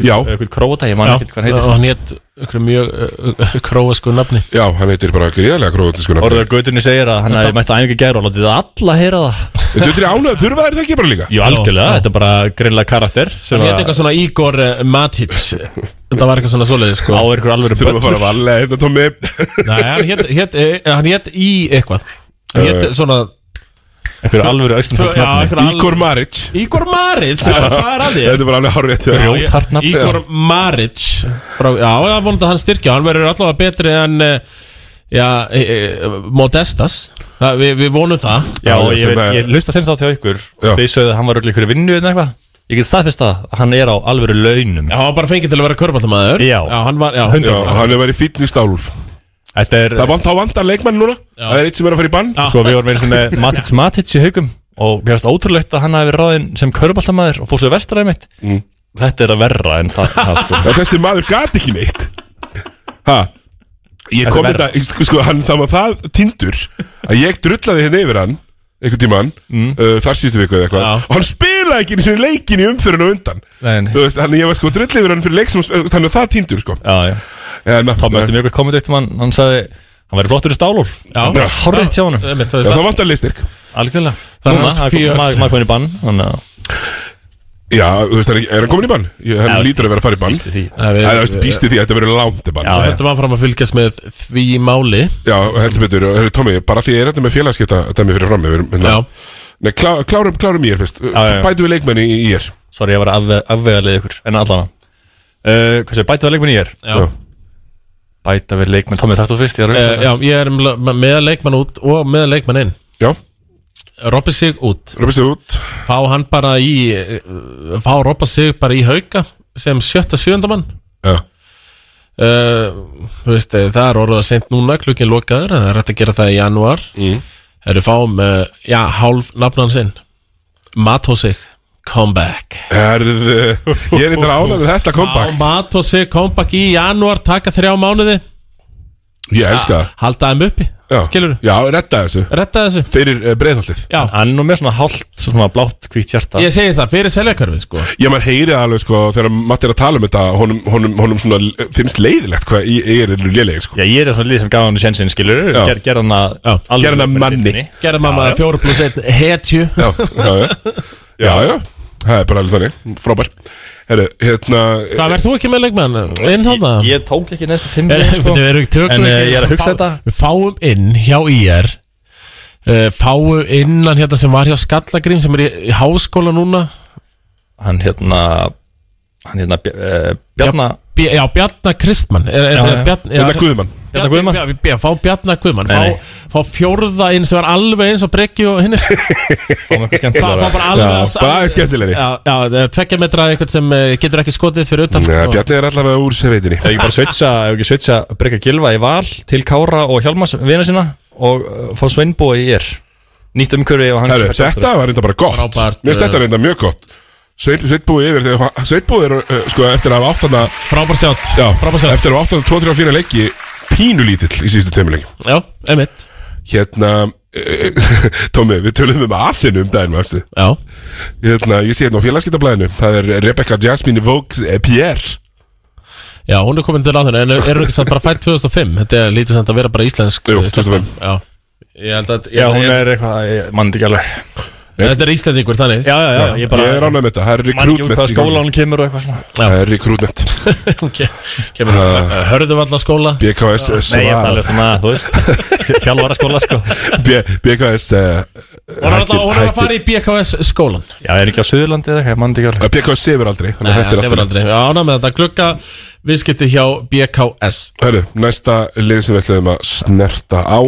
A: Já.
M: Ekkur króta, ég man
B: Já,
M: ekkert hvað hann heitir
B: og hann hétt ykkur mjög króasku nafni
A: Já, hann heitir bara gríðarlega gróðatísku nafni.
M: Orður Gautunni segir að hann hefði mætt að æfinga gæra og látið það alla heyra það
A: Þetta er ánægð, þurfa þær það ekki bara líka?
M: Jú, algjörlega,
B: Já.
M: þetta er bara greinlega karakter sem
B: Hann hétt
M: að-
B: eitthvað svona Igor eh, Matic Þetta var eitthvað svona svoleiði sko
M: á einhver alveg
A: Þurfa að hérna, fara að valla þetta tómi.
B: Nei, hann hétt- hétt eh, hann hétt í eitthvað Hann hétt svona
M: Einhver alveg austanfalds
B: Já, einhver
M: nafni
B: alveg-
A: Igor Maric.
B: Igor Maric, já, hvað er að þér?
A: Þetta er bara alveg hárrið til
B: Já, ég- Igor Maric frá, Já, já, vonandi að hann styrkja Hann verður allavega betri en eh, Já, e, e, Modestas það, við, við vonum það
M: Já, og ég,
A: sem
M: ég,
A: að-
M: ég lausta senst á hjá ykkur
A: Já.
M: Þið sögðu að hann var öll ykkur vinnu eða eitthvað Ég get staðfest að hann er á alveg launum
B: Já, hann var bara fengið til að vera körbáltamæður
M: Já.
B: hann var, já,
A: Já, hann hefur verið fýtn í stálúf.
M: Þetta er,
A: Það vant, þá vantar leikmann núna.
B: Já.
A: Það er eitt sem er að fara í bann.
M: sko, við vorum einu sinni með Matits Matits í haugum Og mér finnst ótrúlegt að hann hafi verið ráðinn sem körbáltamæður og fór svo vestræði mitt
A: Mm.
M: Þetta er að verra en það, það sko
A: Já, þessi maður gat ekki neitt. Ha? Ég
M: Þetta
A: kom
M: er verra.
A: þetta, sko, sko, hann, það var það tindur að ég drullaði hérna yfir hann einhvern tímann,
M: Mm.
A: uh, þar síðustu viku eða eitthvað
B: Já.
A: og hann spilaði ekki einu sinni leikin í umfyrin og undan
M: Nei, nei.
A: Þú veist, þannig ég var sko drull yfir hann fyrir leik sem þannig að það týndur sko
M: Já, já
A: en,
M: Tommi ætti mjög gott komment eitt um hann Hann sagði, hann væri flottur í stálúf
B: Já.
M: Hárreitt hjá hann
B: einmitt, það
A: Já,
B: er
A: það vantar liðstyrk
M: Algjörlega
B: Það er
M: Núna,
B: hans
M: það er
B: fjör.
M: kom- maður maður komin í bann Þannig að
A: Já, þú veist, er, er hann komin í bann? Ég, hann
M: Já,
A: lítur að vera að fara í bann
M: býstu því.
B: Já, við-
A: Já, þú veist, Býstu því, þetta verður langt í bann
M: Já,
B: Svo
A: Já,
B: höldum áfram að fylgjast með því máli
A: heldur betur, og, herru, Tommi, bara því ég er þetta með félagskipta dæmi fyrir fram yfir hérna.
B: Já,
A: Nei, klá, klárum, klárum ég er fyrst
M: já, já.
A: Bætu við leikmenni í ég
M: Sorry, ég var að afvegalið ykkur En allana uh, Hvað sé, bæta við leikmenn ég er
B: já.
A: Já.
M: Bæta við leikmenn Tommi, takk þú fyrst Ég er að um
B: Eh,
M: veist
B: já, ég er með með leikmann út og með leikmann inn
A: Já,
B: Robbi sig út
A: röpum sér út
B: Fá hann bara í eh, Fá Robba sig bara í hauka sem sjötta sjöndamann
A: Já,
B: uh, Þú veist, eh, það er orðið að seint núna klukkin lokaður, það er hægt að gera það í januar
A: Mm.
B: Það eru fáum, uh, já, hálf nafnan sinn Mató sig, come back
A: herðu Ég er eitthvað ánægð með þetta
B: Á
A: comeback
B: Mató sig, come back í januar taka þrjá mánuði
A: Ég elska það
B: Halda þeim uppi,
A: Já.
B: skilur
A: Já, redda þessu
B: Retta þessu
A: Fyrir uh, breiðholtið
B: Já,
M: Hann er nú með svona hálft Svona blátt hvítt hjarta
B: ég segi það, fyrir seljakörfið sko
A: Já, maður heyri það alveg sko Þegar Matti er að tala um þetta Honum, honum, honum svona eh, finnst leiðilegt Hvað ég ég er lélegið sko
M: Já, ég er svona lið sem gaf hann Sjensin, skilur
A: Já.
M: Ger, Gerð hann að
B: Já.
M: alvöru
A: Gerði hann að
M: leikmann í
A: manni.
M: deildinni.
B: Gerða mamma
M: Já, já.
B: 4 pluss 1 hetju
A: Já, já, já Já, já, það er bara alveg þannig Frábær Herru, hérna
B: Hvað verð þú ekki með leikmann? Inn hana?
M: Ég- Ég tók ekki næstu fimm
B: Er,
M: leik, sko.
B: við erum ekki tökum
M: En, eh,
B: ekki-
M: ég er að hugsa
B: fá-
M: þetta.
B: Við fáum inn hjá IR uh, Fáum inn hann hérna sem var hjá Skallagrím sem er í, í háskóla núna
M: Hann hérna Hann hérna uh, Bjarna
B: Bj- Já, Bjarnar Kristmann er, er,
M: Já,
B: er,
M: já.
B: Bjarn,
A: Þetta er hérna Guðmann
M: Bjarna Guðmann.
B: Já, við- já, Fá Bjarnar Guðmann
M: Nei, nei.
B: fá, fá fjórða inn sem var alveg eins og brekki og hinn
M: Fáum
B: Fá, fá
M: eitthvað skemmtilega
B: bara
A: Já,
B: alveg
A: bara aðeins skemmtilegri
B: Já, já það er tveggja metra eitthvað sem eh, getur ekki skotið fyrir utan
A: Já,
B: Og-
A: Bjarni er allavega úr sér veitinni
M: Ef ekki bara sveitsa, ef ekki sveitsa Brygga Gilva í val til Kára og Hjalmas vina sína og uh, fá Sveinbó í er Nýtt umhverfi og hann
A: Herru,
M: sem sjálfstraust.
A: þetta var reynda bara gott
B: Frábært,
A: Mér finnst
B: eh,
A: þetta reynda mjög gott Sveitbúi yfir þegar Sveitbúi er uh, sko eftir að hafa áttana
B: Frábær sjátt
A: Já,
B: Frábær sjátt
A: eftir að hafa áttana 2-3-4 leiki Pínulítill í síðustu tveimileik
B: Já, emitt
A: Hérna eh, Tómi, við tölum um aðlinu um daginn varstu.
B: Já
A: Hérna, ég sé hérna á félagskiptablaðinu Það er Rebecca Jasmine Vogues eh, Pierre
B: Já, hún er komin til ráðinu En er hún ekki samt bara fætt 2005? Þetta er lítið samt að vera bara íslensk
A: Jú,
B: eh, stelpa.
A: 2005.
B: Já Ég held að
M: Já, hún er eitthvað, ég mann ekki alveg
B: Þetta er Íslandingur þannig
M: Já, já, já,
A: ég, er ánægð með þetta, það er
M: Man ekki úr
A: rekrútment
M: hvaða skóla hún kemur og eitthvað svona
A: Það er rekrútment
B: Kemur uh,
A: Ah.
B: hörðum alla skóla
A: BKS
B: Já.
M: Nei, ég tala um svona, þú veist Þjálfara skóla, sko
A: B- BKS eh,
B: Hún er alltaf- hún er að
A: hættir-
B: fara í BKS skólan
M: Já, er ekki á Suðurlandi eða eitthvað, ég man þetta ekki alveg
A: BKS sefur aldrei
B: Nei, það sefur aldrei Ána með þetta glugga viðskipti hjá BKS
A: Hörru, næsta lið sem við ætlum að snerta á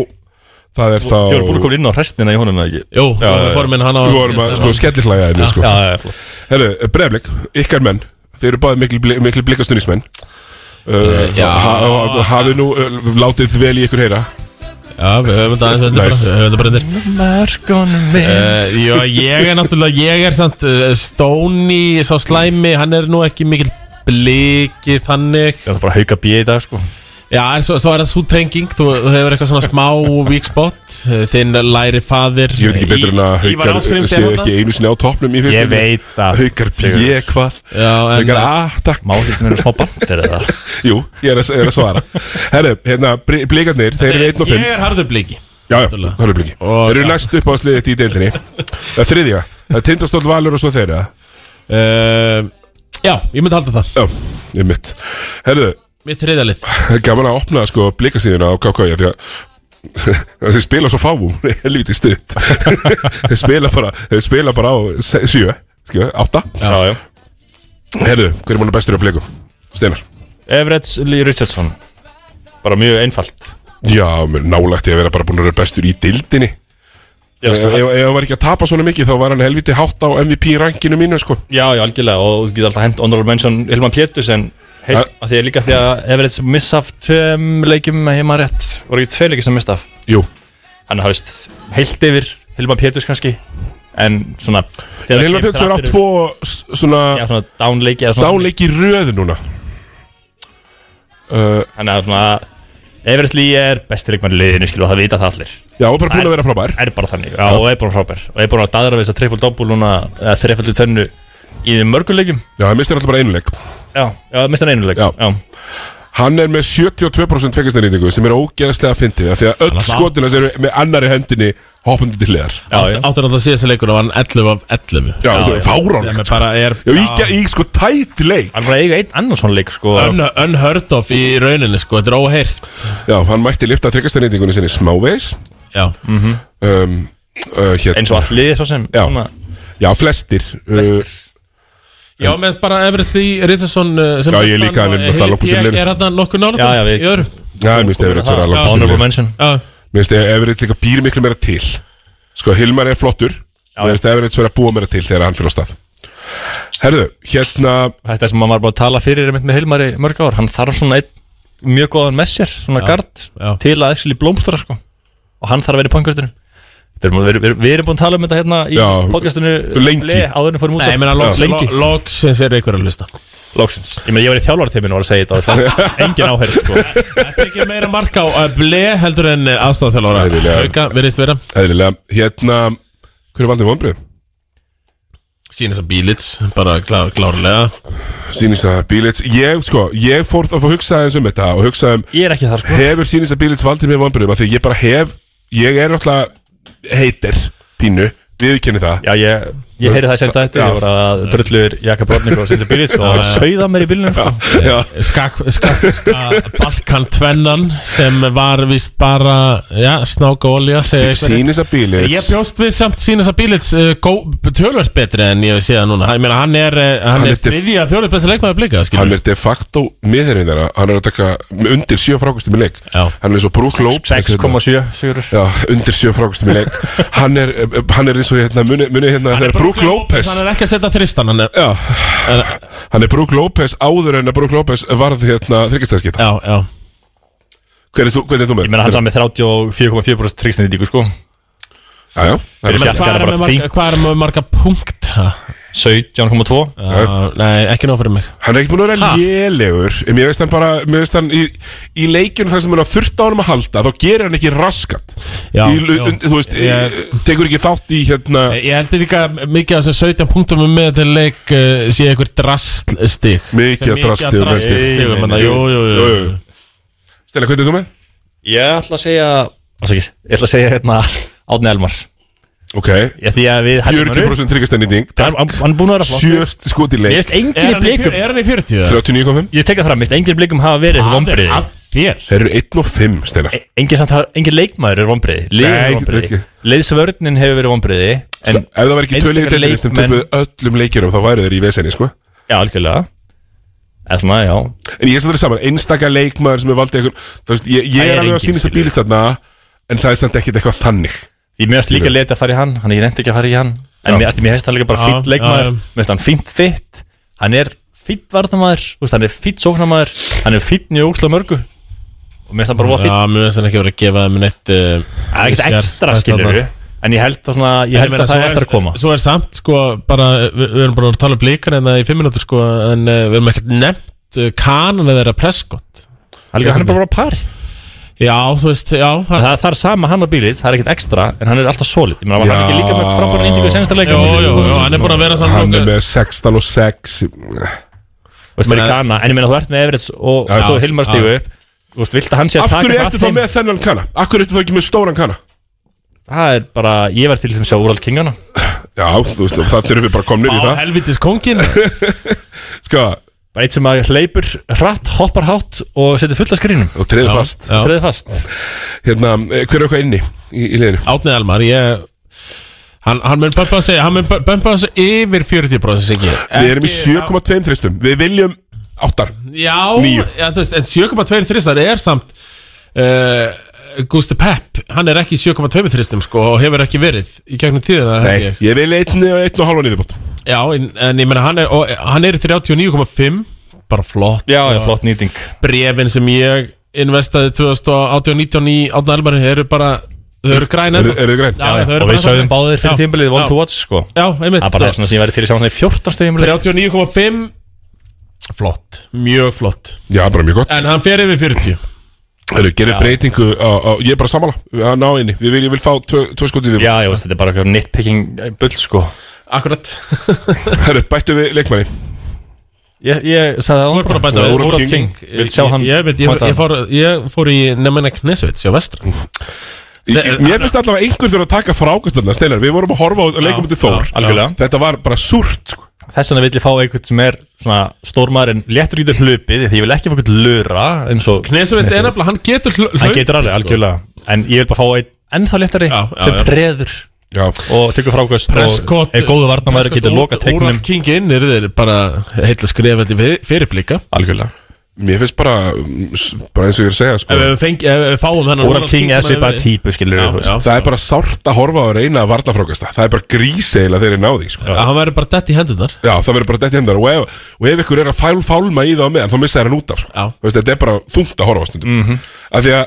A: Það er þá
M: Þjóður búin að koma inn á hrestina í honum, eða ekki?
B: Jú, við vorum að formin hann á
A: Við vorum að sko, skellihlæja þeim sko.
M: Já, já, já, flott
A: Herru, breflik, ykkar menn Þeir eru báði miklu, bli- miklu blikastunismenn uh,
B: Eh, já.
A: ha, ha, Hafið nú uh, látið vel í ykkur heyra
B: Já, við höfum þetta aðeins undir
A: Nice.
B: bara- höfum þetta bara undir
M: Mörgunum minn
B: Uh, já, ég er náttúrulega, ég er samt uh, Stóni, sá slæmi, hann er nú ekki mikil bliki þannig
M: Það er bara hauka bíð í dag, sko
B: Já, en svo, svo er það svo tenging, þú, þú hefur eitthvað svona smá weak spot uh, Þinn læri faðir eh,
A: Ég veit ekki betur en að
B: Ívar
A: haukar
B: Ásgríms er
A: séu
B: þarna.
A: ekki einu sinni á toppnum í fyrstu
M: Ég veit að
A: Haukar bjö hvað
B: Já, en-
A: Haukar að, takk
M: Má ekki sem eru smá bandir eða
A: Jú, ég er að, er að svara Herru, hérna, bri- blikarnir, þeir eru 1 og 5
B: Eh, Ég er harður bliki
A: Já, já, hörðu bliki
B: Og-
A: Þeir eru næst upp á sliðið í deildinni Það er þriðja, það er tindastóll valur og svo þeirra
B: uh, Já, ég myndi halda það
A: Já, ég mitt Herru,
B: Mitt þriðalið
A: gaman að opna sko blikarsíðuna á KK Því að þeir spila svo fáum Helviti stutt Þeir spila bara, þeir spila bara á 7, skjö, 8
M: Já, já
A: Herru, hver er mann bestur á blikum? Steinar
M: Everett Lee Richardson Bara mjög einfalt
A: Já, mér er nálægt ég að vera bara búin að vera bestur í dildinni
M: Já,
A: Ef ef- ef hann var ekki að tapa svona mikið Þá var hann helviti hátt á MVP-rankinu mínu sko.
M: Já, já, algjörlega og þú getur alltaf hent honorable mention Hilman Péturs en heilt að því er líka því að Everett missa af tveim leikjum með heima rétt voru ekki tvei leikjum sem missa af
A: Jú,
M: hann hafðist heilt yfir Hilman Péturs kannski en svona
A: en Hilma Pétur er á tvo s- Svona
M: já, svona downleiki eða svona
A: dáleiki röð núna uh,
M: hann er svona Everett Lee er besti leikmann í liðinu skilur og það vita það allir
A: Já, og bara búin að vera frábær
M: er bara þannig já, og er bara frábær og er bara að daðra við þess að triple double núna eða þrefaldu tönnu í mörguleikum
A: Já, það mistir alltaf bara einu leik
M: já, já, mistan einuleik
A: Já.
M: já.
A: Hann er með 72% fekastarýtingu sem er ógeðslega fyndið af Því að öll skotina sem eru með annari hendinni hoppandi til hliðar
M: Já, já.
B: Áttur náttúrulega síðasta leikur og hann 11 af 11
A: Já, þessi er fáránlegt,
B: Sem er bara er
A: Já, í, í sko tætt leik
M: hann var að eiga einn annan svona leik sko
B: un, unheard of í rauninni sko, þetta er óheirt
A: Já, hann mætti lifta tryggastarinntingunni sinni smávegis
B: Já,
A: um, uh, hér,
M: eins og allir svo sem
A: Já.
M: svona-
A: Já, flestir, uh, flestir.
B: já með bara Everett Lee Rithason sem
A: Já, ég líka, hann er náttúrulega langbestur í
B: liðinu
A: liðinu.
B: Er hann nokkuð nála
M: Já, já, við-
B: í öðru
A: Uh, Já, mér finnst Everett vera
M: Já,
A: langt
M: honorable mention
B: Já,
A: Mér finnst Everett líka býr miklu meira til Sko, Hilmar er flottur Mér finnst Everett vera að búa meira til þegar hann fyrir á stað Herðu, hérna
M: þetta sem maður var bara að tala fyrir einmitt með Hilmar í mörg ár hann þarf svona einn mjög góðan með sér svona gard
B: já.
M: til að actually blómstra sko og hann þarf að vera í pangurðinu við, við, við erum búin að tala um þetta hérna í
A: Já,
M: podcastinu
A: lengi.
M: le- áður en fórum út
B: Nei, ég meina loks,
M: lengi
B: lo- loksins er einhver að lista
M: loksins ég meina ég var í þjálfartíminu og var að segja þetta og það- engin áherð sko
B: Þetta er ekki meira mark á uh, ble heldur en aðstofþjálfara
A: Eðlilega.
B: Hauka, virðist vera
A: Eðlilega, hérna Hver er valdið vonbrið?
B: Sýnist að bílits, bara klá, klárlega
A: Sýnista Bílits Ég, sko, ég fór að fá hugsa aðeins um þetta og hugsa um,
M: ég er ekki þar sko
A: hefur Sýnista Bílits valdið mér vonbröðum af því ég bara hef, ég er náttúrulega heitir pínu, viðkynni það
M: já ég ég heyri það sérst að þetta ég var að drullur Jakob Rodnik og Sinsa Bílis og sögða mér í bílunum sko
A: Já,
B: skak, skak, skak, Balkan tvennan sem var vist bara já, snáka olja segja einhverjir.
A: Sýnista
B: Eh, Ég
A: Bílits
B: bjóst við samt sína að bílits uh, gó- tölvört betri en ég sé það núna Ég meina hann er, uh, hann
A: Hann
B: er
A: er til-
B: þriðja fjólið besta leikmaður blika
A: Hann
B: skilur
A: er de facto miðherinn þeirra Hann er að taka undir sjö frákustum í leik
B: Já.
A: Hann er eins og Brúk Lóp
M: 6,7 sigurur
A: Já, undir sjö frákustum í leik Hann er, eh, hann er eins og hérna, muni, muni hérna Hann er Brúk López
B: Hann er ekki að setja þristan hann er,
A: Já, hann er Brúk López áður en að Brúk López varð hérna þryggistæðskita
B: Já, já
A: Hver er þú, hvernig er þú með?
M: ég meina hann sá með 34,4% tryggsnýndíku sko
A: Já, já, það er
M: Ég meina,
A: ekki
M: Bjarki
B: Hvað
M: er
B: er,
M: bara
B: með marga-
M: fínt.
B: hvað er með marga punkta?
M: 17,2
B: Já, nei, ekki nóg fyrir mig
A: Hann er ekki búin að vera
B: Ha?
A: lélegur En Mér veist hann bara, mér veist hann í, í leikjunum þar sem hann er að þurfta á honum að halda Þá gerir hann ekki raskat
B: Já,
A: í,
B: já.
A: Þú veist,
B: Ég-
A: í, tekur ekki þátt í hérna
B: Ég heldur líka mikið af þessum 17 punktum með þetta leik uh, sé einhver draststig
A: Mikið að drasti og
M: drasli.
A: mesti
B: draststig
M: Nei, nei, nei.
B: Jú, jú, jú, jú.
A: Stella, hvernig er þú með?
M: Ég ætla að segja Ásakið, ég ætla að segja hérna Átni Elmar
A: Ok
M: Já, því að við hendur
A: 40% tryggastenniting
M: Hann er búin að vera
A: Sjöst skot í leik
M: Mér finnst enginn í blikum
B: Er hann í 40?
A: 39,5
M: Ég tek það fram, mér finnst enginn í blikum hafa verið vombriði
B: Þér
A: Þeir eru 1 og 5 steinar
M: Engin, samt, hafa- engin leikmaður er vombriði Liðið
A: Nei,
M: er vombriði
A: ekki.
M: Liðsvörnin hefur verið vombriði
A: Sko, Ef það var ekki tölvið deildinni sem töpuð öllum leikjurum þá væru þeir í vesenni sko
M: Já, algjörlega Eða svona, já
A: En ég er samt saman, einstaka leikmaður sem er valdið einhvern Þú veist, ég, ég er
M: Það
A: alveg
M: er
A: að
M: enginn,
A: sýnist að bílið þarna En það er samt ekkit eitthvað þannig
M: Því mér finnst líka leti að fara í hann Hann ég reyndi ekki að fara í hann En
A: Já.
M: mér, af því mér finnst hann líka bara
B: Já,
M: fýtt
B: já, já.
M: leikmaður Mér finnst hann fýnt þitt Hann er fýtt varnamaður þú veist, Hann er fýtt sóknamaður Hann er fýtt mjög ókslega mörgu Og mér finnst hann bara
B: Já,
M: fýtt
B: mér finnst hann ekki verið að gefa þeim neitt uh,
M: Það er ekkert ekstra skilur En ég held að, svona, ég held að það er eftir að koma
B: Svo er samt, sko, bara Við, við erum bara að tala um blíkar en það í fimm minútur, sko En uh, við erum ekkert nefnt uh, kanan eða þeirra presskott
M: Hann er bara að vera á pari
B: Já, þú veist, já hann,
M: Það það er sama hann og Bílis, það er ekkert ekstra En hann er alltaf solid Ég meina, var hann ekki líka með frábæra índingu í senasta leikum
B: Jó, jó, jó, hann er búin að vera svona
A: Hann er
B: nokkuð-
A: með 16 og 6
M: Þú veist, fyrir Kana En ég meina, þú ert með Everett og, og
A: Já.
M: svo Hilmar stígu upp Þú veist, vilt að hann sé að
A: Af
M: taka
A: hverju
M: það
A: ertu þá með þennan kana? Af hverju ertu þá ekki með stóran kana?
M: Það er bara, ég verð til þess að sjá úrald kingana
A: Já, þú veist, það erum við bara komnir í
B: Á
A: það
B: helvitis kongin
A: Sko,
M: Bara eitt sem að hleypur hratt, hoppar hátt og setur fulla skrínum
A: og treðu fast
B: já.
M: Treðið fast
A: Hérna, eh, hver er okkar inni í, í liðinu?
B: Átnið Elmar, ég Hann, hann mun bömpa sig, hann mun bömpa sig yfir 40% siggi
A: Við erum í 7,2 tristum Við viljum 8
B: Já,
A: Níu.
B: já þú veist, en 7,2 þristar er samt uh, Gusti Pep, hann er ekki í 7,2 þristum sko og hefur ekki verið í gegnum tíðina held
A: Nei,
B: ég.
A: ég vil 1 og 1 og halva niðurbót
B: Já, en, en ég meina hann er, og, hann er í 39,5 bara flott
M: Já, já, flott nýting
B: Brefin sem ég investaði 2018 og 19 í Átna Elmar eru bara, þau eru græn
A: Eru
B: ennþá.
A: eru þið grein?
B: Já, já, þau eru
M: Og
B: bara
M: við sögum
B: þannig.
M: báðir fyrir
B: Já,
M: tímbilið
B: já.
M: One to watch, sko
B: Já, einmitt
M: Það er bara það svona sem ég verði til í saman þegar 14 stegjum
B: 39,5 Flott, mjög flott
A: Já, bara mjög gott
B: En hann fer yfir 40
A: Þeir gerir
M: Já.
A: breytingu á, á, Ég er bara sammála að ná inni Við viljum vil fá tvö, tvö skot í viðbót
M: Já, já, veist, þetta er bara eitthvað nitpicking eh, bull, sko
B: Akkurat
A: Herru, bættu við leikmanni
M: Ég, ég sagði það
B: Þú er bara að bæta
A: Þú
B: við.
A: er Úrvalsdeild
M: Úrald King, vil sjá hann
B: Ég, ég, veit, ég,
M: mæta
B: ég,
M: hann.
B: fór, ég fór í Nemanja Knesvits á vestra
A: Í- í- Mér finnst allavega einhver þurfa að taka frákastarna Steinar, við vorum að horfa á leikum til Þór
M: já, algjörlega.
A: Þetta var bara súrt sko.
M: Þess vegna vil ég fá einhvern sem er svona stórmaður en léttur getur hlupið því ég vil ekki fá einhvern lura eins og
B: Knesvits er nefnilega, hann getur hlaup
M: hann getur alveg algjörlega en ég vil bara fá einn ennþá léttari
B: Sko. Já, já,
M: sem
B: já.
M: treður
A: Já,
M: og tekur frákvöst
B: Prescott
M: og er góðu varnamæður getur loka teiknum
B: Úrall King inn er þeir bara heitla skrifandi fyrirblika
M: algjörlega
A: mér finnst bara, mm, s- bara eins og ég er að segja sko.
B: Ef við, fengi, ef við fáum þennan
M: Úrall King er
B: sem
M: sér bara
B: hefur-
M: típu skilur
B: Já, já.
A: Það er bara sárt að horfa á að reyna að varna frákasta Það er bara gríseila þegar ég náði sko.
B: Að Hann verður bara dett í hendunar
A: Já, það verður bara dætt hendur og ef, og ef ykkur er að fál, fálma í það á meðan þá missa þær hann út af sko.
B: Já. Mhm.
A: Þú veist, Þetta er bara þungt að horfa á stundum mm Af því að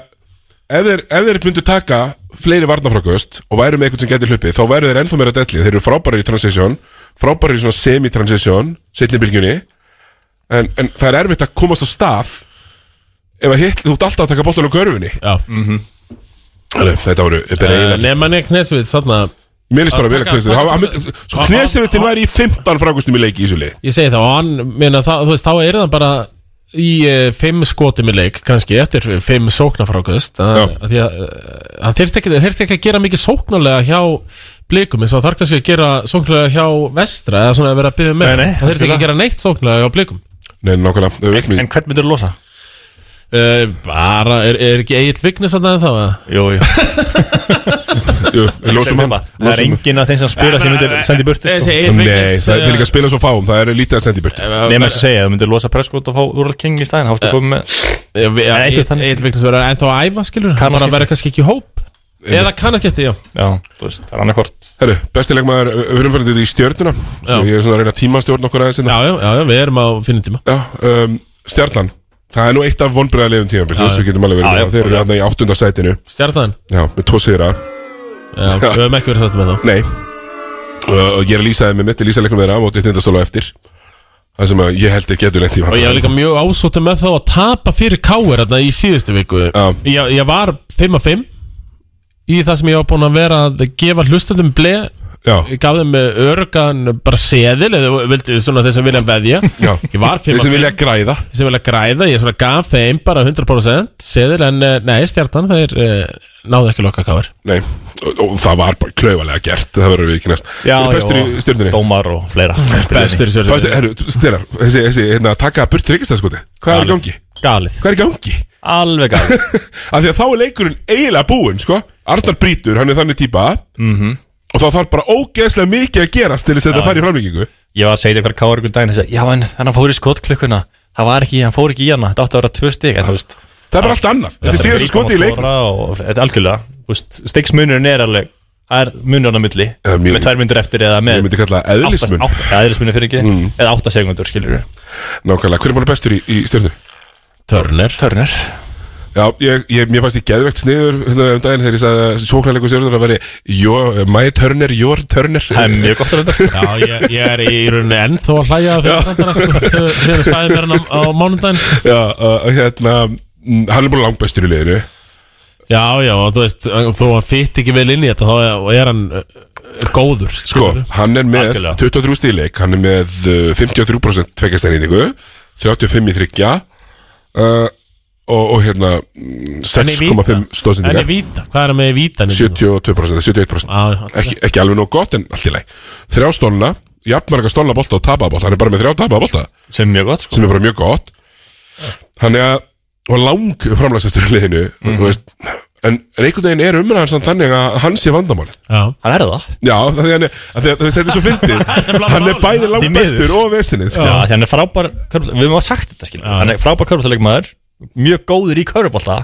A: ef þeir, ef þeir myndu taka fleiri varnafrákust og væru með eitthvað sem getur hlupið þá væru þeir ennþá meira delli þeir eru frábæri í transition frábæri í svona semi-transition setni bylgjunni en, en það er erfitt að komast á stað ef að hitt, þú ert alltaf að taka boltan á görfunni
B: Já.
A: Þannig, þetta voru bara
B: Mhm. Eh,
A: eiginlega-
B: Nemanja Knesvits þarna
A: Mér finnst bara
B: að
A: vel að
B: taka-
A: knesa
B: taka-
A: Sko knesa sem væri í 15 frákustum í leiki í þessu leik
B: Ég segi það og hann, meina, það, þú veist, þá er það bara í eh, fimm skotum í leik kannski eftir fimm sóknarfrákust að,
A: Já.
B: að því að eh, hann þyrfti ekki, þyrfti ekki að gera mikið sóknarlega hjá blikum eins og þarf kannski að gera sóknarlega hjá vestra eða svona að vera að byggja með
M: Nei, nei,
B: hann þyrfti ekki að
M: algjörlega.
B: gera neitt sóknarlega hjá blikum
A: Nei, nákvæmlega, við veitum
M: en
A: ekki
M: hvern myndur þú losa?
B: uh, bara, er, er ekki Egil Vignis að það þá?
M: Jú, jú
A: Jú, við losum hann
M: hérna. Það er
A: losum hann.
M: enginn af þeim sem spila sem myndur sendi burt
B: Þessi
M: sko.
B: Egil
A: Nei,
B: Vignis
A: það er líka að spila svo fáum, það er lítið að senda í burt
M: Nefnum þess að segja, þú myndir losa Prescott og fá Úrald King í staðin Háttu að koma með Nei, einhver þannig.
B: Egil Vignis verður ennþá að æfa skilur hann bara
M: Kannaskipti.
B: verður kannski ekki í hóp eða kannasketti, já
M: Já, þú veist, það er annarkvort
A: Herru, besti leikmaður, uh, við erum fyrir þetta í stjörnuna Svo
B: Já.
A: ég er svona að reyna að tímastjórn okkur aðeins hérna.
B: Já, já, já, já, við erum á finnum tíma
A: Já, um, Stjarnan, það er nú eitt af vonbreiðarlegum tímabilsins Við getum alveg verið
M: Já,
A: með
M: já,
A: það, þeir eru
M: já.
A: hérna í áttunda sætinu
B: Stjartan,
A: Já, með tvo sigra
B: já, við höfum ekki verið þetta með þá
A: Nei, uh, og ég er að lýsa þeim með mitt, ég lýsa leikum þeirra Mótið tindastóla eftir Það sem að ég held þeir getur lengt í
B: Og ég var líka mjög ásótið með þá að tapa fyrir káir þarna í síðustu viku
A: Já.
B: ég, ég var 5 af 5 Í það sem ég var búinn að vera að gefa hlustendum ble Ég gaf þeim eh, öruggan bara seðil eða þú vildi svona þeir sem vilja veðja
A: Já.
B: Ég var fimm
A: Þeir sem
B: af
A: vilja
B: fimm.
A: græða.
B: Þeir sem vilja græða, ég svona gaf þeim bara 100% seðil en eh, nei, stjartan þeir eh, náðu ekki lokka káir
A: Nei, og, og það var bara klauvalega gert Það verður við ekki næst
B: Já,
A: Hver er bestur
B: já,
A: í stjórnunni?
M: Dómar og fleira
B: Bestur í stjörnunni.
A: Herru, stjórnar, þessi, þessi hérna, taka burt tryggistæðskoti Hvað er í
M: Galið.
A: gangi?
M: Galið
A: Hvað er í gangi?
M: Alveg galið
A: Af því að þá er leikurinn eiginlega búinn, sko Arnar Brítur, hann er þannig típa
M: Mhm.
A: Og þá þarf bara ógeðslega mikið að gerast Til þess að
M: Já.
A: þetta fari í framlíkingu
M: Ég var að segja eitthvað káur ykkur daginn þessi, Já, en hann fór í skotklukkuna Það var ekki, hann fór ekki í hana Þetta átti að vera tvö stig en, þú veist,
A: Það er bara allt annað. Þetta er
M: Þetta
A: síðasta
M: grípa
A: skotið í
M: og skora og- Þetta er algjörlega Stigsmunurinn er alveg Það er munurinn á milli
A: mjög-
M: Með tvær myndur eftir eða með
A: Ég myndi kalla það eðlismun.
M: Átta- átta- Eðlismun er fyrir ekki
A: Mm.
M: Eða átta segundur skilur
A: Nákvæmlega, hver er bara bestur í, í stjórnunni?
B: Turner
M: Turner
A: Já, ég, ég, mér fannst ég geðvegt sniður hérna um daginn þegar ég sagði að sóknarleikur stjórnur að veri your, my eh, turner, your turner Það
M: er mjög gott að
B: Já, ég, ég er í rauninni ennþó að hlæja að fyrir þarna sko, þegar- þegar þú sagði mér hann á, á mánudaginn
A: Já, uh, hérna, mm, hann er bara langbæstur í liðinu
B: Já, já, og þú veist, eh, þó að fytt ekki vel inn í þetta þá er hann uh, góður
A: Sko, hann er með
B: Algjörlega.
A: 23 stíleik Hann er með uh, 53% tveggjastæningu 35 í þryggja uh, og, og hérna mm,
B: En í víta?
A: 6,5
B: En í
A: stóðsendingar
B: víta, hvað er hann með í víta?
A: 72% 71% ekki, ekki alveg nóg gott en allt í læg Þrjá stólna, jafnmarga stólna bolta og tapaða bolta Hann er bara með þrjá tapaða bolta
M: Sem er mjög gott sko.
A: Sem er bara mjög gott Hann er að, og lang framlæsastur í liðinu
B: Mhm.
A: þú veist, en, en einhvern veginn er umræðan samt þannig að hann sé vandamálið
B: Já
M: Hann er það
A: Já, það er, að því að, þú veist, þetta er svo fyndið Hann er bæði
M: Því
A: langbestur
M: miður.
A: og vesinið sko.
M: Já, því hann er frábær körfubolta- Við höfum að sagt þetta skilur Hann er frábær körbóltalegmaður Mjög góður í körbólta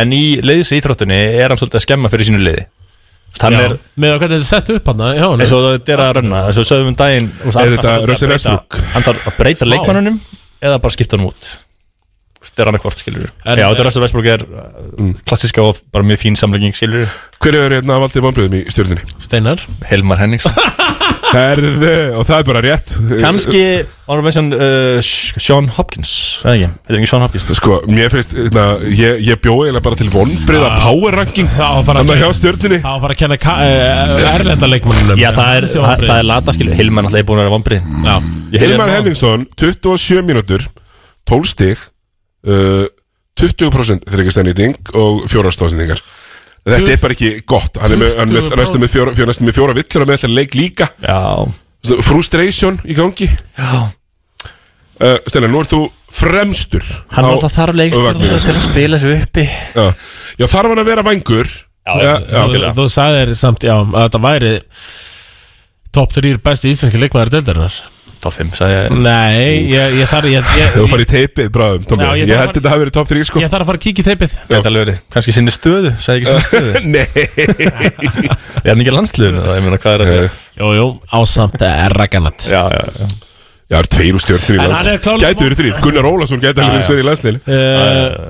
M: En í leiðis íþróttinni er hann svolítið að skemma fyrir sínu leiði Þú veist, Hann
B: Já,
M: er
B: Með að hvernig þetta er sett upp hann já,
M: eins og þetta er að rönna eins og sögðum um daginn þú
A: Er
M: veist, hann
A: þetta
M: þarf svolítið
A: Russell
M: að
A: Westbrook?
M: breyta- hann þarf að breyta
B: Smá.
M: leikmannunum eða bara skipta hann út Þú veist, þetta er annað hvort skilur
B: En-
M: já, þetta Russell Westbrook er mm. klassiska og bara mjög fín samlenging skilur
A: Hver er hérna valdið vonbröðum í stjórninni?
B: Steinar
M: Helmar Henningsson
A: Herðu, og það er bara rétt
M: kannski var með sem uh, Sean Hopkins eða ekki, þetta er ekki Sean Hopkins
A: Sko, mér finnst, hérna, ég, ég bjóði eiginlega bara til vonbröða power ranking Þannig að hjá stjórninni
B: Það var bara að kenna ka- eh, erlenda leikmannunum
M: já, það er,
B: Þessi
M: það,
B: vonbrigði.
M: það er lata skilur Helmar náttúrulega er búin að vera vombrið
B: Já.
M: hérna.
A: Hilmar Henningsson, 27 mínútur 12 stig uh, 20% þryggjastæninning og fjórastóðsendingar Þetta er bara ekki gott Hann er með, hann er með,
B: 20%.
A: næstum með fjóra, fjóra, næstum með fjóra villur og með þetta leik líka
M: Já.
A: Frustration í gangi
M: Já.
A: uh, Stennar, nú ert þú fremstur
M: hann
A: á-
M: náttúrulega þarf
A: vagninum.
M: leikstjórn til að spila sig uppi
A: Já, Já, þarf hann að vera vængur Já,
B: Þú, þú sagðir samt, já, að þetta væri Top 3 besti íslenski leikmaður deildarinnar
M: top 5 sagði ég
B: Nei, ég, ég þarf ég, ég,
A: Þú farið í teipið, bráðum, Tommi
B: Já, ég
A: Ég
B: þarf
A: held
B: að-
A: þetta hafi verið top 3, sko
B: ég þarf að fara að kíkja í þeipið
M: Gæti alveg verið, kannski sinni stöðu, sagði ekki sinni stöðu
A: Nei
M: Ég er hann ekki landsliðinu, það ég meina hvað er að segja
B: Jú, jú, ásamt eh, erraganat
M: Já, já, já
A: Já, það er tveir úr stjórnir í
B: En hann er
A: landsliðinu
B: klárlega-
A: Gæti verið þrýr, Gunnar Ólafsson gæti alveg verið sveir í landsliðinu
B: uh,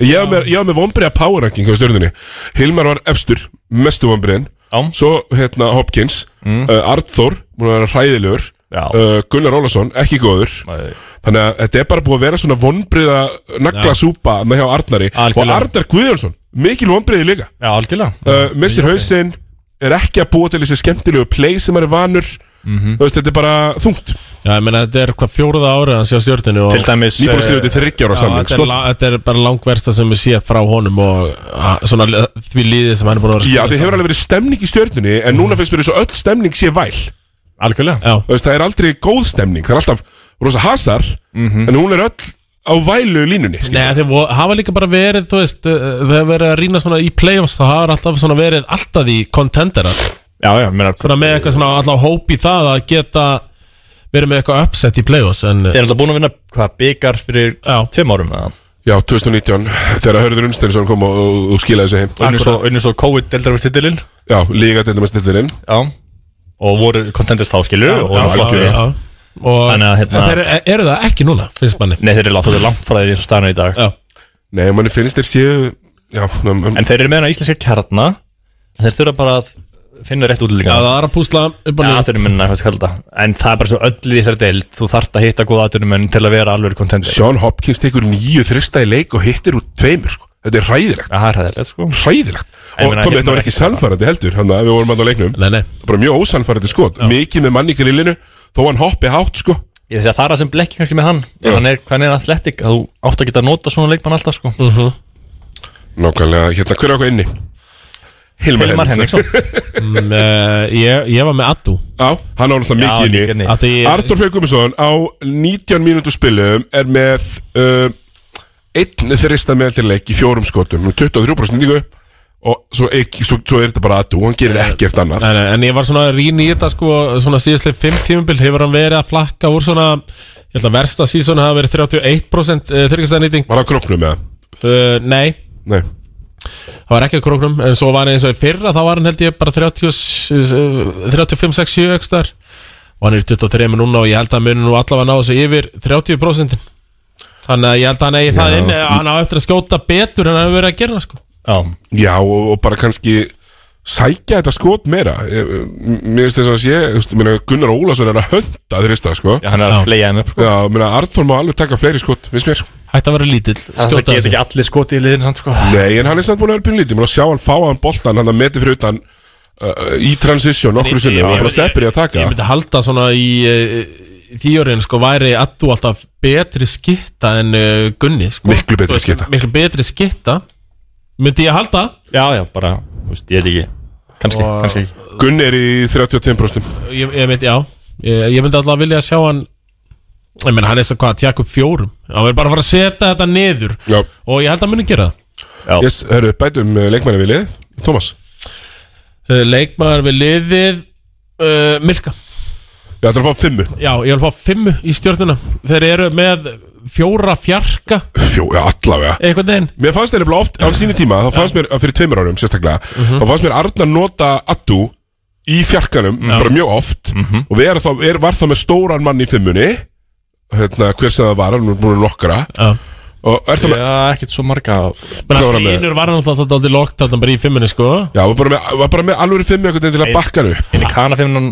A: Ég hafði með, ég hafði með vonbriða power ranking á stjórninni Hilmar var efstur, mestu vonbriðin Svo hérna Hopkins
B: Mm.
A: uh, Arthur, búin að vera hræðilegur uh, Gunnar Ólafsson, ekki góður Þannig að þetta er bara búið að vera svona vonbriða nagla súpa með hjá Arnari Og Arnar Guðjónsson, mikil vonbriði líka
M: Já, algjörlega
A: uh, Missir hausinn, er ekki að búa til þessi skemmtilegu play sem er vanur Þú veist, þetta er bara þungt
B: Já, ég meina, þetta er hvað fjóruða árið hans hjá stjórninu og
M: Til dæmis
A: Nýbúin að skrifa
M: eh,
A: þetta þryggjára samling
B: þetta, er,
A: sko.
B: la- þetta er bara langversta sem við sé frá honum og að, svona li- því líðið sem hann er búin að vera að
A: Já,
B: spila
A: þið hefur
B: saman.
A: alveg verið stemning í stjörnunni En núna finnst mér eins og öll stemning sé væl
M: Algjörlega
B: Já,
A: Þú veist, Það er aldrei góð stemning Það er alltaf rosa hasar En hún er öll á vælu línunni skilur.
B: Nei, þeir vo- hafa líka bara verið, þú veist, uh, þegar verið að rýna svona í play-offs þá hafa þeir alltaf svona verið alltaf í contendera
M: Já, já, ég meina
B: Svona með eitthvað svona alltaf hóp í það að geta verið með eitthvað uppsett í play-offs en
M: Þeir er alltaf búin að vinna, hvað, byggar fyrir
B: Já.
M: tveim árum eða
A: Já, 2019 Þegar Hörður Unnsteinsson kom og, og, og skilaði þessu heim
M: Unnur svo, unnur svo COVID deildar við titilinn
A: Já, líka til dæmis titilinn
M: Já Og voru contendist þá, skilur
B: Já, já, já, já. Og
M: Þannig að,
B: en
M: hérna
B: þeir eru- eru það ekki núna, finnst manni
M: Nei, þeir eru látt, þetta langt frá því eins og staðan er í dag
B: Já,
A: Nei, manni finnst þér séu Já, um, um,
M: En þeir eru með hana íslenska kjarna En þeir þurfa bara að finna rétt
B: Já,
M: útlýninga
B: það er að púsla upp á
M: Já,
B: nýtt
M: atvinnumenn, hvað skal kalla þetta? En það er bara svo öll í þessari deild Þú þarft að hitta góða atvinnumenn til að vera alveg kontendur
A: Sean Hopkins tekur nýju þrista í leik og hittir úr tveimur sko. Þetta er hræðilegt
M: Það er hræðilegt sko
A: Hræðilegt
M: Ég
A: Og
M: meina,
A: komið,
M: hérna
A: þetta var
M: er
A: ekki
M: ekki
A: sannfærandi heldur Þannig að við vorum að á leiknum
B: Nei, nei
A: Bara mjög ósannfærandi skot Mikið með manni í grillinu Þó hann hoppi hátt sko
M: Ég þess að það er það sem blekki kannski með hann Ef hann er, hann er atletik að þú átt að geta að nota svona leikmann alltaf sko mm
B: -hmm.
A: Nákvæmlega, hérna, hver er okkur inni? Hilmar,
M: Hilmar
A: Henriksson.
B: Mm, eh, ég, ég var með Addu
A: Já, hann á náttúrulega
B: Já,
A: mikið
B: mikið inni.
A: inni
B: Af því ég-
A: Artur Freyr Guðmundsson á 19 mínútu spilum er með uh, einn þrista með til leik í fjórum skotum með 23% nýtingu og svo, ekki, svo, svo er þetta bara aðtú hann gerir ekkert annað
B: en, en ég var svona rín í þetta sko Svona síðastlega fimm tímubil Hefur hann verið að flakka úr svona Ég held að versta sísón hafa verið 31% þryggastæðanýting
A: Var hann króknum eða?
B: Uh, nei
A: Nei
B: Það var ekki að króknum En svo var hann eins og í fyrra Þá var hann held ég bara 35-67 ekstar Og hann er í 23 núna Og ég held að muni nú allavega ná þessu yfir 30% Þannig að ég held að hann eigi það
A: Já.
B: inni Hann á eftir að skjóta betur En hann hefur verið að gera sko
M: Já,
A: Já og, og bara kannski sækja þetta skot meira Ég- eh, Mér finnst þess að sé þú veist, ég meina, Gunnar Ólason er að hönda þrista sko.
M: Já, hann er að Já. fleygja þeim upp,
A: sko. Já, ég meina, Artur má alveg taka fleiri skot, finnst mér
B: Hætti að vera lítill
M: Það
A: Skjóta
M: geta
A: þessu.
M: ekki allir skoti í liðinu samt sko
A: Nei, en hann er samt búin að vera pínlítið Mér að sjá hann fá hann boltan, hann að meti fyrir utan uh, í transition nokkru sinni og bara steppir í að taka
B: Ég myndi halda svona í þýjórin sko væri Addu alltaf betri skitta en uh, Gunni sko.
A: Miklu betri
B: Þú veist,
A: skytta.
B: Miklu betri skitta Myndi ég halda
M: Já, já, bara, þú veist, ég veit ekki Kannski,
B: Og-
M: kannski ekki
A: Gunni er í 35%
B: Ég, ég myndi, já Ég, ég myndi alltaf vilja sjá hann Ég menn hann er svo hvað að tjaka upp fjórum Hann verður bara að fara að setja þetta niður
A: Já.
B: Og ég held að hann muni gera
M: Já.
A: Yes, hörru, bætum leikmæri við lið Thomas
B: það Uh, Leikmaður við liðið uh, Milka
A: Ég ætla að fá fimmu
B: Já, ég vil fá fimmu í stjórnuna Þeir eru með fjóra fjarka
A: Fjó, ja, allavega
B: Einhvern veginn
A: Mér fannst nefnilega oft á sínu tíma þá fannst mér, fyrir tveimur árum sérstaklega
B: Mhm.
A: þá fannst mér Arna nota Addu í fjarkanum, bara mjög oft
B: Mhm.
A: og við erum þá, er, var þá með stóran mann í fimmunni hérna, hver sem það var, hann er búin að nokkra
B: Já.
A: og er það með,
M: Já, ekkert svo marga
B: Men
A: Hvað var
B: að
A: hann með?
B: þínur var náttúrulega alltaf aldrei lokt Þannig bara í fimmunni sko
A: já, var bara með, var bara með alveg fimmu einhvern veginn til að bakka hann upp
M: Inni kanafimmun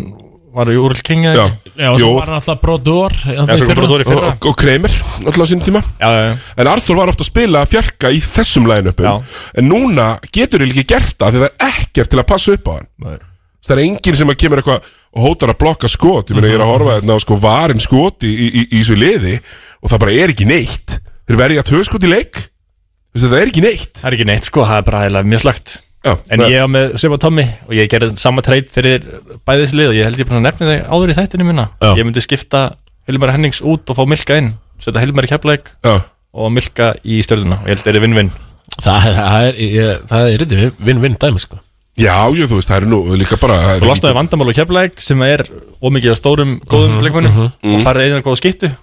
M: var í Úrl King eða
A: Já,
M: ekki?
B: Já, og
A: Jú,
B: svo var hann alltaf brodor
M: Já, svo kom Brodor í fyrra.
A: og, og Kramer, alltaf á sínum tíma
M: Já, já, já
A: En Arthur var ofta að spila fjarka í þessum line-upum En núna getur þið ekki gert það Þegar það er ekkert til að passa upp á hann
M: Nei.
A: Þess, Það er enginn sem að kemur eitthvað Og hótar að blokka skot Ég meina ég er að horfa þarna á sko varin skot í, í, í, í svo liði Og það bara er ekki neitt Þeir verja tvö skot í leik Þess, Það er ekki neitt
M: Það er ekki neitt sko, það er bara heila mislagt
A: Já,
M: En
A: það-
M: ég var með Seba Tommy og ég gerði sama treyt fyrir bæðis lið og ég held ég bara nefnir þig áður í þættinu minna
B: Já.
M: Ég myndi skipta Hilmar Hennings út og fá Milka inn Setta Hilmar í keflæk
A: Já.
M: og Milka í stjörnuna og ég held þeir eru vinn-vinn
B: Það, það er, ég, það er yfir vinn-vinn dæmi sko
A: Já, jú, þú veist, það er nú líka bara
M: Þú losnaði vandamál og keflæk sem er ómikið af stórum góðum leikmönnum og farið einu góða skiptu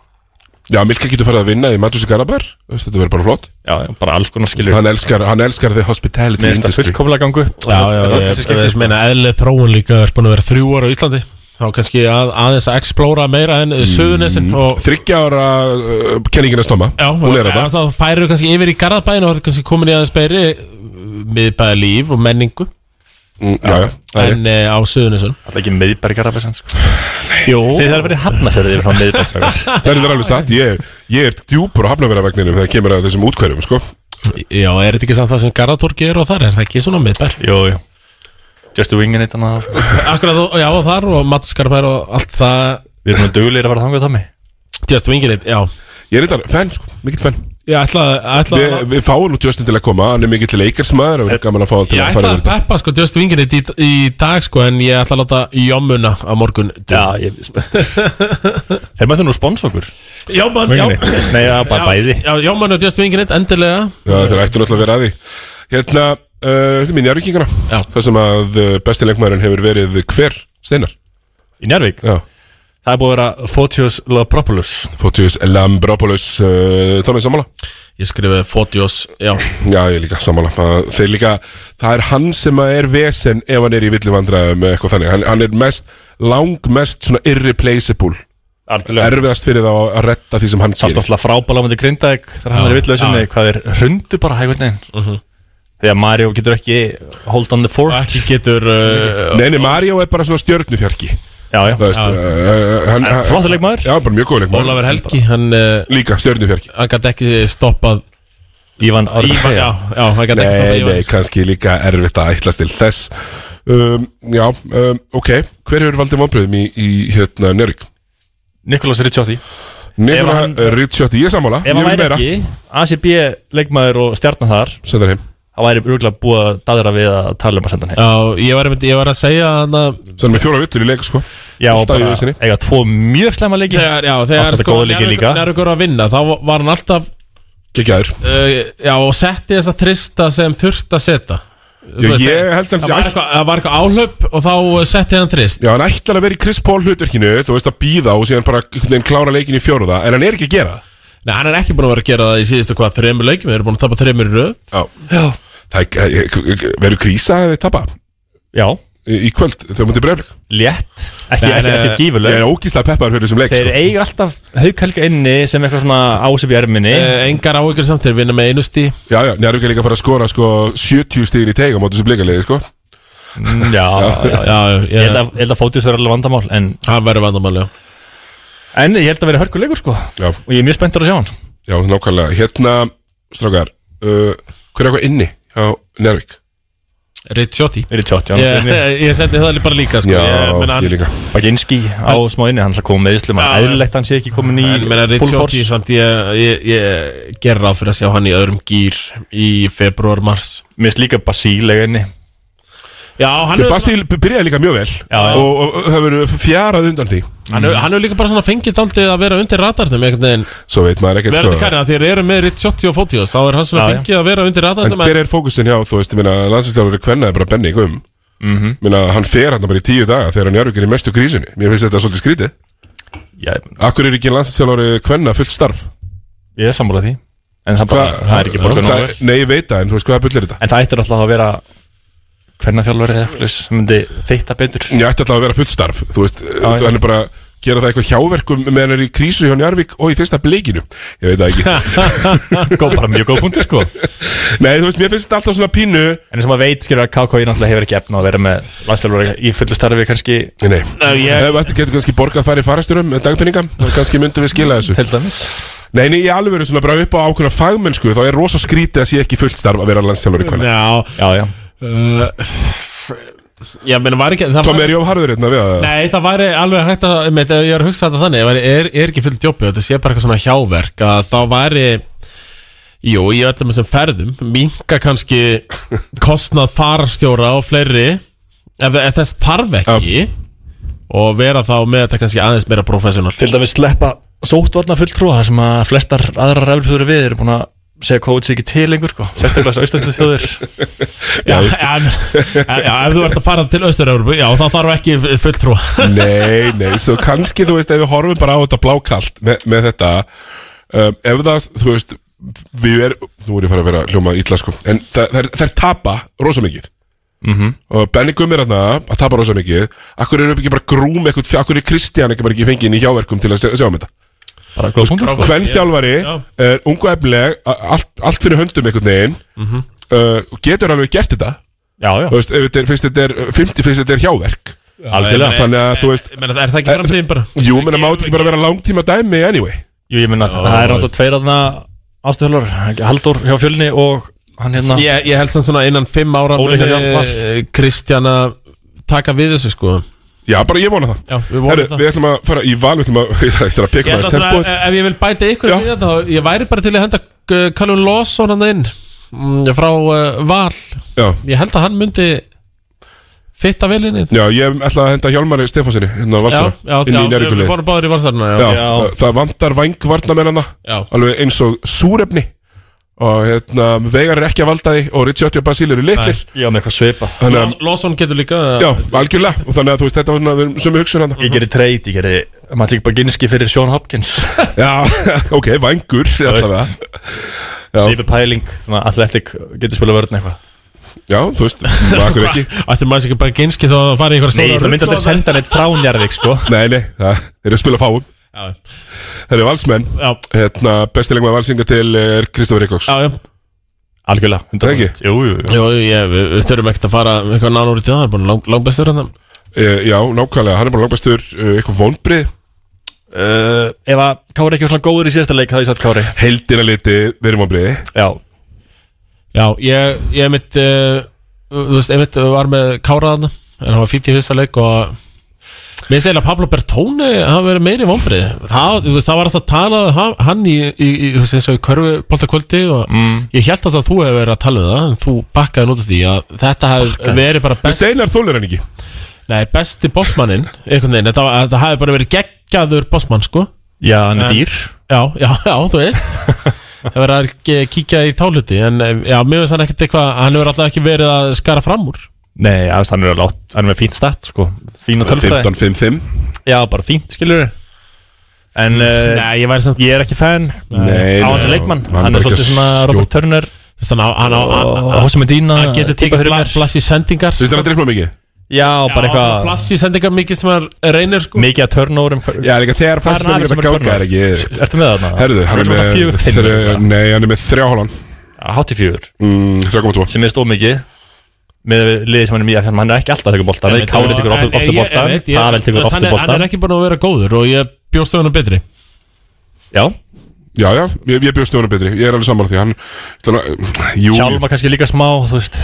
A: Já, Milka getur farið að vinna í Matus í Garabær Þetta verður bara flott
M: Já, já, bara alls konar skilur
A: Hann elskar, hann elskar the hospitality
M: Mér finnst það
A: industry
M: fullkomlega gangu
B: Já, já, já, ég, ég,
A: sko.
B: ég meina eðlið þróun líka er búin að vera þrjú ára á Íslandi þá kannski að, aðeins að explóra meira en mm. Suðunesin og
A: Þryggja ára uh, kenningina stóma
B: Já,
A: Hún er
B: og-
A: þetta
B: en þá færir við kannski yfir í Garðabæin og það er kannski komin í aðeins beiri miðbæða líf og menningu
A: Mm, Já, já, það er rétt
B: en e, á Suðunesun
M: Alltaf ekki meðbergar af þessan sko
B: Jó,
M: Þið þarf að vera hafna fyrir því frá meðbergar
A: Það er alveg satt, ég er, ég er djúpur á hafnaverðavegninu þegar kemur að þessum útkverjum, sko
B: já, er þetta ekki samt það sem Garðatorgi er og þar er það ekki svona miðbær
M: Jú, jú Just a wingin eitt annað sko.
B: Akkurat, og- já, og þar og Matuskarpær og allt það
M: Við erum nú duglir að fara þangað Tommy
B: Just Wingin eitt, já
A: Ég er þetta fenn, sko, mikill fenn
B: Ég ætlaði ætla,
A: Við, við fáum nú Justin til að koma, hann er mikill leikarsmaður og við erum gaman að fá hann til
B: Ég
A: að
B: ætla
A: fara
B: að
A: yfir þetta
B: peppa sko Just Wingin í, í dag sko En ég ætla að láta jommuna á morgun
M: Já, ég Þeir mættu nú spons okkur
B: Jommun, já
M: Wingin eitt. Nei, já, bara bæði
B: Já, jommun og Just Wingin eitt, endilega
A: Já, þeir ættu náttúrulega að vera að því Hérna, uh, þetta mín í arvíkingana Það sem að uh, besti leikmaðurinn hefur verið hver, Steinar
M: Í Njárvík
A: Já,
M: Það er búið að vera Fotios Lopropoulos
A: Fotius Lambropoulos uh, Tómið sammála?
B: Ég skrifaði Fotios, já
A: Já, ég líka sammála Það- Þeir líka, það er hann sem að er vesen ef hann er í villivandræðum eða eitthvað þannig hann, hann er mest, langmest svona irreplaceable
M: Algjörlega
A: erfiðast fyrir þá að retta því sem hann
M: Sátt
A: gerir
M: alltaf frábæla með Grindæk Þegar hann
B: Já,
M: er villausinni
B: já.
M: Hvað er hrundu bara hægur neginn Þegar Mario getur ekki Hold on the
B: Og
M: fort
B: ekki getur uh,
A: Nei, nei, Mario er bara svona stjörnufjarki
M: Já, já
A: Það veist, uh, hann,
M: En
A: hann,
M: Flottur leikmaður
A: já, bara mjög góð leikmaður
B: Ólafur Helgi Hann, uh,
A: Líka, stjörnufjarki
B: hann gæti ekki stoppað
M: Ívan Árni
B: Ívan, já, já, það gæti ekki
A: Nei,
B: þótt að
A: nei,
B: Ívan
A: kannski líka erfitt að ætlast til þess um, Já, um, ok Hver hefur valdið vonbröðum í, í hérna Njörg?
M: Nikolas Ricciotti
A: Nikola
M: hann-
A: Ricciotti, ég er sammála
M: Ef
A: ég
M: hann
A: vil
M: væri
A: meira.
M: ekki ACB leikmaður og stjarnar þar
A: Sendar heim
M: Það væri örgulega búið að daðra við að tala um að senda hann heim
B: Já, ég var, einmitt- ég var að segja hann að
A: Sennum við fjóra villur í leik, sko
M: Já,
A: Alltaf í
M: bara
A: vissinni.
M: eiga tvo mjög slemma leiki
B: Þegar, já, þegar
M: Alltaf góða leiki líka
B: Njárvíkur að vinna, þá var hann alltaf
A: Gekjaður
B: uh, Já, og setti þess að trista sem þurft að setja Þú
A: Já,
B: veist,
A: ég held hann
B: það
A: sé
B: var
A: ætl-
B: eitthvað- Það var eitthvað áhlaup og þá setti hann trist
A: Já, hann ætlar að vera í Chris Paul hlutverkinu Þú veist að býða og síðan bara einhvern veginn klára leikin í fjóruða En hann er ekki að gera það
B: Nei, hann er ekki búin að vera að gera það í síðustu hvað þreymur leikjum Við erum búin að tapa þreymur í röð
A: Já, Það er- verður krísa ef þið tapa
M: Já
A: Í í kvöld, þau mútið breyflik
M: Létt Ekki, ekki, ekki gífuleg
A: Ég er ógíslega peppaður fyrir þessum leik
M: Þeir
A: sko.
M: eiga alltaf haughelga inni sem eitthvað svona ásip í erminni
B: Eh, Engar áhyggjur samt, þeir vinna með einu stí
A: Já, já, Njárvík er líka að fara að skora sko 70 stíðin í teig á mótum sem blikalegi sko
M: Mm, Já, já, já
B: ég-
M: Ég held að, ég held að fótis verður alveg vandamál en,
B: Hann verður vandamál, já
M: en ég held að verður hörkuleikur sko
A: Já.
M: Og ég er mjög spenntur að sjá hann
A: Já, nákvæmlega, hérna, strákar uh, Hver er eitthvað inni á Njárvík?
B: Ricciotti
M: Ricciotti, já,
B: Ég,
M: fyrir mér.
B: ég setti það alveg bara líka sko.
A: Já,
B: ég, meina, hann-
A: ég líka
M: Baginski á smá inni, hann er að koma með Íslum
B: Já, já.
M: Æðilegt hann sé ekki komin í
B: En meina
M: full
B: Ricciotti
M: force
B: samt ég, ég, ég ger ráð fyrir að sjá hann í öðrum gýr í februar, mars
M: Mér finnst líka Basílega inni
B: Já, hann er,
A: Basíl byrjaði líka mjög vel
M: já.
A: Og, og, og það verður fjarað undan því
B: hann,
M: Mm.
B: er, hann er líka bara svona fengið daldið að vera undir radarnum einhvern veginn
A: Svo veit maður ekkert
B: Verður
A: sko
B: kærna, þegar eru með Ricciotti og Fótios þá er hann svona
M: Já, já.
B: fengið að vera undir
A: En
B: radarnum
A: hver er fókusin hjá, þú veist, ég minna Landsinstjálfur er kvennað bara Benny Guðum mm
M: Mhm.
A: -hmm. Minna, hann fer hann bara í tíu daga þegar Njárvík er í mestu krísunni Mér finnst þetta svolítið skrítið
M: Já, ég-
A: Akkur er ekki landsinsjálfari kvenna fullt starf?
M: ég er sammála því En það, bara,
A: Hvað-
M: það er ekki borgun
A: Það- Nei, ég veit það, en þú veist hvað bullir þetta?
M: En það ættir alltaf að vera hvernig þjálfur eða eitthvað sem myndi þeytta betur
A: Ég ætti alltaf að vera fullt starf Þú veist,
M: já.
A: þannig bara að gera það eitthvað hjáverkum meðan hann er í krísu hjá Njarvík og í fyrsta bleikinu Ég veit það ekki
M: Góð, bara mjög góð punktur sko En
A: Nei, þú veist, mér finnst þetta alltaf svona pínu
M: eins og maður veit skilur að KKI náttúrulega hefur ekki efna að vera með landstjálfur í fullu starfi kannski
A: Nei,
B: Nei, ég-
A: ef þetta getur kannski borgað að fara í farasturum dagpenninga, þá kannski myndum við skila þessu
M: til dæmis
A: Nei, nei, ég alveg verið svona bara upp á ákveðna fagmennsku þá er rosa skrítið að sé ekki fullt starf að vera landsjálfari kvenna
B: Já,
M: Já, já
B: uh, ég meina var ekki það
A: Tom
B: var-
A: er ég of harður hérna við að
B: Nei, það væri alveg hægt að, með, ég er að hugsa þetta þannig, væri, er, er ekki fullt jobbi og þetta sé bara eitthvað svona hjáverk að þá væri, jú, í öllum þessum ferðum, minka kannski kostnað fararstjóra og fleiri, ef, ef þess þarf ekki og vera þá með þetta kannski aðeins meira professional.
M: Til dæmis sleppa sóttvarna fulltrúa þar sem að flestar aðra ræflfjóður við eru búin að segja kóðs ekki til lengur sko Sérstaklega þess austöndu þjóður
B: Já, en, en, já, ef þú ert að fara til Östur-Európu, já, þá þarf ekki fulltrúa.
A: Nei, nei, svo kannski þú veist ef við horfum bara á þetta blákalt með, með þetta um, ef það, þú veist við er, nú er ég fara að vera hljóma illa sko, en það, það, það er tapa rosa mikið
M: Mhm.
A: -hmm. og Benny Gumm er þarna að tapa rosa mikið akkur eru ekki bara grúm eitthvað, akkur er Kristján ekki bara ekki fengið inn í hjáverkum til að sjá, sjá um þetta
M: Bara góð punktur sko
A: hvern þjálfari
B: Já.
A: er ungu efnileg a- allt, allt fyrir höndum einhvern veginn
M: Mhm.
A: uh, og getur alveg gert þetta
M: Já, já,
A: þú veist, ef þetta er, finnst þetta er 50 finnst þetta er hjáverk
M: algjörlega
A: Þannig að þú veist-
B: Menna, er það ekki framtíðin bara?
A: Jú, menna mátt ekki bara vera langtíma dæmi anyway
M: Jú, ég minna það er alltaf tveir aðna ástæðhjálfur Haldur hjá fjölni og hann hérna
B: Ég, ég held samt svona innan fimm ára
M: Óli
B: muni,
M: Hjörvar Mar.
B: eh, Kristjana taka við þessu sko
A: Já, bara ég vona það
B: Já, við vonum það.
A: Við ætlum að fara í val Við ætlum að, ég ætlum að
B: Ég
A: peka
B: held
A: maður
B: að svona, eh,
A: tempóð
B: ef- ef ég vil bæta ykkur
A: Já.
B: við þetta þá ég væri bara til að henda eh, Callum Lawson hann inn mm, frá uh, Val
A: Já,
B: ég held að hann myndi fitta vel inn í þetta.
A: já, ég ætla að henda Hjálmari Stefánsinni Hérna á
B: já,
A: Valsara Inn
B: já, já,
A: í
B: við- við
A: nærgulið
B: fórum báður í Valsarna já.
A: Já,
M: Já.
A: það vantar vangvarnamennana
B: Já.
A: Alveg eins og súrefni Og hérna, Vegar er ekki að valda því Og Richard og Basíl eru litlir
M: Ég var með eitthvað svipa
A: Þannig að,
B: Law- Lawson getur líka
A: já, algjörlega Og þannig að þú veist, þetta var svona, við erum sömu hugsun hann
M: Ég gerði treyt, ég gerði Matlik Baginski fyrir Sean Hopkins
A: Já, ok, vangur allavega.
M: veist. Sýpi pæling, svona atletik, getur spilað vörðin eitthvað
A: Já, þú veist, akkur ekki
B: Ætti maður sér ekki bara genski þá að fara í ykkur
M: Nei, það myndi aldrei senda neitt frá Njarðvík, sko
A: Nei, nei, það er að spila fáum
B: Já,
A: Það eru valsmenn
B: já,
A: Hérna, bestilegum að valsinga til eh, er Kristofur Eikóks
B: já, já.
M: Algjörlega, 100%.
A: Ekki?
M: Jú, jú, jú
B: Jó, ég, við, við þurfum ekkert að fara um eitthvað nánar út í það, það er búin lang, langbestur hann
A: Uh, já, nákvæmlega, hann er bara langbæstur uh, eitthvað vonbrið,
B: Eh,
M: uh, Ef að Kári ekki var svona góður í síðasta leik, það er satt Kári
A: heildina liti verið vonbrið
M: Já,
B: Já, ég, ég mitt uh, Þú veist, einmitt eh, var með Káraðan En hann var fýtt í fyrsta leik og Mér finnst eiginlega að Pablo Bertone hafa verið meiri vombrið það, þú veist, það var alltaf að tala um ha- hann í, í, í þú veist, eins og í körfu kvöldi og ég held að þú hefur verið að tala um það en þú bakkaði nút af því að þetta hefur verið bara best
A: Steinar þólir hann ekki
B: Nei, besti bossmanninn, einhvern veginn þetta, var- þetta hafi bara verið geggjaður bossmann sko
M: Já, hann er
B: En-
M: dýr
B: Já, já, já, þú veist Það verður að k- kíkja í þáluti En eh, já, mér finnst hann ekkert eitthvað Hann hefur alltaf ekki verið að skara fram úr
M: Nei, ja, hann er látt, hann er með fínt stat sko. Fína tölfræði
A: 15-5-5
M: Já, bara fínt, skilur En uh,
B: Nei, ég væri samt
M: Ég er ekki fan
B: Nei,
M: Á
B: nei,
M: hans
B: já.
M: leikmann
B: Hann er
M: Hann, er
B: bara ekki
M: svolítið
B: að
M: svona Robert
B: skjóta.
M: Turner
B: Þú veist, hann á- hann á
M: Og- og Jose Medina
B: Hann getur
M: típa
B: tekið
M: fyrir
B: fla-
M: mér.
B: flass í sendingar
A: Þú veist hann að drifma mikið?
M: Já, bara eitthvað
B: Flass í sendingar mikið sem hann reynir sko
M: Mikið um að turnoverum
A: Já, líka þegar fannst það líka að ganga er ekki
M: Ertu með þarna?
A: Herðu, hann er með
M: fjögur
A: þrjá-
M: fimm
A: Nei, hann er með þrjá hólan
M: Hátti fjögur
A: mm, 3,2
M: Sem er stóð mikið Með liðið sem hann er mjög Þannig að hann er ekki alltaf að tekur bolta Hann er kárið tekur
B: En- en
M: ofta
B: ég-
M: bolta
B: ég veit, ég-
M: Pavel
B: þú
M: tekur
B: veist, hann
M: ofta
B: er- Hann
M: bolta
B: er ekki búin að vera góður Og ég bjóst á hann betri
M: Já
A: Já, já, ég, ég bjóst stjóðan betri, ég er alveg sammála því hann, þannig, að- jú,
M: Hjálma kannski líka smá Þú veist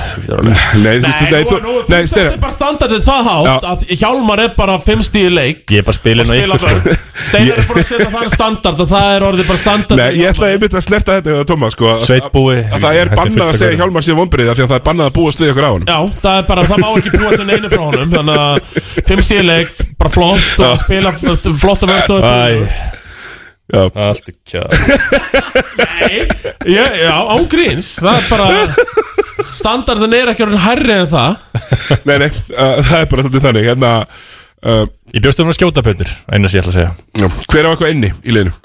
A: Nei, þú veist, nei, þú, nei,
B: Þetta er
A: Steinar
B: bara standardið það hátt Að Hjálmar er bara fimm stíði leik
M: Ég er bara spilin á
B: Spila
M: ykkur
B: bara
M: sko.
B: Steinar er búin að setja það standard Og það er orðið bara standard
A: Nei, ég ætlaði einmitt að snerta þetta eða Tómas, sko að-
M: Sveitbúi.
A: að Það er
M: Þetta er
A: bannað að
M: fyrsta
A: segja
M: gaurinn.
A: Hjálmar sér vombrið af því að það er bannað að búast við ykkur á hann
B: Já, það er bara, það má ekki búa til neinu frá honum Þannig að fimm stíðleik, bara flott og spila flott að verða
M: Æ.
A: Já.
M: Allt í kjá
B: Já, já, ángríns, það er bara Standardin er ekki orðin hærri en það
A: Nei, nei, uh, það er bara þetta þannig Hérna, uh,
M: Ég bjóst um að skjóta pötur Einas ég ætla að segja
A: já, hver á eitthvað inni í liðinu?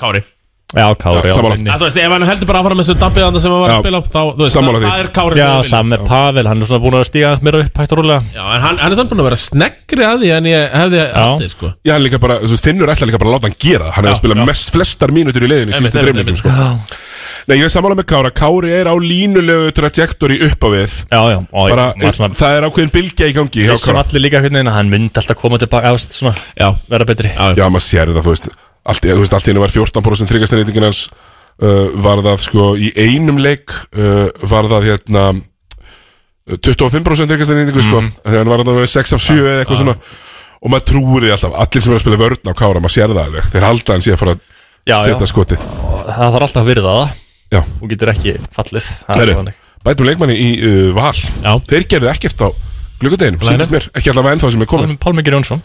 B: Kári
M: Já, kári
A: Já, sammála.
B: Já, þú veist, ef hann heldur bara að fara með þessu dampið þarna sem hann var
M: Já.
B: að spila á, þá, þú veist,
M: Sammála
B: það,
M: því.
B: það er Kári sem
M: Já,
B: við viljum.
M: saman með Pavel, hann er svona búin að stíga hans meira upp hægt og rólega
B: Já, en hann, hann er samt búin að vera sneggri að því en ég hefði aldrei, sko
A: Já, hann líka bara, þú veist, Finnur ætla líka bara að láta hann gera það. Hann er að spila mest flestar mínútur í liðinu í
B: Einmitt,
A: síðustu
B: einmitt,
A: dreifleikum,
B: einmitt.
A: sko Nei, ég er sammála með Kára, Kári er á línulegu trajectory upp á við
M: Já, já, og ég
A: bara,
M: var svona-
A: það er ákveðin bylgja í gangi hjá
M: Vissum
A: Kára
M: allir líka hvernig að hann myndi alltaf koma tilbaka eða svona,
B: Já.
M: vera betri
A: Já, maður sér þetta, þú veist Allt, þú veist, allt í henni var 14% þryggastarreitingin hans uh, Var það, sko, í einum leik uh, Var það, hérna uh, 25% þryggastarreitingu, sko
M: Mhm.
A: Þegar hann var þarna með 6 af 7 eða eitthvað svona Og maður trúir því alltaf Allir sem er að spila vörn á Kára, maður sér það alveg Þeir halda hann síðan að fara
M: Já,
A: að
M: já.
A: setja skotið
M: Og það þarf alltaf að virða það
A: Já.
M: Hún getur ekki fallið Það er
A: Heru,
M: þannig.
A: Bætum leikmanni í uh, val já. Þeir gerðu ekkert á glukkudeginum
M: Nei, nei.
A: Sýndist mér, ekki alltaf ennþá sem er komið
M: Pálmi- Pálmi Geir Jónsson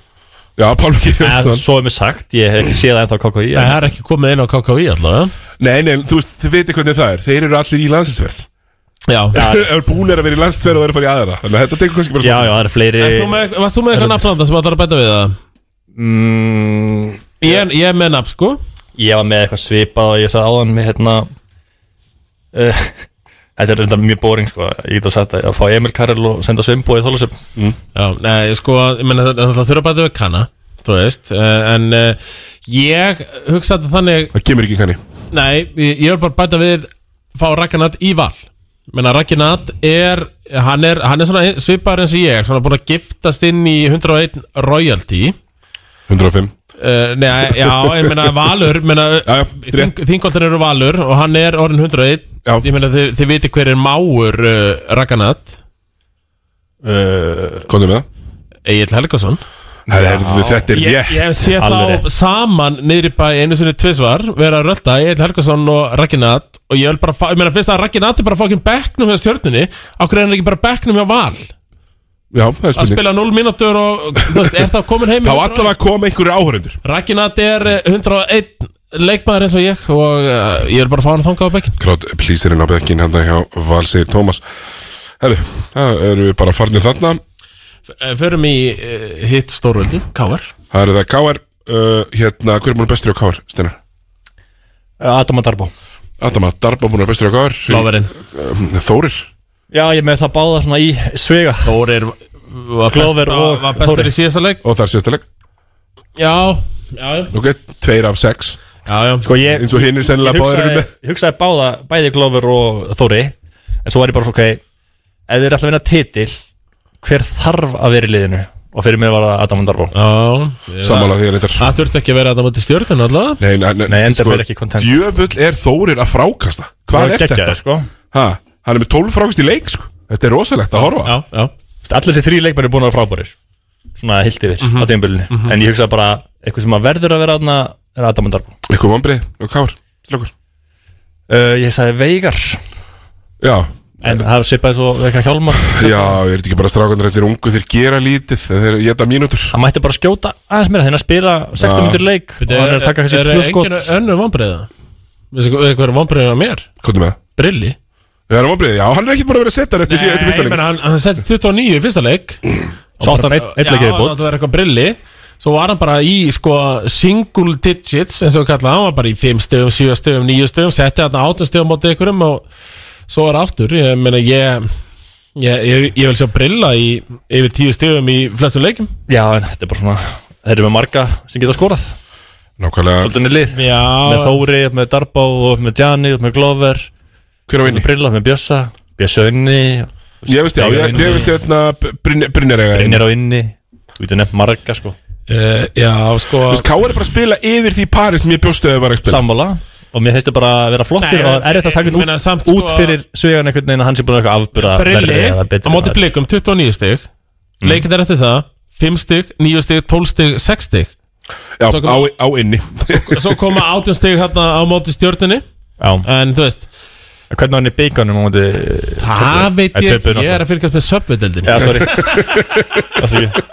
A: Já, Pálmi Geir
M: En
A: Jónsson
M: Svo er mér sagt, ég hef ekki séð það ennþá KKI
B: Nei, það er ekki komið inn á KKV allavega
A: Nei, nei, þú veist, þið veitir hvernig það er Þeir eru allir í landsinsverð
B: Já,
A: er búinir að vera í landsinsverð og eru að fara í aðra Þannig að þetta tekur kannski bara
M: Já, já, það er fleiri
B: En þú með, varst þú með eitthvað nafn á þetta sem ætlar að bæta við það?
M: mm,
B: Ég, ég er með nafn, sko
M: Ég var með eitthvað svipað og ég sagði áðan með hérna uh, Þetta er reynda mjög boring sko Ég get að setja að fá Emil Karel og senda svimbo í þólusöp
B: Já, nei, sko, ég meina það það þurfa að bæta við kanna Þú veist, eh, en eh, ég hugsa þetta þannig
A: Það kemur ekki kanni
B: Nei, ég ég er bara að bæta við Fá Ragnat í val Menna Ragnat er hann, er hann er svona svipar eins og ég Svona búin að giftast inn í 101 royalty
A: 105
B: Uh, nei, já, ég meina Valur meina, þing, Þingoltar eru Valur og hann er orðin 101 já. Ég meina þið, þið viti hver er máur uh, Ragnat
M: uh,
A: Komdu með það
B: Egil Helgason
A: Það er, þetta er
B: Ég, ég hef séð
A: Alveg
B: þá saman niður í bæ einu sinni tvisvar vera að rölda Egil Helgason og Ragnat og ég vil bara, fá- ég meina fyrst að Ragnat er bara fokkin bekknum hjá stjörnunni, okkur er hann ekki bara bekknum hjá Val
A: Já, það er
B: að
A: spurning
B: spila 0 mínútur og þú veist, er það komin heim
A: Þá allavega kom einhverju áhörundur
B: Ragnat er eh, 101 leikmaður eins og ég og uh, ég vil bara fá hann að þangað á bekkin
A: Klátt plýsirinn á bekkin hérna hjá Valsir Tómas Herru, það eru við bara farnir þarna
B: Förum í uh, hitt stórveldið, Káar
A: Það eru það K.R. Uh, hérna, hver er búin bestur á K.R. Steinar?
B: Eh,
M: Adam að Darbo
A: Adama Darba búin bestur á K.R.
M: Láverinn.
A: Eh, Þórir
M: Já, ég er með það báða svona í svega
B: Þórir
M: Glover og
B: var bestur í síðasta leik
A: Og það er síðasta leik
B: Já, já, já.
A: Ok, tveir af sex
B: já, já.
M: Sko ég
A: Eins og hinn er sennilega
M: Ég
A: báðir
M: hugsaði-
A: eru með
M: Ég hugsaði báða, bæði Glover og Þóri En svo var ég bara svo, ok Ef þið er alltaf að vinna titil Hver þarf að vera í liðinu? Og fyrir mig var það Adam Darbo
B: Já,
A: Sammála því reyndar.
B: Það þurfti ekki að vera að það mátti stjórnum alltaf
A: Nei, nei,
M: Nei, enda fer ekki content.
A: Djöfull er Þórir að frákasta Hvað
M: Það
A: er
M: er
A: þetta?
M: geggjaður, sko.
A: Ha, Hann er með 12 frákast í leik sko. Þetta er rosalegt að horfa
B: Já, já
M: Allir þessi þrý leikmenn er búin að vera frábærir Svona heilt yfir
A: Mhm.
M: á tímabilinu
A: Mhm.
M: En ég hugsa bara Eitthvað sem að verður að vera þarna Er Adam Darbo
A: Eitthvað vombrið og kár Slökkur
M: uh, Ég sagði Veigar
A: Já
M: En það svipaði svo eitthvað hjálmar
A: Já, er þetta ekki bara strákandur Þetta er ungu, þeir gera lítið Þeir geta mínútur
M: Hann mætti bara skjóta aðeins meira Þegar hann spila 60
A: Já.
M: minnir leik Og hann er að
B: Er
M: taka kannski tvö skot
B: engin önnur vombriða? Veistu hvað- hvað er vombriða mér?
A: Hvað er með?
B: Brilli
A: Það er vombrið, já, hann er ekkert bara verið að setja þetta eftir, eftir fyrsta
B: Nei, ég
A: leik
B: meina, hann, hann setti 29 í fyrsta leik
M: Svo átti hann einn- einn leik í
B: Já,
M: viðbót.
B: það var eitthvað brilli Svo var hann bara í sko, single digits eins og við kallaði, hann var bara í 5 stöðum, 7 stöðum, 9 stöðum setti hann 8 stöðum á ykkurum og svo er aftur ég meina ég ég, ég, ég vil sjá brilla í yfir 10 stöðum í flestum leikum
M: Já, en þetta er bara svona Þeir eru með marga sem geta skorað
A: Nákvæmlega
M: Svolítið með lið
B: Já
M: Með Þóri, með Darbo, með Gianni, með Glover
A: Hver á vinni?
M: Með Brilla, með Bjössa Bjössa á inni
A: Ég veist, já, ég, ég veist hérna Brynjar eiga inni.
M: Brynjar á inni Þú veitum nefn marga sko
B: uh, Já, sko
A: Þú veist, Káar er bara að spila yfir því pari sem ég bjóstu að það var ekkert
M: Sammála Og mér finnst þetta bara að vera flottir
B: Nei,
M: Og það er eftir að taka
B: ég meina,
M: hann
B: samt
M: út, út
B: sko-
M: fyrir svegan einhvern veginn að hann sé búin að eitthvað afbura
B: Brilli,
M: verri eða
B: á
M: betri
B: móti
M: maður.
B: blikum 29 stig mm. er eftir það 5 stig, 9 stig, 12 stig, 6 stig
A: Já,
B: Svo kom-
A: á, á inni
B: Svo koma 18 stig hérna á móti stjórninni
M: Já
B: En þú veist
M: Hvernig á hann í beigunum á móti
B: Það veit ég ekki, ég er að fylgjast með söpvedeldin
M: Já, sorry Það sé ekki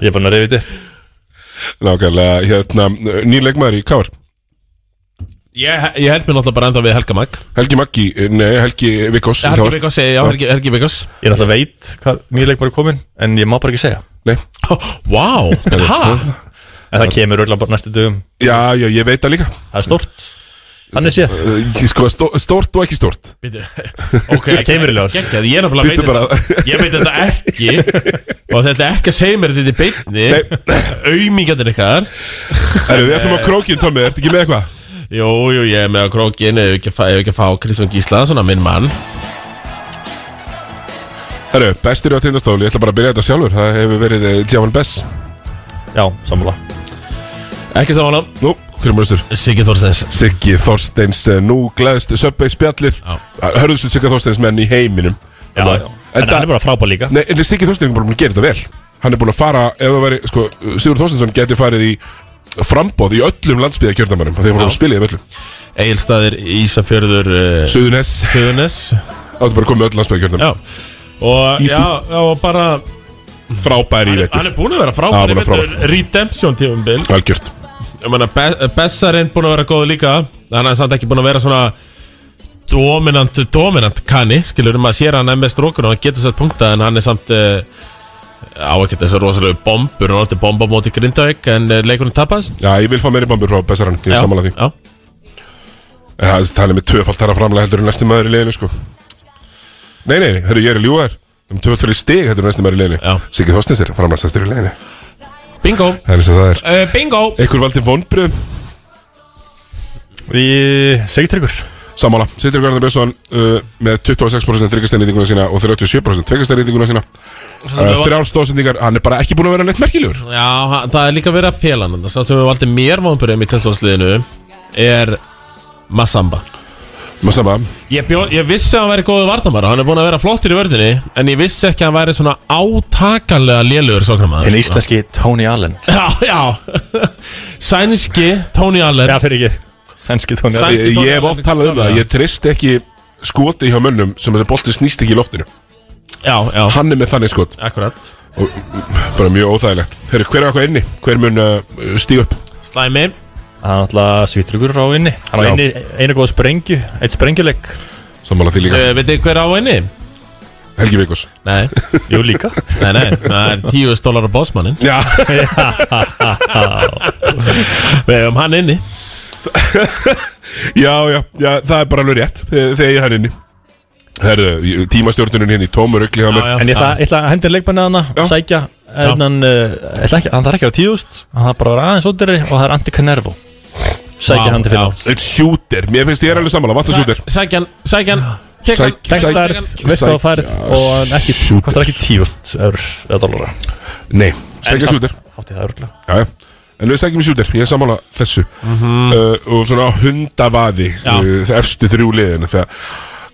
M: Ég er bara að reyfi þetta
A: Nákvæmlega, hérna, nýr leikmaður í Káar
B: Ég, ég held mér náttúrulega bara enda við Helga Mag
A: Helgi Maggi, eh, nei, Helgi Vikos
B: Helgi Viggós, já, Helgi, Helgi Viggós
M: Ég er alltaf veit hvað mjög leik bara komin En ég má bara ekki segja
A: Nei
B: Vá, hæ?
M: En það kemur öll bara næstu dögum
A: Já, já, ég veit það líka
M: Það er stort Þannig séð
A: Eh, Sko, stó, stort og ekki stort
B: Ok,
M: Það kemur í ljós.
B: geggjað, ég er
A: Bíddu
B: náttúrulega
A: bara.
B: veit Ég veit þetta ekki Og þetta er ekki að segja mér þetta í beinni Aumingatir ykkar
A: Erum við
M: Eh.
A: ætlum á krókin, Tommi, ertu ekki með eitthvað?
B: Jú, jú, ég er með á krókin Ef ekki, að fá- ef ekki að fá Kristján Gísla, svona minn mann
A: Herru, bestur á tindastóli, ég ætla bara að byrja þetta sjálfur Það hefur verið Tjávan Bess
M: Já, sammála
B: Ekki saman á
A: Nú, hverjum er þessur?
B: Siggi Þorsteins
A: Siggi Þorsteins, eh, nú gleðst Söpvei spjallið Hörðustu Siggi Þorsteins menn í heiminum
M: Já, já. En hann er bara frábær líka.
A: Nei, en Siggi Þorsteins er bara búin að gera þetta vel Hann er búin að fara, ef það væri, sko, Sigur Þorsteinsson getur farið í frambóð í öllum landsbyða kjördamarum Þegar voru að spila í öllum
B: Egilstaðir, Ísafjörður uh,
A: Suðunes
B: Suðunes
A: Áttu bara að koma með öll landsbyða
B: Já
A: kjördamarum
B: Og,
A: Easy.
B: já, já, og bara
A: Frábæri í
B: Hann,
A: vetur.
B: hann er búin að vera
A: Já,
B: frábæri
A: búinn að vera
B: Þetta er Redemption tífumbil
A: Algjört
B: Ég meina, Be- Bessarinn búin að vera góð líka Hann er samt ekki búin að vera svona Dominant, dominant kanni Skilur um að sér hann MS strókur Og hann getur sett punkta En hann er samt uh, Á ekkert þessi rosalegu bombur Hann átti bomba á móti Grindavík En uh, leikunum tapast
A: Já, ég vil fá meiri bambur frá Bessaran, ég
B: Já,
A: samanlega því
B: já.
A: En Það er talið með tvöfalt þar að framlega heldur en næsti maður í leiðinu, sko Nei, nei, nei, hörru, ég er að ljúga þér Um tvöfalt fyrir stig heldur en næsti maður í leiðinu Siggi Þorstins er framlæstastur í leiðinu
B: Bingo
A: Það er eins og það er
B: uh, Bingo
A: Ekkur valdi vonbröðum
M: Í Sigtryggur
A: Samála, Sittur Garðar Björnsson uh, með 26% tryggastæðnýtinguna sína og 37% tveikastæðnýtinguna sína uh, Þrjár stóðsendingar, hann er bara ekki búin að vera neitt merkilegur
B: Já, hann- það er líka verið að fela hann Það sem við valdið mér vonbyrjum í tilstofnsliðinu Er Massamba
A: Maður sama,
B: Ég, bjó, ég vissi að hann væri góðu vartamara Hann er búin að vera flottir í vörðinni En ég vissi ekki að hann væri svona átakanlega lélugur sóknarmaður
M: En íslenski Tony Allen
B: Já, já Sænski Tony Allen
M: Já, fyrir ekki Sænski Tony Allen
A: ég, ég hef oft talað um það, ég trist ekki skoti hjá mönnum sem þessi bolti snýst ekki í loftinu
B: Já, já
A: Hann er með þannig skot
B: Akkurat
A: og bara mjög óþægilegt Herru, hver er eitthvað inni? Hver mun uh, stíga upp?
B: Slæmi
M: Það er náttúrulega Sigtryggur á inni Hann á
A: Já.
M: inni einu góð sprengju Eitt sprengjuleik
A: Sammála því líka
B: uh, Veit þið hver á henni?
A: Helgi Vikus
B: Nei
M: Jú líka
B: Nei, nei Það er tíu stólar á bossmannin
A: Já
B: Við hefum hann inni
A: Já, já, já, það er bara alveg rétt þeg- þegar ég er hann inni Herru, tímastjórnunin hinn í tómur ugli hjá mér
M: En ég ætla, ég ætla að hendi leikmenni hana já. Sækja En hann, uh, ætla ekki, hann þarf ekki að vera tíðust Hann þarf bara að vera aðeins ódýrari Og það er Antti Canervo Sækja hann til fyrir
A: Einn shooter, mér finnst ég er alveg sammála, vantar shooter
B: Sækjan Sækjan Sækjan
A: Sæk- sæk-
M: Þekkstærð, veist hvað það færð Og hann ekki, kostar ekki tíðust Eur eða dólara
A: Nei, sækja shooter
M: Hátti það örgulega
A: Já, já En við sækjum í shooter, ég er sammála þessu
M: Mhm.
A: uh, Og svona á hundavaði
M: Já.
A: uh, Það efstu þrjú liðin Það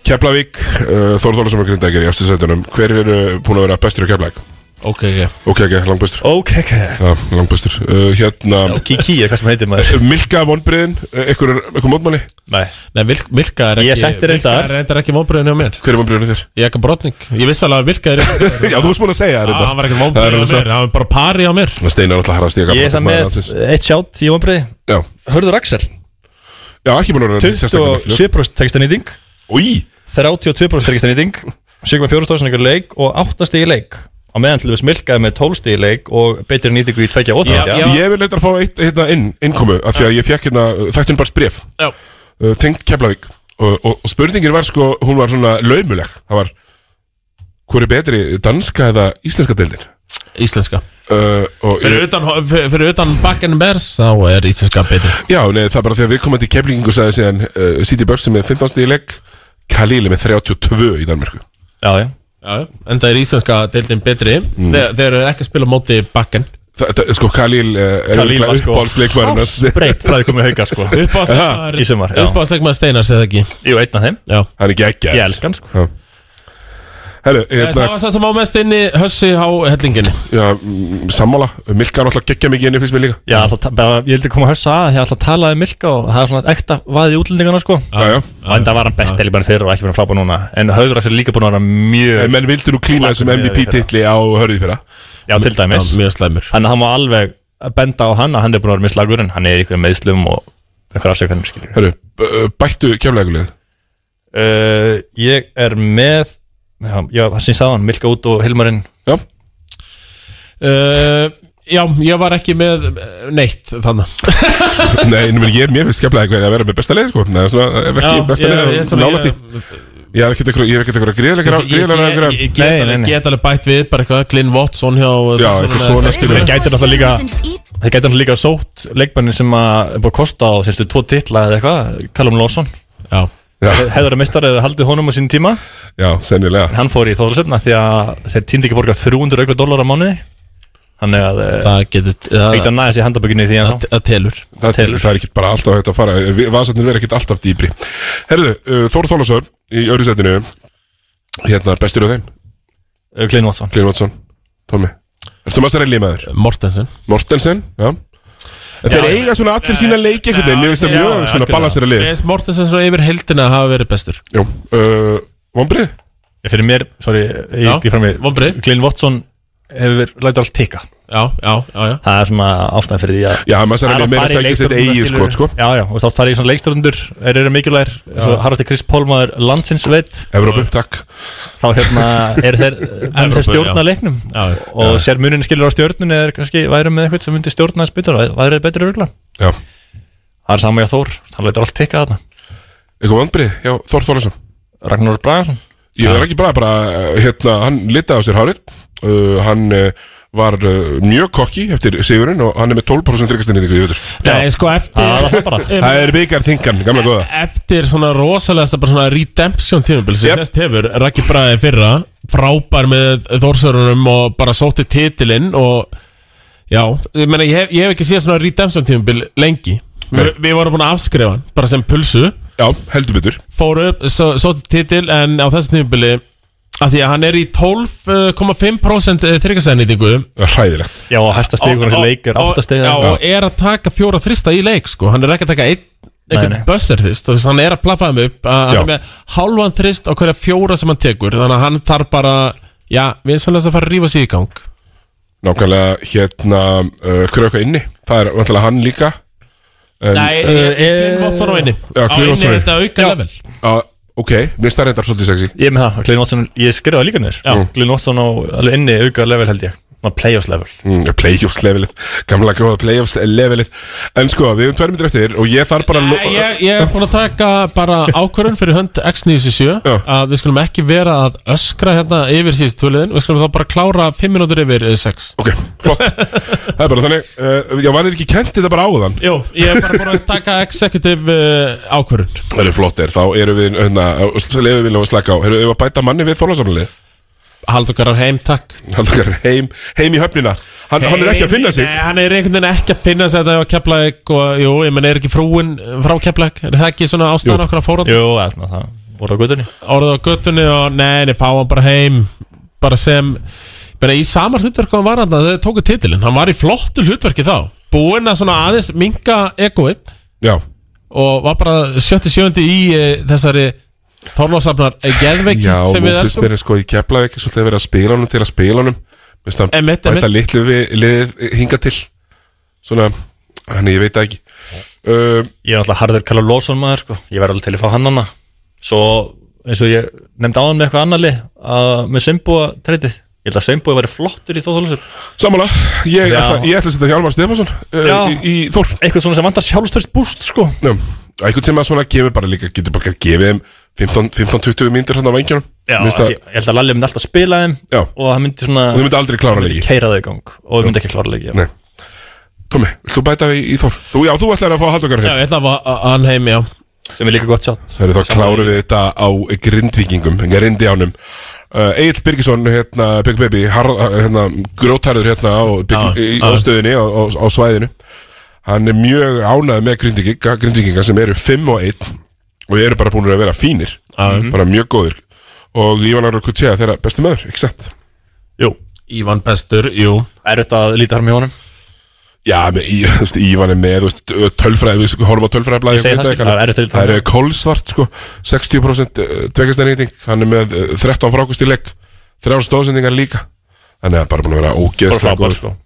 A: Keflavík, uh, Þórþólasum og Grindækir í afstursætunum Hver eru búin að vera bestur í Keflavík?
B: Ok, ok
A: Ok, ok, langbestur
M: Ok, ok
A: Já, langbestur uh, Hérna uh,
M: Kiki, hvað sem heitir maður
A: Milka uh, vonbriðin, eitthvað, eitthvað mótmáli?
M: Nei
B: Nei, Vil- Milka er ekki
M: Ég setti
B: Milka
M: reyndar.
B: er reyndar ekki vonbröðin hjá mér
A: Hver er vonbröðin þér?
B: Ég er ekki brotning Ég vissi alveg að Milka er
A: Já, þú varst búin að segja það
B: Já,
A: reyndar.
B: hann var ekki
A: Það er alveg
B: vonbröðin hjá
A: satt.
B: mér Hann var bara pari hjá mér
A: Það steinar alltaf harðast ég
M: Ég er það með eitt sjátt í vonbreiði
A: Já
M: Hörður Axel
A: Já, ekki búin að vera sérstaklega miklu.
M: 27% textanýting
A: Í
M: 32% textanýting 7,4 stóðsynningur leik og 8 stíði leik á meðan til þess milkaði með 12 stíði leik og betri nýtingu í 2 og 3
A: Ég vil leita að fá eitt hérna inn, innkomu af því að ég fekk hérna þættin bara bref
B: Já.
A: uh, tengt Keflavík og, og, og spurningin var sko, hún var svona laumuleg það var, hver er betri danska eða íslenska deildin?
B: Íslenska
A: uh, og,
B: Fyrir
A: ég,
B: utan, fyrir fyrir utan Bakken Bers Þá er íslenska betri
A: Já, nei, það er bara því að við komum til Keflingingu sagði síðan uh, City Bucks með 15 stíði legg Kalili með 32 í Danmarku
M: Já, já
B: Já, en það er íslenska deildin betri
A: Mm.
B: Þeir, þeir eru ekki að spila á móti Bakken
A: Þetta, sko, Kalil uh, er
M: Kalil var
A: örugglega
M: sko
A: uppáhaldsleikmaðurinn hans.
M: Háfsbreytt frá því komið hauka sko
B: Uppáhaldsleikmaður-
M: Í sumar, já.
B: Uppáhaldsleikmaður Steinars eða ekki
M: Jú, einn af þeim
B: Já
A: Hann er geggjaður.
M: Ég elska hann sko
A: Já. Herru, hérna,
B: Eh, Það var það sem á mest inn í hössi á hellinginni
A: Já, mm, sammála, Milka er alltaf geggja mikið henni finnst mér líka
M: Já, alltaf, bara, ég vildi koma að hörsa að ég alltaf talaði um Milka og það er svona ekta vaðið í útlendingana sko
A: Já, já
M: Og en var hann best elibæn fyrir og ekki fyrir að frábæn núna En Hauður Axel er líka búin að vera mjög
A: En menn vildu nú klína þessum
M: Slakur miðað við
A: MVP-titli á hörðið fyrra
M: Já, til
B: Já,
M: dæmis
B: Mjög slæmur
M: Þannig að hann má alveg benda á hann að hann er búin að vera mislagur en hann er í einhverjum meðslum og einhverjum afsökunum skilur
A: Herru, b- bættu keflægulegð
M: uh, Ég er með Já, já, það sem ég sagði hann, Milka út og Hilmarinn
A: Já
B: uh, Já, ég var ekki með eh, neitt þannig
A: Nei, nú meni, ég, mér finnst keflægulegð að vera með besta leið sko. Nei, svona, ef ekki
B: Já,
A: besta
B: ég- ég-
A: leið
B: svona-
A: nálætti Ég hef ekkert einhver- ég hef ekkert einhverja gríðlega
B: Ég- ég- ég-
A: gríðlega
B: Ég get alveg- get alveg bætt við bara eitthvað Glyn Watson hjá
A: Já, eitthvað svona, skilur.
M: Þeir gætir náttúrulega líka Þeir gætir náttúrulega líka sótt leikmannin sem að er búin að kosta á sérstu tvo titla eða eitthvað Callum Lawson
B: Já
M: Hefður að mistar er haldið honum á sín tíma
A: Já, sennilega
M: Hann fór í þóðarsöfna því að þeir týndi ekki að borga 300 auka dólar á mánuði Þannig að eh,
B: Það getur
M: Ekkert að næða sér handabökinni því að
B: Það telur
A: Það, telur, það er ekkert bara alltaf hægt að fara Vi- Vasarnir verða ekkert alltaf dýbri Herðu, uh, Þór Þólasar í öðru setinu Hérna, bestur á þeim
M: Eh, Glyn Watson
A: Glyn Watson, Tommy Ertu maður særi límaður?
B: Mortensen
A: Mortensen, já En Þeir eiga svona allir sína leiki einhvern veginn Mér finnst það mjög svona balansera lið
B: Ég Mortensen svona yfir heldina hafa verið bestur
A: Jú, uh, vonbrið?
M: Ég Eh, fyrir mér, sorry, ég
B: Já,
M: ekki fram í
B: vonbrigði.
M: Glyn Watson hefur lætið allt tikka
B: Já, já, já, já
M: Það er svona ástæðan fyrir því að
A: Já, maður sagði
M: Það er
A: alveg meira
M: fara í
A: að sækja sitt
M: leikstjórnuna,
A: eigið
M: skilur.
A: skot, sko.
M: Já, já, og þá fara ég svona leikstjórnundur Þeir eru mikilvægir, svo harrasti Chris Pólmaður landsins veit
A: Evrópu, takk
M: Þá hérna eru þeir menn sem
B: Evrópu,
M: stjórna
B: já.
M: leiknum
B: Já, já.
M: Og sér munin skilur á stjórnun Eða kannski væri með eitthvað sem myndi stjórna þess betur og Væri þeir betri rugla
A: Já.
M: Það er sama ég að Þór, hann lætur allt tikka þarna
A: Eitthvað vonbrið, já, Þór Þórlason
M: Ragnar Bragason
A: Ég er ekki bara, bara, uh, hérna, hann litaði á sér hárið uh, Hann uh, var uh, mjög kokki eftir sigurinn og hann er með 12% tryggastinn í því, ég veitur
B: Nei, sko eftir
A: Það er byggar þingan, gamla góða
B: eftir svona rosalegasta bara svona redemption tímabil sem
A: Yep.
B: yep. sérst hefur Raki Braði fyrra frábær með Þórsörunum og bara sótti titilinn og já, ég meina ég hef, ég hef ekki séð svona redemption tímabil lengi Vi, við vorum búin að afskrifa hann bara sem pulsu
A: Já, heldur betur
B: fóru upp, svo, sótti titil en á þessu tímabili að því að hann er í eh, 12,5% þryggasæðnýtingu
A: Hræðilegt
M: Já, og hæsta stegur hann þessi leikir, átta
B: Já,
M: stegur
B: og er að taka fjóra þrista í leik sko. hann er ekki að taka einn
M: nei.
B: einhvern buzzer þrist þú veist, hann er að plaffa þeim upp að hann
A: Já.
B: er með hálfan þrist á hverja fjóra sem hann tekur þannig að hann þarf bara já, við erum svolítið að fara að rífa sig í gang
A: Nákvæmlega, hérna, uh, kröka inni Það er vantilega hann líka en,
B: Nei, Glyn eh, Watson á einni
A: Já,
B: á
A: Glyn
B: einni
A: Watson á
B: er
A: einni.
B: þetta auka level
A: uh, Ok, minnst það reyndar svolítið sexy
M: Ég er með það, Glyn Watson, ég skrifaði líka
B: Já.
M: nýr Glyn Watson á alveg inni auka level held ég Ná, Playoffs level
A: Mm, playoffs levelið, gamla góða playoffs levelið En sko, við höfum tvær myndir eftir og ég þarf bara að lo-
B: Nei, ég, ég er búin að taka bara ákvörðun fyrir hönd X97 að við skulum ekki vera að öskra hérna yfir síðust tvöliðin við skulum þá bara klára 5 minútur yfir eh, 6
A: Ok, flott Það er bara þannig, uh, já, var þér ekki kent þetta bara áðan?
B: Jú, ég er bara búin að taka executive uh, ákvörðun
A: Það eru flott er, þá eru við, hérna, lefum við nú að slaka á Erum við að bæta manni við þorlásamlið?
B: Hald okkar heim, takk
A: Hald okkar heim, heim í höfnina Hann, hann er ekki að finna sig
B: Nei, hann er einhvern veginn ekki að finna sig þetta á Keflæk og jú, ég menn er ekki frúin frá Keflæk er það ekki svona ástæðan
A: Jú.
B: okkur að fóra
M: Jú, eða svona það Orða á göttunni
B: orðið á göttunni og nei, nei, fá hann bara heim bara sem, bara í sama hlutverk og hann var hann, þau tóku titilinn hann var í flottu hlutverki þá búinn að svona aðeins minka egoið
A: Já.
B: og var bara 77. í e, þessari Þorlósafnar geðveik
A: Já,
B: sem
A: nú
B: við
A: finnst
B: elskum
A: mér sko í Keflavík svolítið að vera að spila honum til að spila honum Minnst að
B: Einmitt,
A: bæta
B: einmitt.
A: litlu við liðið hinga til Svona, hann ég veit það ekki um,
M: Ég er náttúrulega harður Karla Lóson maður sko Ég verði alveg til að fá hann hana Svo eins og ég nefndi áðan með eitthvað annarli að með Sembúa treytið Ég held að Sembúa væri flottur í Þóðhólusur
A: Samanlega, ég,
M: Já.
A: ætla, ég ætla að setja Hjálmar Stefansson
M: Já.
A: uh, í, í Þór
M: Eitthvað svona sem vantar sjálfstörst búst sko
A: Já, eitthvað sem að svona gefur bara líka Getur bara gefið þeim 15 15-20 myndir hann hérna á vengjunum
M: Já,
A: Minnst að-
M: ég, ég held að Lalli myndi alltaf spila þeim
A: Já.
M: og hann myndi svona
A: Og þau myndu aldrei klára
M: hann myndi
A: leiki.
M: keyra þau í gang og þau myndi ekki klára leiki já.
A: Nei. Tómi, vilt þú bæta við í Þór? Þú, já, þú ætlar að fá að halda okkar
B: Já,
A: hér
B: ég ætla að fá að- hann heim, já
M: sem er líka gott sjátt
A: Það eru þá kláru við þetta á grindvíkingum, grindi ánum uh, Egil Birgisson, hérna, Big Baby harð, hérna, grótarður hérna á,
B: Já,
A: bygg, í, á
B: já.
A: stöðinni, á, á, á svæðinu Hann er mjög ánægð með grindvíkinga, grindvíkinga sem eru 5 og 1 og eru bara búin að vera fínir bara mjög góðir og Ívan Ára Kutjea þeirra besti maður, ekki sett?
M: Jú,
B: Ívan Bestur, jú
M: Er þetta að líta hann með honum?
A: Já, með, í, þú veist, Ívan er með þú veist, tölfræði, við sko, horfum á tölfræðablaði
M: Ég segi það, skil, það er erfitt að líta á
A: Það
M: hann.
A: er kolsvart sko, 60% tvekastæðnýting Hann er með eh, 13 frákust í legg Þrjár stóðsendingar líka Þannig að bara búin að vera ógeðslega
M: Bara frábær, sko.
A: góður.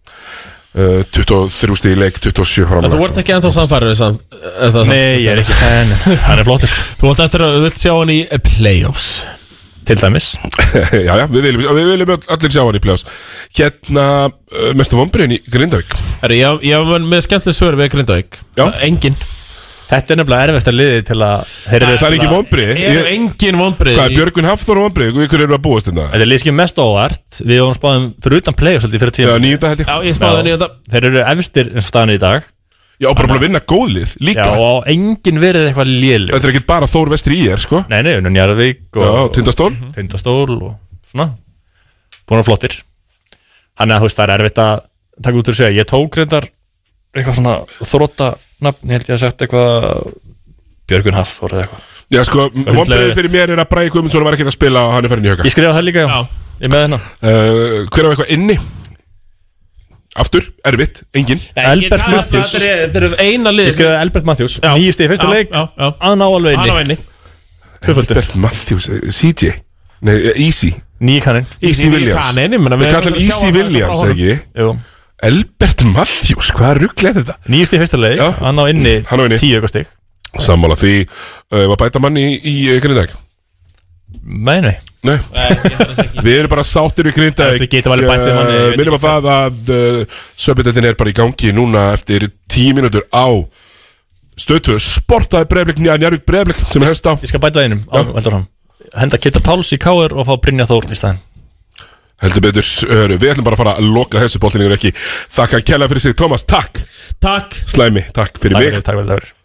A: Eh, 23 stíð í leik, 27
B: En
A: framlega
B: þú vart ekki ennþá samfærið
M: Nei, ég er ekki fan Hann er flottur
B: Þú vart eftir að þú vilt sjá hann í playoffs
M: Til dæmis
A: Já, já, við viljum, við viljum öll- allir sjá hann í pljáðs Hérna, eh, mestu vombriðin í Grindavík
B: Herri, ég, ég var með skemmtileg svör við Grindavík Já Engin
M: Þetta er nefnilega erfist að liði til að þeir eru
A: Það er ekki vonbrigði.
B: Eru
A: Ég-
B: engin vonbrið
A: Hvað er Björgvin Hafþór og vombrið? Við hverju erum við að búast um þetta?
M: Þetta er liðskið mest óvart Við vorum spáðum fyrir utan playoff svolítið fyrir tíma
A: Já, nýjunda held ég
B: Já, ég spáði nýjunda.
M: Þeir eru efstir eins og staðan er í dag
A: Já, bara búin að vinna góðlið líka
M: Já, og á engin verið eitthvað lélu
A: Þetta er ekki bara Þór vestri í er, sko
M: Nei, nei, unnum Njarðvík og
B: Sko,
A: Já, Tindastól.
B: Mhm.
M: Mhm. Tindastól og svona Búin að flottir Þannig að þú veist, það er erfitt að taka út úr sig Ég tók reyndar eitthvað svona þróta nafn, held ég að sagt eitthvað Björgun Haff og eitthvað
A: Já sko,
M: Hundleiðilegt.
A: vonbreiðin fyrir mér er að Bræði Guðmundsson var ekkert að spila og hann er farin í höga
M: Ég skrifa það líka, já, Ég er með hérna
A: uh, Hver af eitthvað inni? Aftur, erfitt, engin
M: Albert Matthews
B: Þetta eru eina lið
M: Ég skrifaði Albert Matthews,
B: Já.
M: nýjist í fyrsta
B: Já,
M: leik
B: já, já.
M: Hann á alveg
B: Hann á
M: inni
B: einni
M: Tvöföldur.
A: Albert Matthews, eh, CJ Nei, eh, Easy
M: Nýkaninn
A: Easy
B: Easy
A: Williams
B: Kaninn, ég meina, við
A: Við kallum
B: erum að sjá
A: Easy
B: hann
A: Williams,
B: frá honum.
A: ekki?
M: Jú.
A: Albert Matthews, hvaða rugl er þetta?
M: Nýjist í fyrsta leik,
A: Já.
M: hann á inni
A: Hann á inni.
M: 10 eitthvað stig
A: Sammála því, uh, var bæta manni í, í uh, Grindag?
M: Nei, nei
A: Nei, við erum bara sáttir í Grindag
M: Við getum alveg bætt við manni, ég veit
A: Minnum að það að uh, Söpindettin er bara í gangi núna eftir 10 mínútur á Stöðtöð, sportaði breyflik, njárvík breyflik sem er hefst á
M: Ég skal bæta það einum á, heldur hann Henda Kitta Páls í K.R. og fá Brynja Þór í staðinn
A: Heldur betur, hörru, við ætlum bara að fara að loka þessu bóltinningur ekki Þakka kella fyrir sig, Tómas, takk
B: Takk
A: Slæmi, takk fyrir
M: Takk
A: mig
M: fyrir, takk fyrir, takk fyrir